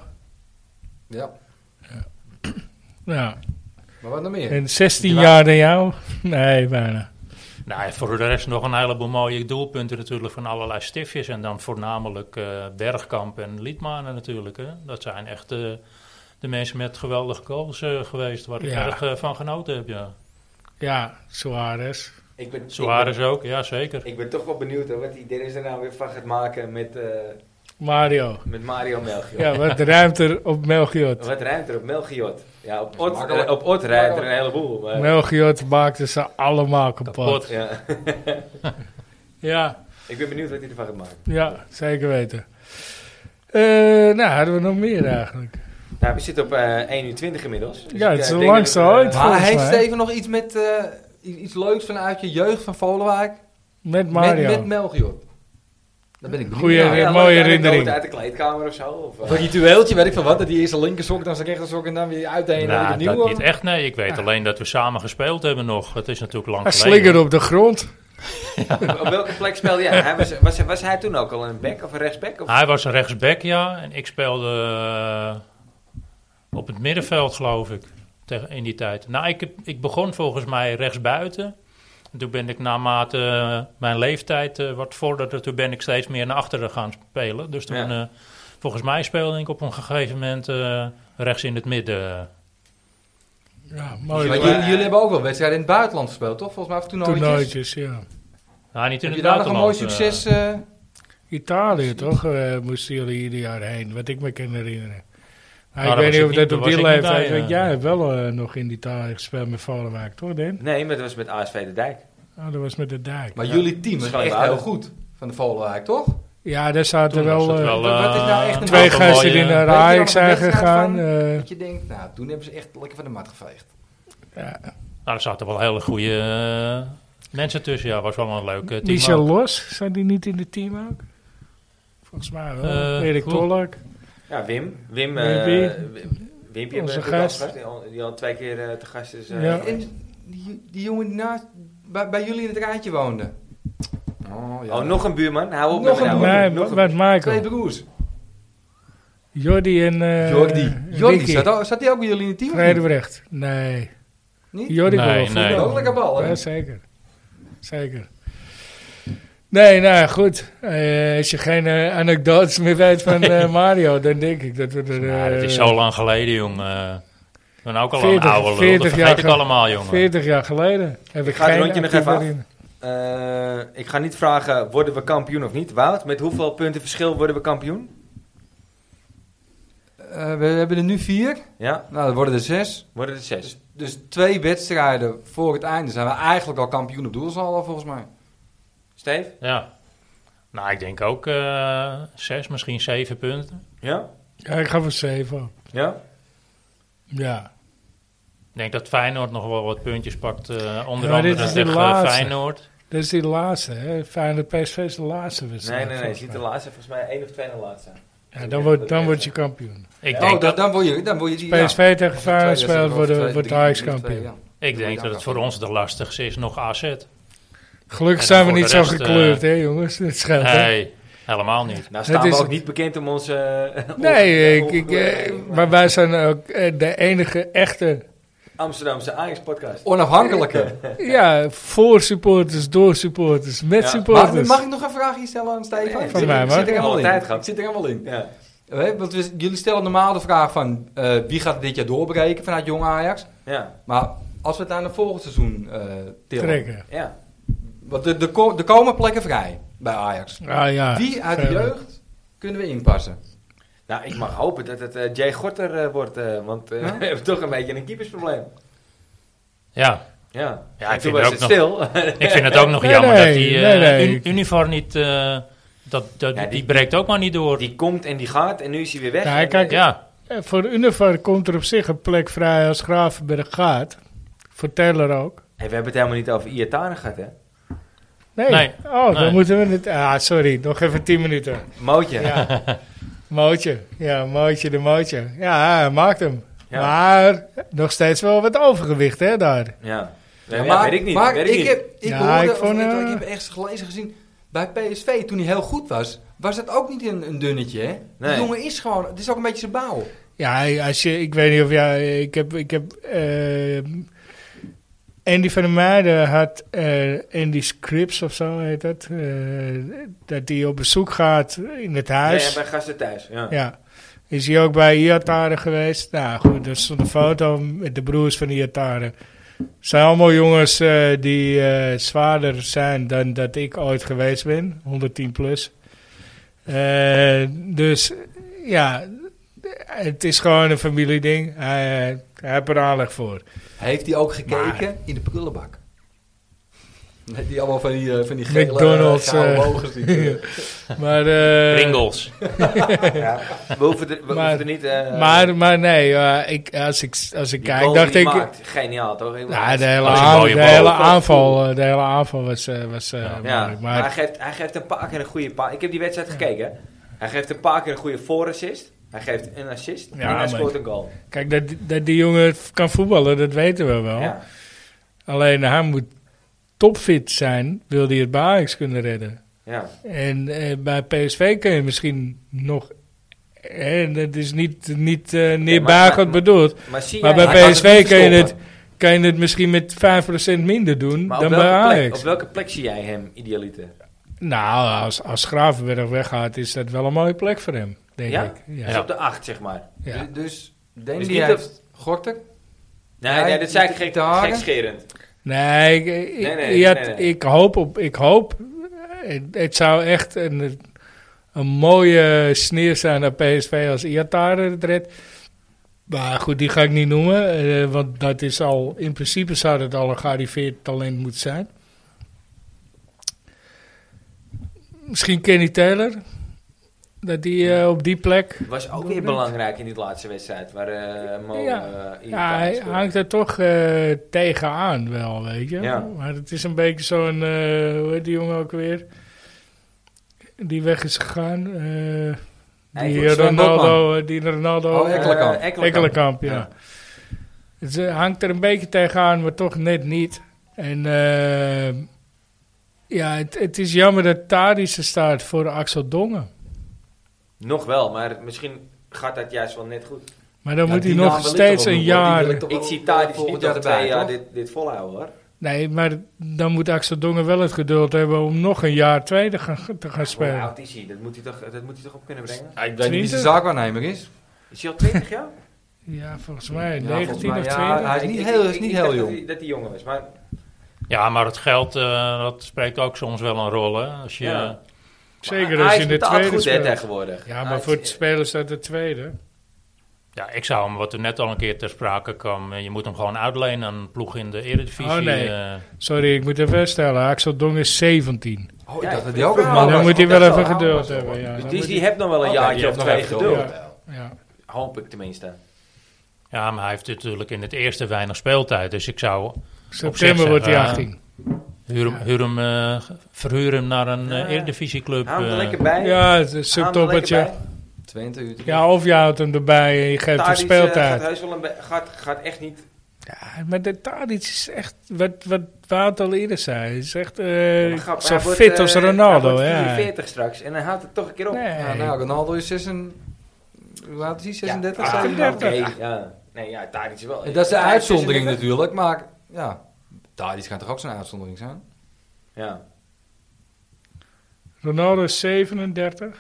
C: Ja.
B: Ja.
C: Maar wat nog meer?
B: En 16
C: Ja.
B: jaar dan jou? Nee, bijna.
D: Nou, voor de rest nog een heleboel mooie doelpunten natuurlijk van allerlei stiftjes. En dan voornamelijk eh, Bergkamp en Liedmanen natuurlijk. Hè. Dat zijn echt eh, de mensen met geweldige goals eh, geweest, waar ik
B: Ja.
D: erg eh, van genoten heb. Ja.
B: Ja, Suarez.
A: (laughs) Ik ben, ik ben-
D: Suarez ook, ja zeker.
A: Ik ben toch wel benieuwd hoor, wat die Dennis er nou weer van gaat maken met... eh,
B: Mario.
A: Met Mario Melchior.
B: Ja, wat ruimt er op Melchiot?
A: Wat ruimt er op Melchiot? Ja, op
C: Dat is
A: Ot,
C: makkelijk.
A: eh, op Ot ruimt er een heleboel. Maar,
B: Melchiot maakte ze allemaal kapot.
D: Kapot.
A: ja.
B: Ja.
A: Ik ben benieuwd wat hij ervan gaat maken.
B: Ja, zeker weten. Eh, nou, hadden we nog meer eigenlijk.
A: Nou, we zitten op eh 1 uur 20 inmiddels. Dus
B: Ja,
A: ik,
B: het is
A: eh,
B: de
A: denk
B: langste
A: dat we, eh,
B: ooit.
C: Maar
B: Volgens
C: heeft
B: mij.
C: Steven nog iets met eh, i- iets leuks vanuit je jeugd van Volendijk?
B: Met
C: Met,
B: Mario.
C: met Melchior. Dan ben ik benieuwd.
B: Goeie-
C: naar.
B: Een
A: ja,
B: mooie
A: leuke
B: herinnering.
A: anekdote uit de kleedkamer of zo. Of, eh,
C: Of een ritueeltje, weet ik veel wat. Dat hij eerst een linkerzok, dan zijn rechterzok en dan weer uit de ene en
D: Nou,
C: weer opnieuw.
D: dat niet echt, nee. Ik weet alleen dat we samen gespeeld hebben nog. Het is natuurlijk lang
B: Hij
D: geleden.
B: slingerde op de grond.
A: eh,
B: (laughs)
A: op welke plek speelde jij? Hij was, was, was hij toen ook al een back of een rechtsback?
B: Ah.
A: Of?
D: Hij was een rechtsback, ja. En ik speelde eh, op het middenveld, geloof ik, tegen- in die tijd. Nou, ik, heb- ik begon volgens mij rechtsbuiten. En toen ben ik naarmate eh, mijn leeftijd eh, wat vorderde, toen ben ik steeds meer naar achteren gaan spelen. Dus toen,
A: Ja.
D: eh, volgens mij speelde ik op een gegeven moment eh, rechts in het midden.
B: Ja,
C: Maar
B: mooie
A: Slingerde.
C: jullie, jullie hebben ook wel wedstrijden in het buitenland gespeeld, toch? Volgens mij af en toe nooitjes.
B: toernooitjes, ja.
D: Nou, niet in
C: Heb je
D: het
C: daar nog een mooi
D: buitenland, eh.
C: succes? eh,
B: Italië toch, eh, moesten jullie ieder jaar heen, wat ik me kan herinneren. Maar
D: Nou,
B: ik
D: daar
B: weet
D: was
B: niet of
D: ik niet-
B: dat
D: daar
B: op
D: was
B: die
D: ik niet
B: leeftijd...
D: bij,
B: want
D: ja.
B: jij hebt wel eh, nog in Italië gespeeld met Volenwijk, toch Den?
A: Nee, maar dat was met ASV de Dijk.
B: Oh, dat was met de dijk.
C: Maar jullie team is
A: Schoon
C: echt
A: bouwen.
C: heel goed. Van de Volendijk, toch?
B: Ja, daar zaten
D: Toen was
B: wel,
D: het
B: eh,
D: wel,
C: wat is nou
D: eh,
C: echt een
B: twee
D: aantal
B: gasten die
D: mooie-
B: naar
C: Weet je
B: Ajax
C: nog een
B: zijn
C: wedstrijd
B: gegaan.
C: van?
B: eh,
C: Dat je denkt, nou, toen hebben ze echt lekker van de mat geveegd.
D: Nou, er zaten wel hele goede eh, mensen tussen. Ja, was wel een leuke team.
B: Michel
D: ook.
B: Los, zijn die niet in het team ook? Volgens mij wel.
D: Eh,
B: Erik
D: cool.
B: Tollak.
A: Ja, Wim. Wim.
B: Wimpy.
A: eh, Wim- Wimpy
B: Onze
A: hebben we
B: gast.
A: gast. Die al, die al twee keer eh, te gast is. eh,
B: Ja.
A: geweest.
C: En die, die jongen die naast, bij, bij jullie in het rijtje woonde. Oh,
A: Oh, nog een buurman. Hou op
C: Nog
A: met me
C: een
A: nou.
B: nee,
A: Nog
B: met
C: Twee
B: Michael.
C: broers.
B: Jordi en... eh
C: Jordi. Jordi,
B: Ricky.
C: zat, ook- zat die ook bij jullie in het team? of niet?
B: Vredebrecht. Nee.
C: Niet?
B: Jordi
D: Nee,
B: wil wel
D: nee.
B: voetballen.
C: Die ook lekker bal, hè?
B: Ja, zeker. Zeker. Nee, nou goed. Eh, als je geen eh, anekdotes meer weet van
C: (laughs)
B: eh, Mario, dan denk ik dat we er...
D: Ja, Nou, dat is
B: eh,
D: zo lang geleden, jongen. Ik ben ook al
B: 40
D: een oude lul. Dat
B: 40
D: vergeet ik
B: jaar
D: allemaal, jongen.
B: 40 jaar geleden. Heb ik,
A: ga het
B: geen
A: rondje nog even af.
B: actieve herinnering.
A: Eh, ik ga niet vragen, worden we kampioen of niet? Wout, met hoeveel punten verschil worden we kampioen?
C: Eh, we hebben er nu vier.
A: Ja,
C: Nou, dat worden er zes.
A: worden het zes.
C: Dus twee wedstrijden voor het einde zijn we eigenlijk al kampioen op doelsaldo, volgens mij.
A: Steve?
D: Ja. Nou, ik denk ook eh, zes, misschien zeven punten.
A: Ja?
B: Ja, ik ga voor 7.
A: Ja?
B: Ja.
D: Ik denk dat Feyenoord nog wel wat puntjes pakt. eh, onder
B: Ja, maar dit
D: andere
B: is de
D: tegen
B: laatste.
D: Feyenoord.
B: Dat is die laatste, hè? Feyenoord PSV is de laatste
A: Nee,
B: wedstrijd.
A: nee, nee.
B: volgens
A: Ziet de
B: mij.
A: laatste, volgens mij één of twee de laatste.
B: Ja, dan wordt dan word je kampioen.
D: Ik
A: Ja.
D: denk,
C: oh,
D: dat,
C: dan, dan word je, dan word je die... ja.
B: PSV tegen
C: Of twee
B: Feyenoord speelt,
C: wedstrijden, of
B: wordt
C: twee-
B: de- wordt
C: drie-
B: Ajax
C: drie- twee,
B: kampioen.
D: ik denk dat het voor ons de lastigste is nog AZ.
B: Gelukkig
D: En
B: zijn we
D: voor
B: niet
D: de
B: zo
D: rest,
B: gekleurd, hè, jongens? Het scheelt, hè?
D: Nee, helemaal niet.
A: Nou
B: Het
A: staan
B: is
A: we ook
B: het.
A: niet bekend om onze... eh, (laughs)
B: Nee, ik,
A: onge-
B: ik, eh,
A: onge-
B: maar wij zijn ook eh, de enige echte...
A: Amsterdamse Ajax-podcast.
C: Ja. Onafhankelijke.
B: Ja, voor supporters, door supporters, met
A: Ja,
C: Mag,
B: supporters.
C: mag ik nog een vraagje stellen aan Stefan?
A: Nee,
C: Ik
B: van
C: zit-
B: mij
C: ik
B: mag.
C: zit er helemaal
A: Altijd
C: in.
A: gehad.
C: Ik zit er helemaal in.
A: Ja.
C: Hè, Want we- jullie stellen normaal de vraag van eh, wie gaat dit jaar doorbreken vanuit jong Ajax.
A: Ja.
C: Maar als we het aan het volgend seizoen eh tillen.
B: Trekken.
A: Ja.
C: Want er er ko- er komen plekken vrij bij Ajax.
B: Ah, ja.
C: Wie uit de
B: Verder.
C: jeugd kunnen we inpassen?
A: Nou, ik mag hopen dat het eh, Jay Gorter eh, wordt, eh, want eh, (laughs)
C: Ja?
A: we hebben toch een beetje een keepersprobleem.
D: Ja,
A: Ja,
D: Ja,
A: En
D: ik
A: toen
D: vind
A: was
D: het
A: het
D: ook
A: stil. (laughs)
D: ik vind het ook
B: (laughs)
D: nog
B: Nee,
D: jammer
B: nee,
D: dat die eh
B: nee, nee.
D: un- uniform niet... eh, dat, dat,
A: Ja,
D: die,
A: die-
D: breekt ook maar niet door.
A: die komt en die gaat en nu is hij weer weg.
B: Ja,
A: En,
B: kijk,
A: eh,
D: ja,
B: Eh, Voor Univar komt er op zich een plek vrij als Gravenberg gaat. Voor Taylor ook.
A: hey, we hebben het helemaal niet over Iataren gehad, hè?
B: Nee.
D: Nee.
B: Oh, dan
D: Nee.
B: moeten we het... Ah, sorry. Nog even 10 minuten.
A: Mootje.
B: Ja. Mootje. Ja, Mootje de Mootje. Ja, hij maakt hem.
A: Ja.
B: Maar nog steeds wel wat overgewicht, hè, daar.
A: Ja.
C: Ja,
A: Ja, weet ik niet.
C: Maar
A: weet
C: ik,
A: ik niet.
C: heb, ik
B: Ja,
C: hoorde,
B: ik
C: of
B: vond,
C: ik,
B: eh,
C: ik heb ergens gelezen gezien, bij PSV toen hij heel goed was, was dat ook niet een, een dunnetje, hè?
A: Nee.
C: Die jongen is gewoon, het is ook een beetje zijn bouw.
B: Ja, als je, ik weet niet of jij... Ik heb... Ik heb eh, Andy van der Meijden had eh Andy Scripps of zo heet dat. eh, dat hij op bezoek gaat in het
A: Nee,
B: huis.
A: ja, bij gasten thuis. Ja.
B: Ja. Is hij ook bij Iataren geweest? Nou goed, er stond een foto met de broers van Iataren. zijn allemaal jongens eh, die eh, zwaarder zijn dan dat ik ooit geweest ben. 110 plus. Eh, dus ja, het is gewoon een familieding. Hij, eh, hij heeft er aanleg
A: (laughs)
B: voor.
C: Heeft hij ook gekeken in de prullenbak? Heeft hij allemaal van die, eh, van die gele,
B: McDonald's,
C: gouden
B: eh,
C: ogen gezien?
B: Maar, eh,
D: Pringles.
A: We hoeven er, we
B: Maar-
A: hoeven er niet... eh,
B: Maar, maar nee, eh, ik, als ik, als ik
A: die
B: kijk,
A: goal
B: dacht
A: die
B: ik...
A: hij maakt. Geniaal, toch? Ik-
B: Nou, de hele,
D: Dat is een
B: aan-
D: mooie
B: de
D: bal.
B: hele aanval, eh, de hele aanval was, eh, was eh, mooi.
A: Ja, maar, hij,
B: Maar
A: geeft, hij geeft een paar keer een goede pa Ik heb die wedstrijd gekeken. Hij geeft een paar keer een goede voorassist. Hij geeft een assist
B: Ja,
A: en hij
B: maar-
A: scoort een goal.
B: kijk, dat, dat die jongen kan voetballen, dat weten we wel.
A: Ja.
B: Alleen hij moet topfit zijn, wil hij het bij Ajax kunnen redden.
A: Ja.
B: En eh, bij PSV kun je misschien nog... En dat is niet, niet eh neerbuigend
A: maar-
B: bedoeld.
A: Maar zie
B: Maar
A: jij-
B: bij
C: hij kan het
B: PSV
C: niet
B: kan je,
C: verstoppen.
B: het, kan je het misschien met 5% minder doen
A: maar op,
B: dan bij
A: welke plek,
B: Ajax.
A: op welke plek zie jij hem, idealiter?
B: Nou, als, als Gravenberg weggaat, is dat wel een mooie plek voor hem, denk
A: Ja?
B: ik. Ja.
A: Dus op de 8, zeg maar.
B: (laughs) Ja.
C: Dus- Dus denk
A: Dus
C: die
A: niet dat-
C: heeft Gorter?
A: Nee,
C: Ja,
A: nee, dat zei ik
C: niet
A: gek,
C: te haren.
A: gekscherend.
B: Nee, ik, ik,
A: Nee, nee,
B: je had-
A: nee, nee.
B: ik hoop op. Ik hoop. Het, het zou echt een, een mooie sneer zijn naar PSV als Iatare het redt. Maar goed, die ga ik niet noemen. eh, want dat is al. In principe zou dat al een gearriveerd talent moeten zijn. Misschien Kenny Taylor. Dat die eh, op die plek.
A: Was ook weer belangrijk in die laatste wedstrijd. Waar eh Mo
B: Ja.
A: eh, in
B: Ja,
A: elkaar
B: hij
A: speelde.
B: hangt er toch eh, tegenaan wel, weet je.
A: Ja.
B: Maar het is een beetje zo'n, eh, hoe heet die jongen ook weer? Die weg is gegaan. eh, die,
A: Eigenlijk Sven
B: Ronaldo, eh, die Ronaldo...
C: Oh, Ekkelenkamp.
A: Eh,
B: Ekkelenkamp, ja.
A: Ja.
B: Dus, eh, hangt er een beetje tegenaan, maar toch net niet. En eh, ja, het, het is jammer dat Tadic er staat voor Axel Dongen.
A: Nog wel, maar misschien gaat dat juist wel net goed.
B: Maar dan
C: Ja,
B: moet hij
C: die naam
B: nog
C: wil ik
B: steeds
C: toch wel
B: een
C: noemen, die
B: jaar...
C: wil toch
A: Ik
C: wel
A: zie Tadic
C: volgend
A: niet
C: jaar
A: nog twee jaar
C: toch?
A: dit, dit volhouden, hoor.
B: Nee, maar dan moet Axel Dongen wel het geduld hebben om nog een jaar tweede gaan, te gaan
A: Hoe
B: spelen.
A: oud is hij? Dat moet hij toch, dat moet hij toch op kunnen
B: (laughs)
A: brengen?
C: Ja, ik weet niet wie
B: 20?
C: zijn zaakwaarnemer is.
A: Is hij al 20 jaar?
B: Ja, volgens mij
C: Ja,
B: 19
C: volgens mij,
B: of
C: ja,
B: 20.
C: hij- is
A: Ik-
C: niet
A: ik-
C: heel-
A: ik-
C: is niet
A: ik
C: heel
A: dacht
C: jong.
A: Dat hij, dat hij jong was, maar
D: Ja, maar het geld, eh, dat spreekt ook soms wel een rol. Hè? Als je,
A: Ja.
B: Zeker
A: maar
B: als
A: hij
B: je in
A: is
B: de
A: betaald
B: tweede
A: goed, hè,
B: speelt.
A: tegenwoordig.
B: Ja,
A: Hij
B: maar
A: is-
B: voor het spelen staat de tweede.
D: Ja, ik zou hem, wat er net al een keer ter sprake kwam, eh, je moet hem gewoon uitlenen aan een ploeg in de Eredivisie.
B: Oh, nee.
D: eh.
B: Sorry, ik moet even stellen. Axel Dongen is 17.
C: Oh, ik
A: Ja,
C: dacht
A: ik
C: dat hij ook
A: vind
C: een
A: het
C: man
A: wel-
B: dan
C: was.
B: moet hij
C: Want
B: wel
C: dat
B: even
C: zou oud
B: geduld
C: zijn,
B: hebben. Ja,
A: Dus
B: dan
A: die,
B: moet
A: die heeft nog wel een
C: Oké, die
A: jaartje of
C: heeft nog
A: twee
C: even geduld.
A: geduld.
B: ja, ja.
A: Hoop ik tenminste.
D: Ja, maar hij heeft natuurlijk in het eerste weinig speeltijd. Dus ik zou
B: September
D: zeggen,
B: wordt hij
D: eh,
B: 18.
D: huur hem, huur hem, eh, verhuur hem naar een
A: Ja.
D: eh, Eredivisieclub.
A: Hou hem er
D: eh.
A: lekker bij. Haal hem
B: Ja, het is een
A: er
B: subtoppertje.
A: lekker bij.
C: 20 uur.
B: Ja, of je houdt hem erbij en je geeft hem
A: Tadic, eh, Gaat,
B: speeltijd.
A: heus wel een be- gaat, gaat echt niet...
B: Ja, maar de Tadic is echt, wat, wat Wout al eerder zei, is echt eh,
A: Maar grap,
B: zo
A: hij wordt,
B: fit
A: eh,
B: als Ronaldo.
A: Hij
B: ja.
A: wordt 44 straks en hij houdt het toch een keer op.
B: oh, Nee.
C: Ja, nou, Ronaldo is 36. Hoe oud is hij? 36?
A: Ja, Ah,
C: 37.
A: oké, ja. Nee, ja, Tadic wel.
C: En dat is de
A: Tadic
C: uitzondering
A: 36.
C: natuurlijk, maar ja. Tadic gaat toch ook zo'n uitzondering zijn?
A: Ja.
B: Ronaldo is 37.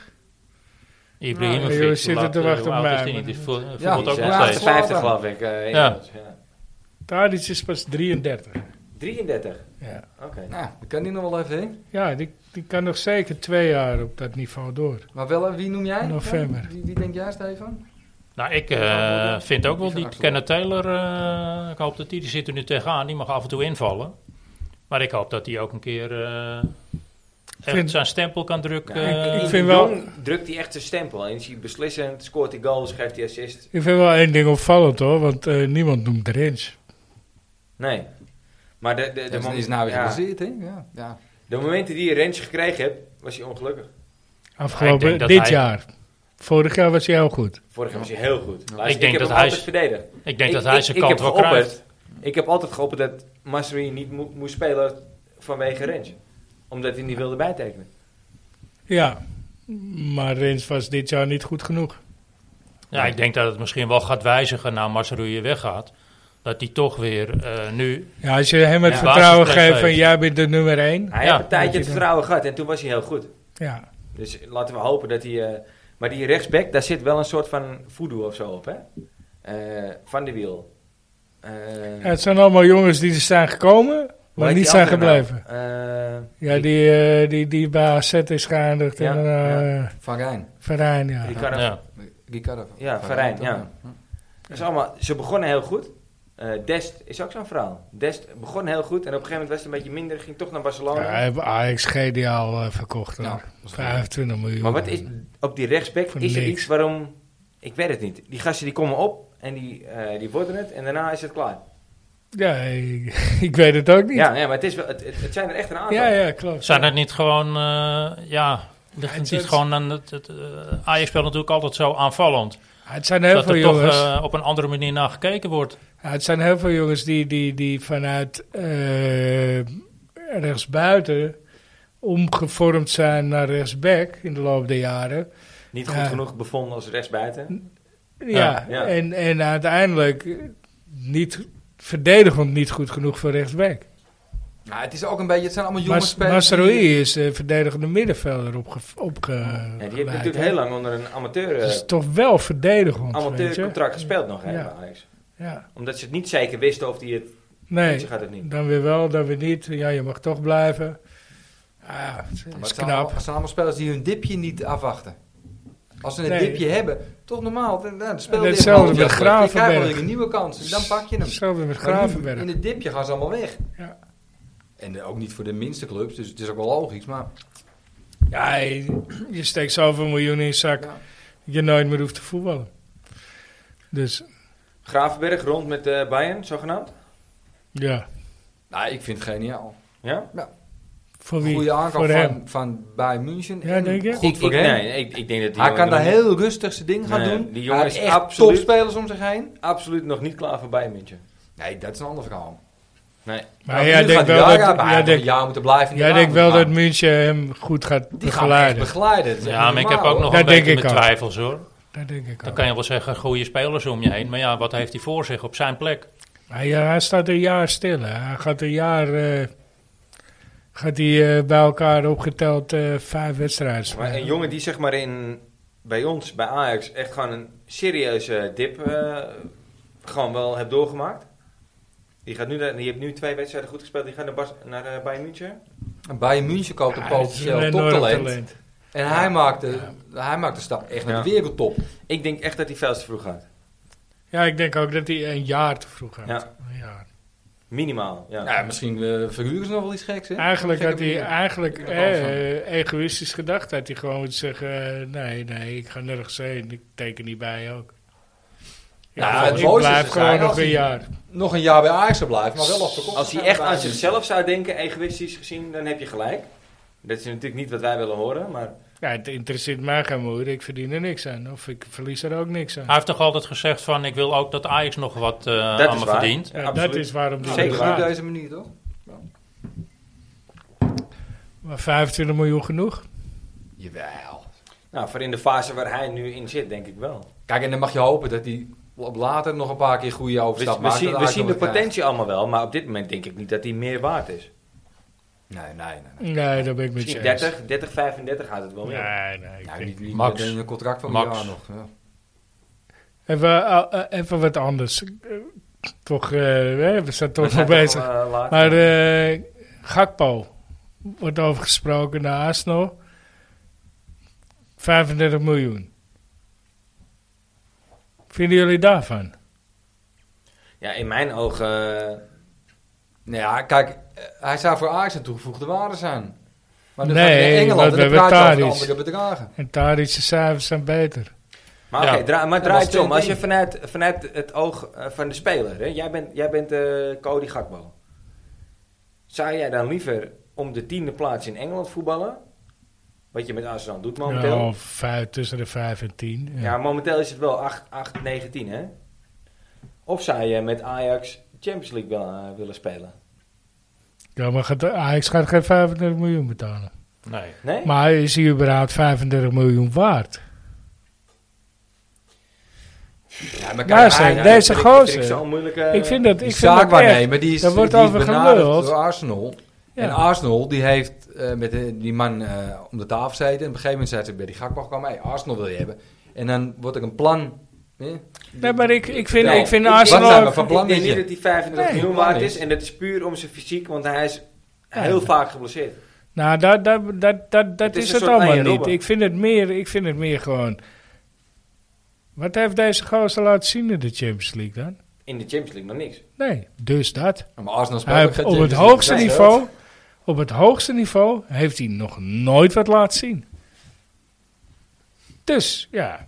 D: Ibrahimovic.
B: Ja, jullie zitten
D: hoe laat-
B: te wachten
D: hoe oud
B: op
D: is
B: mij,
D: die niet?
B: maar
D: Die
B: dat-
D: voelt-
C: Ja,
D: voelt
A: Die
D: ook
A: is
C: die
D: nog
C: zijn
D: steeds.
A: 58 geloof ik. eh,
D: Ja.
A: inmiddels, ja.
B: Tadic is pas 33.
A: 33.
B: Ja,
A: Oké.
C: Nou, dat kan die nog wel even heen.
B: ja die, die kan nog zeker twee jaar op dat niveau door.
C: Maar wel, eh, wie noem jij?
B: November.
C: Ja, Wie, wie denk jij, Stefan?
D: Nou, ik eh, vind ook wel
C: Die
D: die
C: van Axel.
D: Kenneth Taylor. eh, ik hoop dat die, die zit er nu tegenaan. Die mag af en toe invallen. Maar ik hoop dat die ook een keer eh, echt
B: Vind-
D: zijn stempel kan drukken.
B: Ja, ik-
D: eh.
B: ik
A: Die
B: vind-
A: Jong
B: wel-
A: drukt hij echt zijn stempel. En is hij beslissend, scoort hij goals, geeft hij assist.
B: Ik vind wel één ding opvallend hoor, want eh, niemand noemt Drens.
A: Nee. Maar de, de, de,
C: Dat
A: mom-
C: is nou weer
A: ja.
C: geblesseerd, hè? Ja. ja.
A: de momenten die je range gekregen hebt, was hij ongelukkig.
D: Ja,
B: Afgelopen,
D: ik denk dat
B: dit
D: hij-
B: jaar. Vorig jaar was hij heel goed.
A: Vorig jaar was hij heel goed. Luister,
D: Ik denk
A: heb
D: dat
A: hem
D: hij
A: altijd
D: is-
A: verdedigd.
D: ik denk dat hij zijn kant
A: heb
D: wel
A: geopperd-
D: krijgt.
A: Ik heb altijd geopperd dat Masri niet mo- moest spelen vanwege range. Omdat hij niet wilde bijtekenen.
B: Ja, maar Rens was dit jaar niet goed genoeg.
D: Ja, ik denk dat het misschien wel gaat wijzigen nou, na Masroeje weggaat. Dat die toch weer eh, nu...
B: Ja, als je hem het
A: Ja,
B: vertrouwen
D: basisplek
B: geeft van
D: geeft.
B: jij bent de nummer één.
A: Hij heeft
D: Ja,
A: een
B: moet je
A: tijdje het
B: doen.
A: vertrouwen gehad en toen was hij heel goed.
B: Ja,
A: Dus laten we hopen dat hij... eh, maar die rechtsback, daar zit wel een soort van voodoo of zo op, hè? Eh, van de wiel. Eh,
B: Ja, het zijn allemaal jongens die er zijn gekomen.
A: Hoe heet
B: niet
A: die
B: zijn
A: andere nou?
B: gebleven.
A: Eh,
B: Ja, die, eh, die, die bij AZ is geëindigd
A: Ja,
B: en eh
C: Van Rijn.
B: Verijn, ja.
A: die kan-
D: Ja.
C: Ricardo.
A: Ja, Van Rijn, ja. Dat is allemaal, ze begonnen heel goed. Eh, Dest is ook zo'n verhaal. Dest begon heel goed en op een gegeven moment was het een beetje minder. Ging toch naar Barcelona.
B: Ja, hij heeft Ajax geniaal eh, verkocht. hoor.
C: Ja,
B: 25 miljoen.
A: maar wat is op die rechtsback?
B: Voor
A: Is er
B: niks.
A: iets waarom... Ik weet het niet. Die gasten die komen op en die, eh, die worden het en daarna is het klaar.
B: Ja, ik, (laughs) ik weet het ook niet.
A: Ja, nee, maar het, is wel, het, het, het zijn er echt een aantal.
B: ja, ja, klopt.
D: Zijn het niet gewoon, eh, ja, ligt het
B: het-
D: niet gewoon aan het, het eh, Ajax speelt natuurlijk altijd zo aanvallend.
B: Het zijn heel
D: dat
B: veel
D: er toch
B: jongens.
D: eh, op een andere manier naar gekeken wordt.
B: Ja, het zijn heel veel jongens die, die, die vanuit eh, rechtsbuiten omgevormd zijn naar rechtsback in de loop der jaren.
A: Niet goed
B: Ja.
A: genoeg bevonden als rechtsbuiten.
B: Ja,
D: Ja,
A: ja.
B: En, en uiteindelijk niet, verdedigend niet goed genoeg voor rechtsback.
C: Nou, het is ook een beetje, het zijn allemaal jonge
B: Mas,
C: spelers.
B: Masraoui is eh, verdedigende middenvelder opge, opge,
A: Ja, die heeft
B: geleid,
A: natuurlijk
B: hè.
A: heel lang onder een amateur,
B: Het
A: eh,
B: is toch wel verdedigend, weet je.
A: amateurcontract gespeeld nog even,
B: Ja.
A: Ajax.
B: Ja.
A: Omdat ze het niet zeker wisten of die het
B: Nee,
A: ze gaat het niet.
B: Dan weer wel, dan weer niet. Ja, je mag toch blijven. Ja, het
C: Maar
B: is
C: het zijn allemaal,
B: knap.
C: het zijn allemaal spelers die hun dipje niet afwachten. Als ze een
B: Nee.
C: dipje hebben, toch normaal. Dan, dan speel
B: En
C: je
B: hetzelfde
C: helemaal
B: met
C: niet. Je krijgt wel
B: Gravenberg.
C: weer een nieuwe kans en dan pak je hem.
B: Hetzelfde met
C: Maar nu,
B: Gravenberg.
C: In het dipje gaan ze allemaal weg.
B: Ja.
C: En eh, ook niet voor de minste clubs, dus het is ook wel logisch. Maar
B: Ja, je, je steekt zoveel miljoen in je zak.
C: Ja.
B: Je nooit meer hoeft te voetballen. Dus
A: Gravenberg rond met eh Bayern, zogenaamd.
B: ja,
C: nou, ik vind het geniaal.
A: Ja?
B: voor wie?
C: Goede
B: voor
C: aankoop
B: hem.
C: van, van Bayern München.
B: Ja,
C: En
B: denk je?
C: Goed voor
A: ik,
C: hem.
A: Nee, ik, ik denk dat die
C: Hij kan
A: jongen
C: daar
A: nog
C: heel rustig zijn ding gaan
A: Nee,
C: doen.
A: die jongen
C: Hij heeft
A: is
C: echt
A: absoluut-
C: topspelers om zich heen.
A: niet- absoluut nog niet klaar voor Bayern München.
C: Nee, dat is een ander verhaal.
A: Nee.
B: Maar jij
C: nu gaat
B: denkt
C: hij
B: wel
C: daar
B: dat,
C: aan, maar
B: jij
C: hij heeft nog
B: denkt,
C: een jaar moeten blijven. in die
B: jij denkt
C: baan.
B: wel dat
C: Maar
B: München hem goed gaat
C: Die gaan hem echt
B: begeleiden.
C: begeleiden. Dat is echt
D: Ja, maar ik heb
C: normaal,
D: ook nog
B: Ja,
D: een
B: denk
D: beetje
B: ik
D: mijn
B: ook.
D: twijfels hoor.
B: Dat denk ik
D: Dan
B: ook.
D: kan je wel zeggen, goede spelers om je heen. Maar ja, wat heeft hij voor zich op zijn plek?
B: Maar ja, hij staat een jaar stil. hè. Hij gaat een jaar... eh, gaat hij eh, bij elkaar opgeteld eh, vijf wedstrijden
A: Maar
B: spelen.
A: een jongen die zeg maar in, bij ons, bij Ajax, echt gewoon een serieuze dip eh, gewoon wel heeft doorgemaakt. Die, gaat nu, naar- die heeft nu twee wedstrijden goed gespeeld. Die gaat naar, Bas, naar eh, Bayern München.
C: hoor. Bayern München koopt een
B: Ja, het is een
C: potentieel
B: enorm
C: toptalent. En hij maakt, de, hij maakt de stap echt naar de
A: Ja.
C: wereldtop.
A: Ik denk echt dat hij veel te vroeg gaat.
B: Ja, ik denk ook dat hij een jaar te vroeg had.
A: Ja.
B: Een jaar.
A: Minimaal, ja.
C: Ja, misschien eh, verhuren ze nog wel iets geks, hè?
B: Eigenlijk
C: Gekke
B: had hij
C: manier.
B: eigenlijk
C: Ik ben er bang van.
B: eh, egoïstisch gedacht. Dat hij gewoon moet zeggen, eh, nee, nee, ik ga nergens heen. Ik teken niet bij ook.
C: Nou,
B: Ja,
C: het
B: ik
C: mooiste
B: blijf
C: is,
B: gewoon
C: hij-
B: nog
C: als
B: een
C: hij-
B: jaar.
C: Nog een jaar bij Ajax zou blijven, maar wel op de kosten.
A: Als hij echt aan zichzelf zou denken, egoïstisch gezien, dan heb je gelijk. Dat is natuurlijk niet wat wij willen horen, maar...
B: Ja, het interesseert mij geen moeder. Ik verdien er niks aan. Of ik verlies er ook niks aan.
D: Hij heeft toch altijd gezegd van, ik wil ook dat Ajax nog wat eh
A: Dat
D: aan
A: is
D: me
A: waar.
D: verdient.
B: Ja,
A: absoluut.
B: dat is waarom die
A: Zeker
B: er
A: waar.
C: op
B: gaat.
C: deze manier, toch?
B: Maar 25 miljoen genoeg?
C: Jawel.
A: Nou, voor in de fase waar hij nu in zit, denk ik wel.
C: Kijk, en dan mag je hopen dat hij op later nog een paar keer goede
A: We,
C: overstap
A: we
C: maakt.
A: zien,
C: dat
A: we
C: Ajax
A: zien de
C: nog wat
A: potentie allemaal wel, maar op dit moment denk ik niet dat hij meer waard is.
C: krijgt. Nee, nee, nee. nee.
B: Nee, daar ben ik met je
A: Misschien
B: eens.
A: 30, 30, 35 gaat het wel meer.
B: Nee, nee. ik
C: Nou,
B: denk-
C: niet, niet
D: Max.
C: met een contract van
D: Max.
C: Max. nog. Ja.
B: Even, eh, eh, even wat anders. Eh, Toch, eh, hè, we zijn (laughs) toch nog bezig. Maar eh Gakpo wordt over gesproken naar Arsenal. 35 miljoen. Vinden jullie daarvan?
A: ja, in mijn ogen. eh,
C: Nou ja, kijk, eh, hij zou voor Ajax een toegevoegde waarde zijn. Maar dan
B: Nee,
C: gaat hij naar
B: want
C: Engeland
B: we
C: en dan
B: hebben
C: praat je over
B: Tadic.
C: andere bedragen.
B: En Tadic's cijfers zijn beter.
A: maar
D: Ja.
A: oké, dra- maar
C: was
A: draai het om.
C: twee
A: Als je
C: dingen.
A: vanuit, vanuit het oog eh, van de speler, hè? jij bent, jij bent eh, Cody Gakbo. Zou jij dan liever om de tiende plaats in Engeland voetballen? Wat je met Arsenal doet momenteel.
B: Nou, vijf, tussen de 5 en 10. Ja.
A: Ja, momenteel is het wel 8, 8 9, 10, hè? Of zou je met Ajax Champions League willen, eh, willen spelen?
B: Ja, maar gaat, Ajax gaat geen 35 miljoen betalen.
D: Nee.
A: Nee?
B: Maar is hij überhaupt 35 miljoen waard?
C: Ja, maar
B: Luister,
C: hij-
A: Ja,
B: deze
A: dat vind ik- dat
B: gozer.
A: vind ik zo'n moeilijke...
B: ik vind dat,
C: die
B: ik vind dat echt,
C: zaakwaarnemer, die is,
B: daar wordt
C: die is
B: over
C: benaderd
B: geluld.
C: door Arsenal.
B: Ja.
C: En Arsenal, die heeft eh, met de- die man eh, om de tafel gezeten. En op een gegeven moment zei ze bij die Gakpo kwam, hey, Arsenal wil je hebben. En dan wordt er een plan Nee?
B: Nee, maar ik, ik vind,
A: Nee,
B: ik vind
A: Nou, ik- ik-
C: Wat zijn
B: Arsenal...
C: we
B: ook-
C: van plan
A: ik denk
C: met
A: niet
C: je?
A: dat hij 35
B: Nee,
A: miljoen
C: plan
A: waard is.
C: is.
A: En dat is puur om zijn fysiek, want hij is
B: Ja.
A: heel vaak geblesseerd.
B: Nou, dat, dat, dat, dat, dat
A: Het is
B: is,
A: een
B: het
A: soort
B: allemaal
A: Arjen
B: niet.
A: Robben.
B: Ik vind, het meer, ik vind het meer gewoon... Wat heeft deze gozer laten zien in de Champions League dan?
A: In de Champions League nog niks.
B: Nee, dus dat.
C: Maar Arsenal speelt
B: Hij
C: ook
B: heeft
C: geen
B: op het
C: Champions
B: hoogste
C: League.
A: Nee, dat.
B: niveau, op het hoogste niveau heeft hij nog nooit wat laten zien. Dus ja,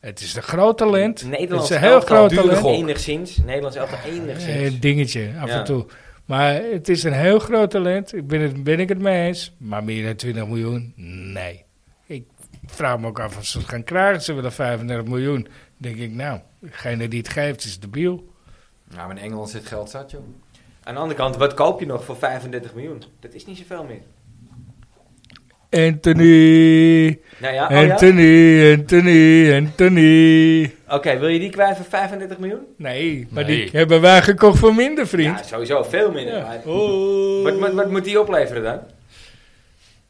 B: het is een groot talent.
A: Nederlands
B: het is een heel
A: elftal
B: groot
C: duurde
B: talent.
C: gok.
A: Enigszins. Nederlands elftal
B: Eh,
A: enigszins.
B: Een dingetje af
A: Ja.
B: en toe. Maar het is een heel groot talent. Ik ben, het, ben ik het mee eens. Maar meer dan 20 miljoen? Nee. Ik vraag me ook af of ze het gaan krijgen. Ze willen 35 miljoen. Dan denk ik, nou, degene die het geeft is debiel.
C: Ja, maar in Engeland zit geld zat, joh.
A: Aan de andere kant, wat koop je nog voor 35 miljoen? Dat is niet zoveel meer.
B: Anthony,
A: Nou ja, oh ja? oké,
B: Anthony, Anthony, Anthony.
A: wil je die kwijt voor 35 miljoen?
B: Nee, maar
D: Nee.
B: die hebben wij gekocht voor minder, vriend.
A: Ja, sowieso veel minder.
B: Ja.
A: maar-
B: Oh.
A: Wat, wat, wat moet die opleveren dan?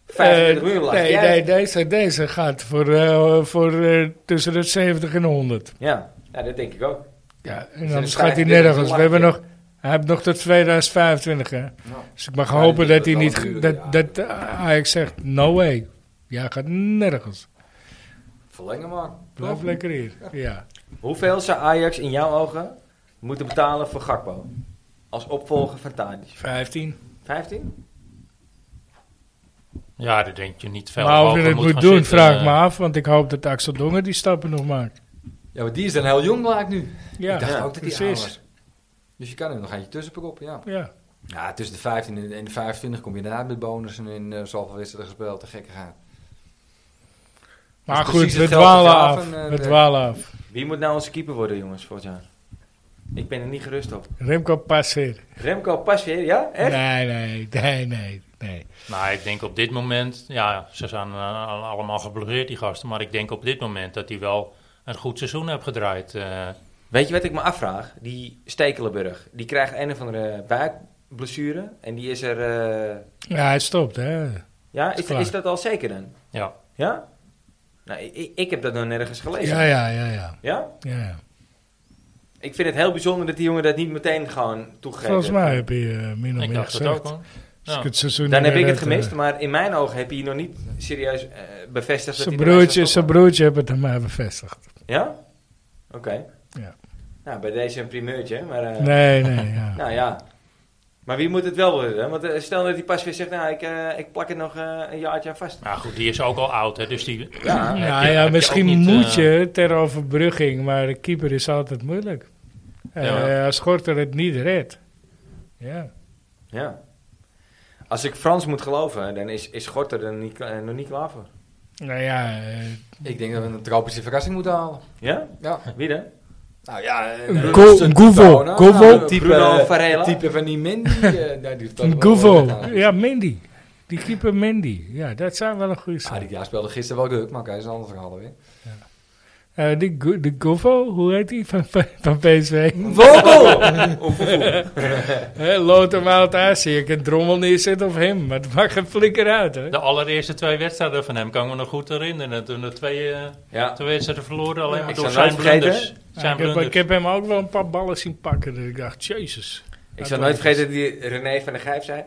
A: 35
B: Eh,
A: miljoen laat
B: nee,
A: jij-
B: nee, deze, deze gaat voor, eh, voor eh, tussen de 70 en de 100.
A: Ja, ja, dat denk ik ook.
B: Ja, en
A: Dus
B: dan
A: dat is
B: gaat hij
A: eigenlijk- dit is
B: nergens.
A: een
B: We hebben nog,
A: lakje.
B: hij heeft nog tot 2025, hè. Dus ik mag
C: Ja,
B: hopen
C: die
B: dat hij
C: wordt
B: niet...
C: wel
B: ge-
C: een
B: Dat,
C: duur, ja.
B: dat eh, Ajax zegt, no way. Jij gaat nergens.
C: Verlengen maar.
B: Blijf lekker hier. Ja.
A: Hoeveel zou Ajax in jouw ogen moeten betalen voor Gakpo? Als opvolger van Tadic.
B: 15.
A: 15?
D: Ja, daar denk je niet veel
B: maar Nou, of
D: over
B: je het
D: moet
B: moet
D: gaan
B: doen,
D: zitten. eh,
B: vraag ik me af. Want ik hoop dat Axel Dongen die stappen nog maakt.
C: Ja, maar die is dan heel jong, blijkt nu.
B: Ja,
C: ik dacht
A: ja,
C: ook dat die oud
B: precies.
C: was. Dus je kan er nog eentje tussen proppen, ja.
B: Ja.
C: Ja, tussen de 15 en- en de 25 kom je daarna met bonussen in eh zoveel wedstrijden gespeeld. Te gekke gaan.
B: Maar
C: Dat is precies
B: goed, we
C: hetzelfde
B: dwalen
C: verhaal
B: af.
C: van, eh,
B: We
C: de-
B: dwalen af.
A: Wie moet nou onze keeper worden, jongens, volgend jaar? Ik ben er niet gerust op.
B: Remco Passer.
A: Remco Pasveer, ja? Echt?
B: Nee, nee, nee, nee, nee.
D: Nou, ik denk op dit moment, ja, ze zijn eh, al- allemaal geblesseerd die gasten, maar ik denk op dit moment dat hij wel een goed seizoen heeft gedraaid. eh.
A: Weet je wat ik me afvraag? Die Stekelenburg, die krijgt een of andere buikblessure. En die is er... eh,
B: Ja, hij stopt, hè.
A: ja,
B: Is
A: is,
B: klaar.
A: is dat al zeker dan?
D: ja,
A: Ja? Nou, ik, ik heb dat nog nergens gelezen.
B: Ja, ja, ja, ja.
A: Ja?
B: ja, ja.
A: Ik vind het heel bijzonder dat die jongen dat niet meteen gewoon toegeeft.
B: Volgens mij heb je eh, min of
D: ik
B: meer
D: dacht het ook
B: gezegd.
D: hoor.
B: Als
D: Ja.
B: ik het seizoen
A: Dan
B: niet
A: heb ik
B: meer
A: het
B: uit, eh,
A: gemist, maar in mijn ogen heb je hier nog niet serieus eh, bevestigd. dat
B: Zijn
A: hij erbij zou
B: broertje, zijn
A: stoppen.
B: broertje heeft het aan mij bevestigd.
A: Ja? Oké.
B: Ja.
A: Nou, bij deze een primeurtje, maar... eh,
B: Nee, nee, ja.
A: Nou ja. Maar wie moet het wel worden? hè? Want eh, stel dat die pas weer zegt, nou, ik, eh, ik plak het nog eh, een jaartje aan vast.
D: Maar goed, die is ook al oud, hè, dus die...
A: Ja.
D: heb je-
B: Nou
D: heb je
B: ja,
D: ook
B: misschien
D: niet, eh,
B: moet je ter overbrugging, maar de keeper is altijd moeilijk. Eh,
D: Ja.
B: Als Gorter het niet redt. Ja.
A: Ja. Als ik Frans moet geloven, dan is, is Gorter er niet, eh, nog niet klaar voor.
B: Nou ja, eh,
C: Ik denk dat we een tropische verrassing moeten halen.
A: Ja?
C: Ja.
A: Wie dan?
C: Nou ja, eh,
B: Een
C: eh,
B: go-
C: zo'n
B: een Goevo.
C: Corona,
B: Goevo.
C: nou, een type,
A: Bruno
C: eh,
A: Varela.
C: een type van die Mindy. eh, nou, die heeft dat wel
B: Goevo.
C: gedaan.
B: Ja, Mindy. Die keeper Mindy. Ja, dat zijn wel een goede
C: Ah,
B: zaak.
C: die ja, speelde gisteren wel leuk, maar oké, dat is een ander verhaal weer.
B: Eh, die, Go- die Goevo, hoe heet die van, van- van PSV?
C: Vogel!
B: Hè, Lood hem uit Azië. Ik kan drommel neerzetten of hem, maar het maakt geen flikker uit. Hè?
D: De allereerste twee wedstrijden van hem kan ik me nog goed herinneren. Toen de twee, eh,
A: Ja.
D: twee wedstrijden verloren, alleen maar
A: Ik
D: door
A: zou
D: zijn
A: nooit vergeten,
D: blunders.
B: Ja,
D: Zijn
B: Ah, ik, heb, ik
D: blunders.
B: heb hem ook wel een paar ballen zien pakken. Dat ik dacht, jezus.
A: Ik zal nooit vergeten dat die René van der Gijp zei...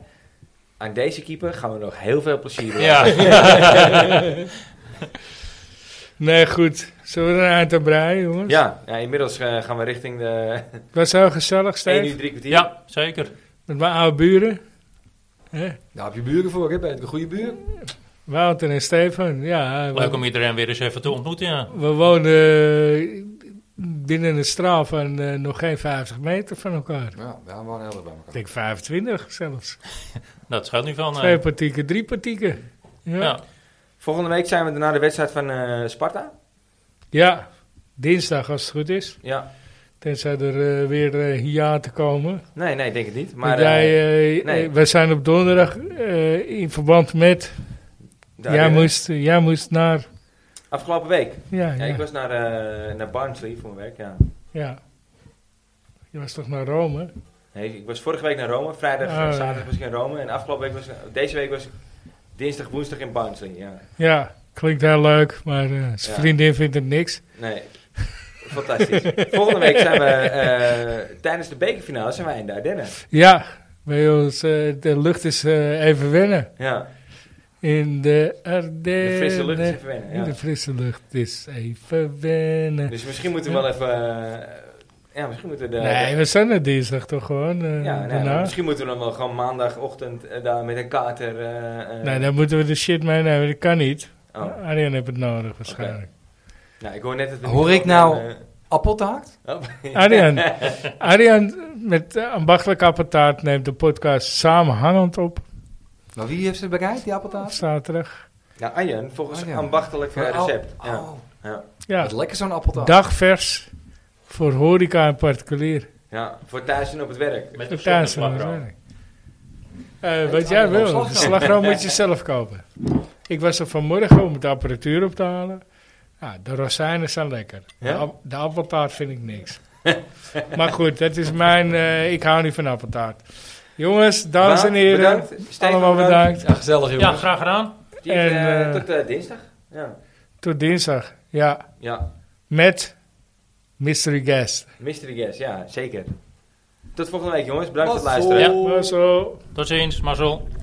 A: Aan deze keeper gaan we nog heel veel plezier doen.
D: (laughs) Ja,
B: Nee, goed. Zullen we er aan te breien, jongens?
A: Ja, ja, inmiddels eh, gaan we richting de
B: Het was heel gezellig,
A: (laughs) 1
B: Steve.
A: uur 3 kwartier.
D: ja, zeker.
B: Met mijn oude buren. Hè?
C: Daar heb je buren voor, hè? Ben je een goede buur?
B: Wouter en Stefan. Ja, we,
D: Leuk om iedereen weer eens even te ontmoeten, ja.
B: we wonen binnen een straal van eh, nog geen 50 meter van elkaar.
C: Ja, we waren heel erg bij
B: Ik
C: elkaar.
B: denk 25 zelfs.
D: Dat gaat nu van. eh,
B: Twee partieken, drie partieken. Ja.
D: ja.
B: Ja.
A: Volgende week zijn we naar de wedstrijd van eh, Sparta.
B: dinsdag als het goed is.
A: Ja.
B: Tenzij er eh, weer eh, hiaten komen.
A: Nee, nee, ik denk het niet. Maar
B: Want jij,
A: eh,
B: eh, eh,
A: nee.
B: Wij zijn op donderdag eh, in verband met.
A: daar,
B: jij,
A: eh,
B: moest, jij moest naar.
A: Afgelopen week. Ja,
B: Ja, ja,
A: ik was naar, eh, naar Barnsley voor mijn werk, ja.
B: ja. Je was toch naar Rome?
A: Nee, ik was vorige week naar Rome. Vrijdag en
B: Oh, ja.
A: zaterdag was ik in Rome. En afgelopen week was ik- Deze week was ik dinsdag, woensdag in Barnsley, ja.
B: Ja, klinkt heel leuk, maar eh, zijn
A: Ja.
B: (laughs) vriendin vindt het niks.
A: Nee. Fantastisch. Volgende week zijn we eh, tijdens de bekerfinale zijn wij in de Ardennen.
B: Ja, bij ons, eh, de lucht is eh, even wennen.
A: Ja,
B: In de Ardennen.
A: de frisse lucht is even wennen. Ja.
B: De frisse lucht is even wennen.
A: Dus misschien moeten we wel even. eh, ja, misschien moeten we de.
B: nee, we zijn er dinsdag toch gewoon? eh,
A: ja, nee,
B: daarna?
A: misschien moeten we dan wel gewoon maandagochtend eh, daar met een kater. eh, eh,
B: nee, dan moeten we de shit meenemen. Dat kan niet.
A: oh.
B: Arjen heeft het nodig waarschijnlijk.
A: nou, ik hoor net dat. de
C: Hoor ik
A: microfoon,
C: nou-
A: eh,
C: Appel te haakt?
A: oh. (laughs)
B: Arjan, Arjan met eh, ambachtelijk appetaat neemt de podcast samenhangend op.
C: Nou, wie heeft ze bereid, die appeltaart?
B: Zaterdag.
A: nou, Arjen, volgens
C: Arjen.
A: ambachtelijk eh, recept.
C: Oh,
A: Ja.
C: oh,
A: Ja.
B: Ja,
C: wat lekker zo'n appeltaart.
B: dagvers voor horeca en particulier.
A: ja, voor thuis en op het werk.
D: Met een
B: Ook thuis aan het
D: zonneplak erop.
B: werk. Eh, wat jij
C: allemaal
B: wil. De
C: slagroom.
B: slagroom moet je zelf kopen. Ik was er vanmorgen om de apparatuur op te halen. Ja, de rozijnen zijn lekker.
A: Ja?
B: De, ap- de appeltaart vind ik niks. (laughs) maar goed, dat is mijn... eh, ik hou niet van appeltaart. Jongens, dames en
A: Maar,
B: heren.
A: Bedankt. Stefan,
B: allemaal bedankt.
C: Ja, gezellig jongens.
D: Ja, graag gedaan.
A: Steve,
B: En,
A: eh,
B: eh,
A: tot eh, dinsdag. Ja.
B: Tot dinsdag. Ja,
A: ja,
B: met mystery guest.
A: mystery guest, ja, zeker. Tot volgende week jongens, bedankt voor het
C: Mazzel.
A: luisteren.
D: Ja.
B: Maar zo...
D: Tot ziens, Marcel.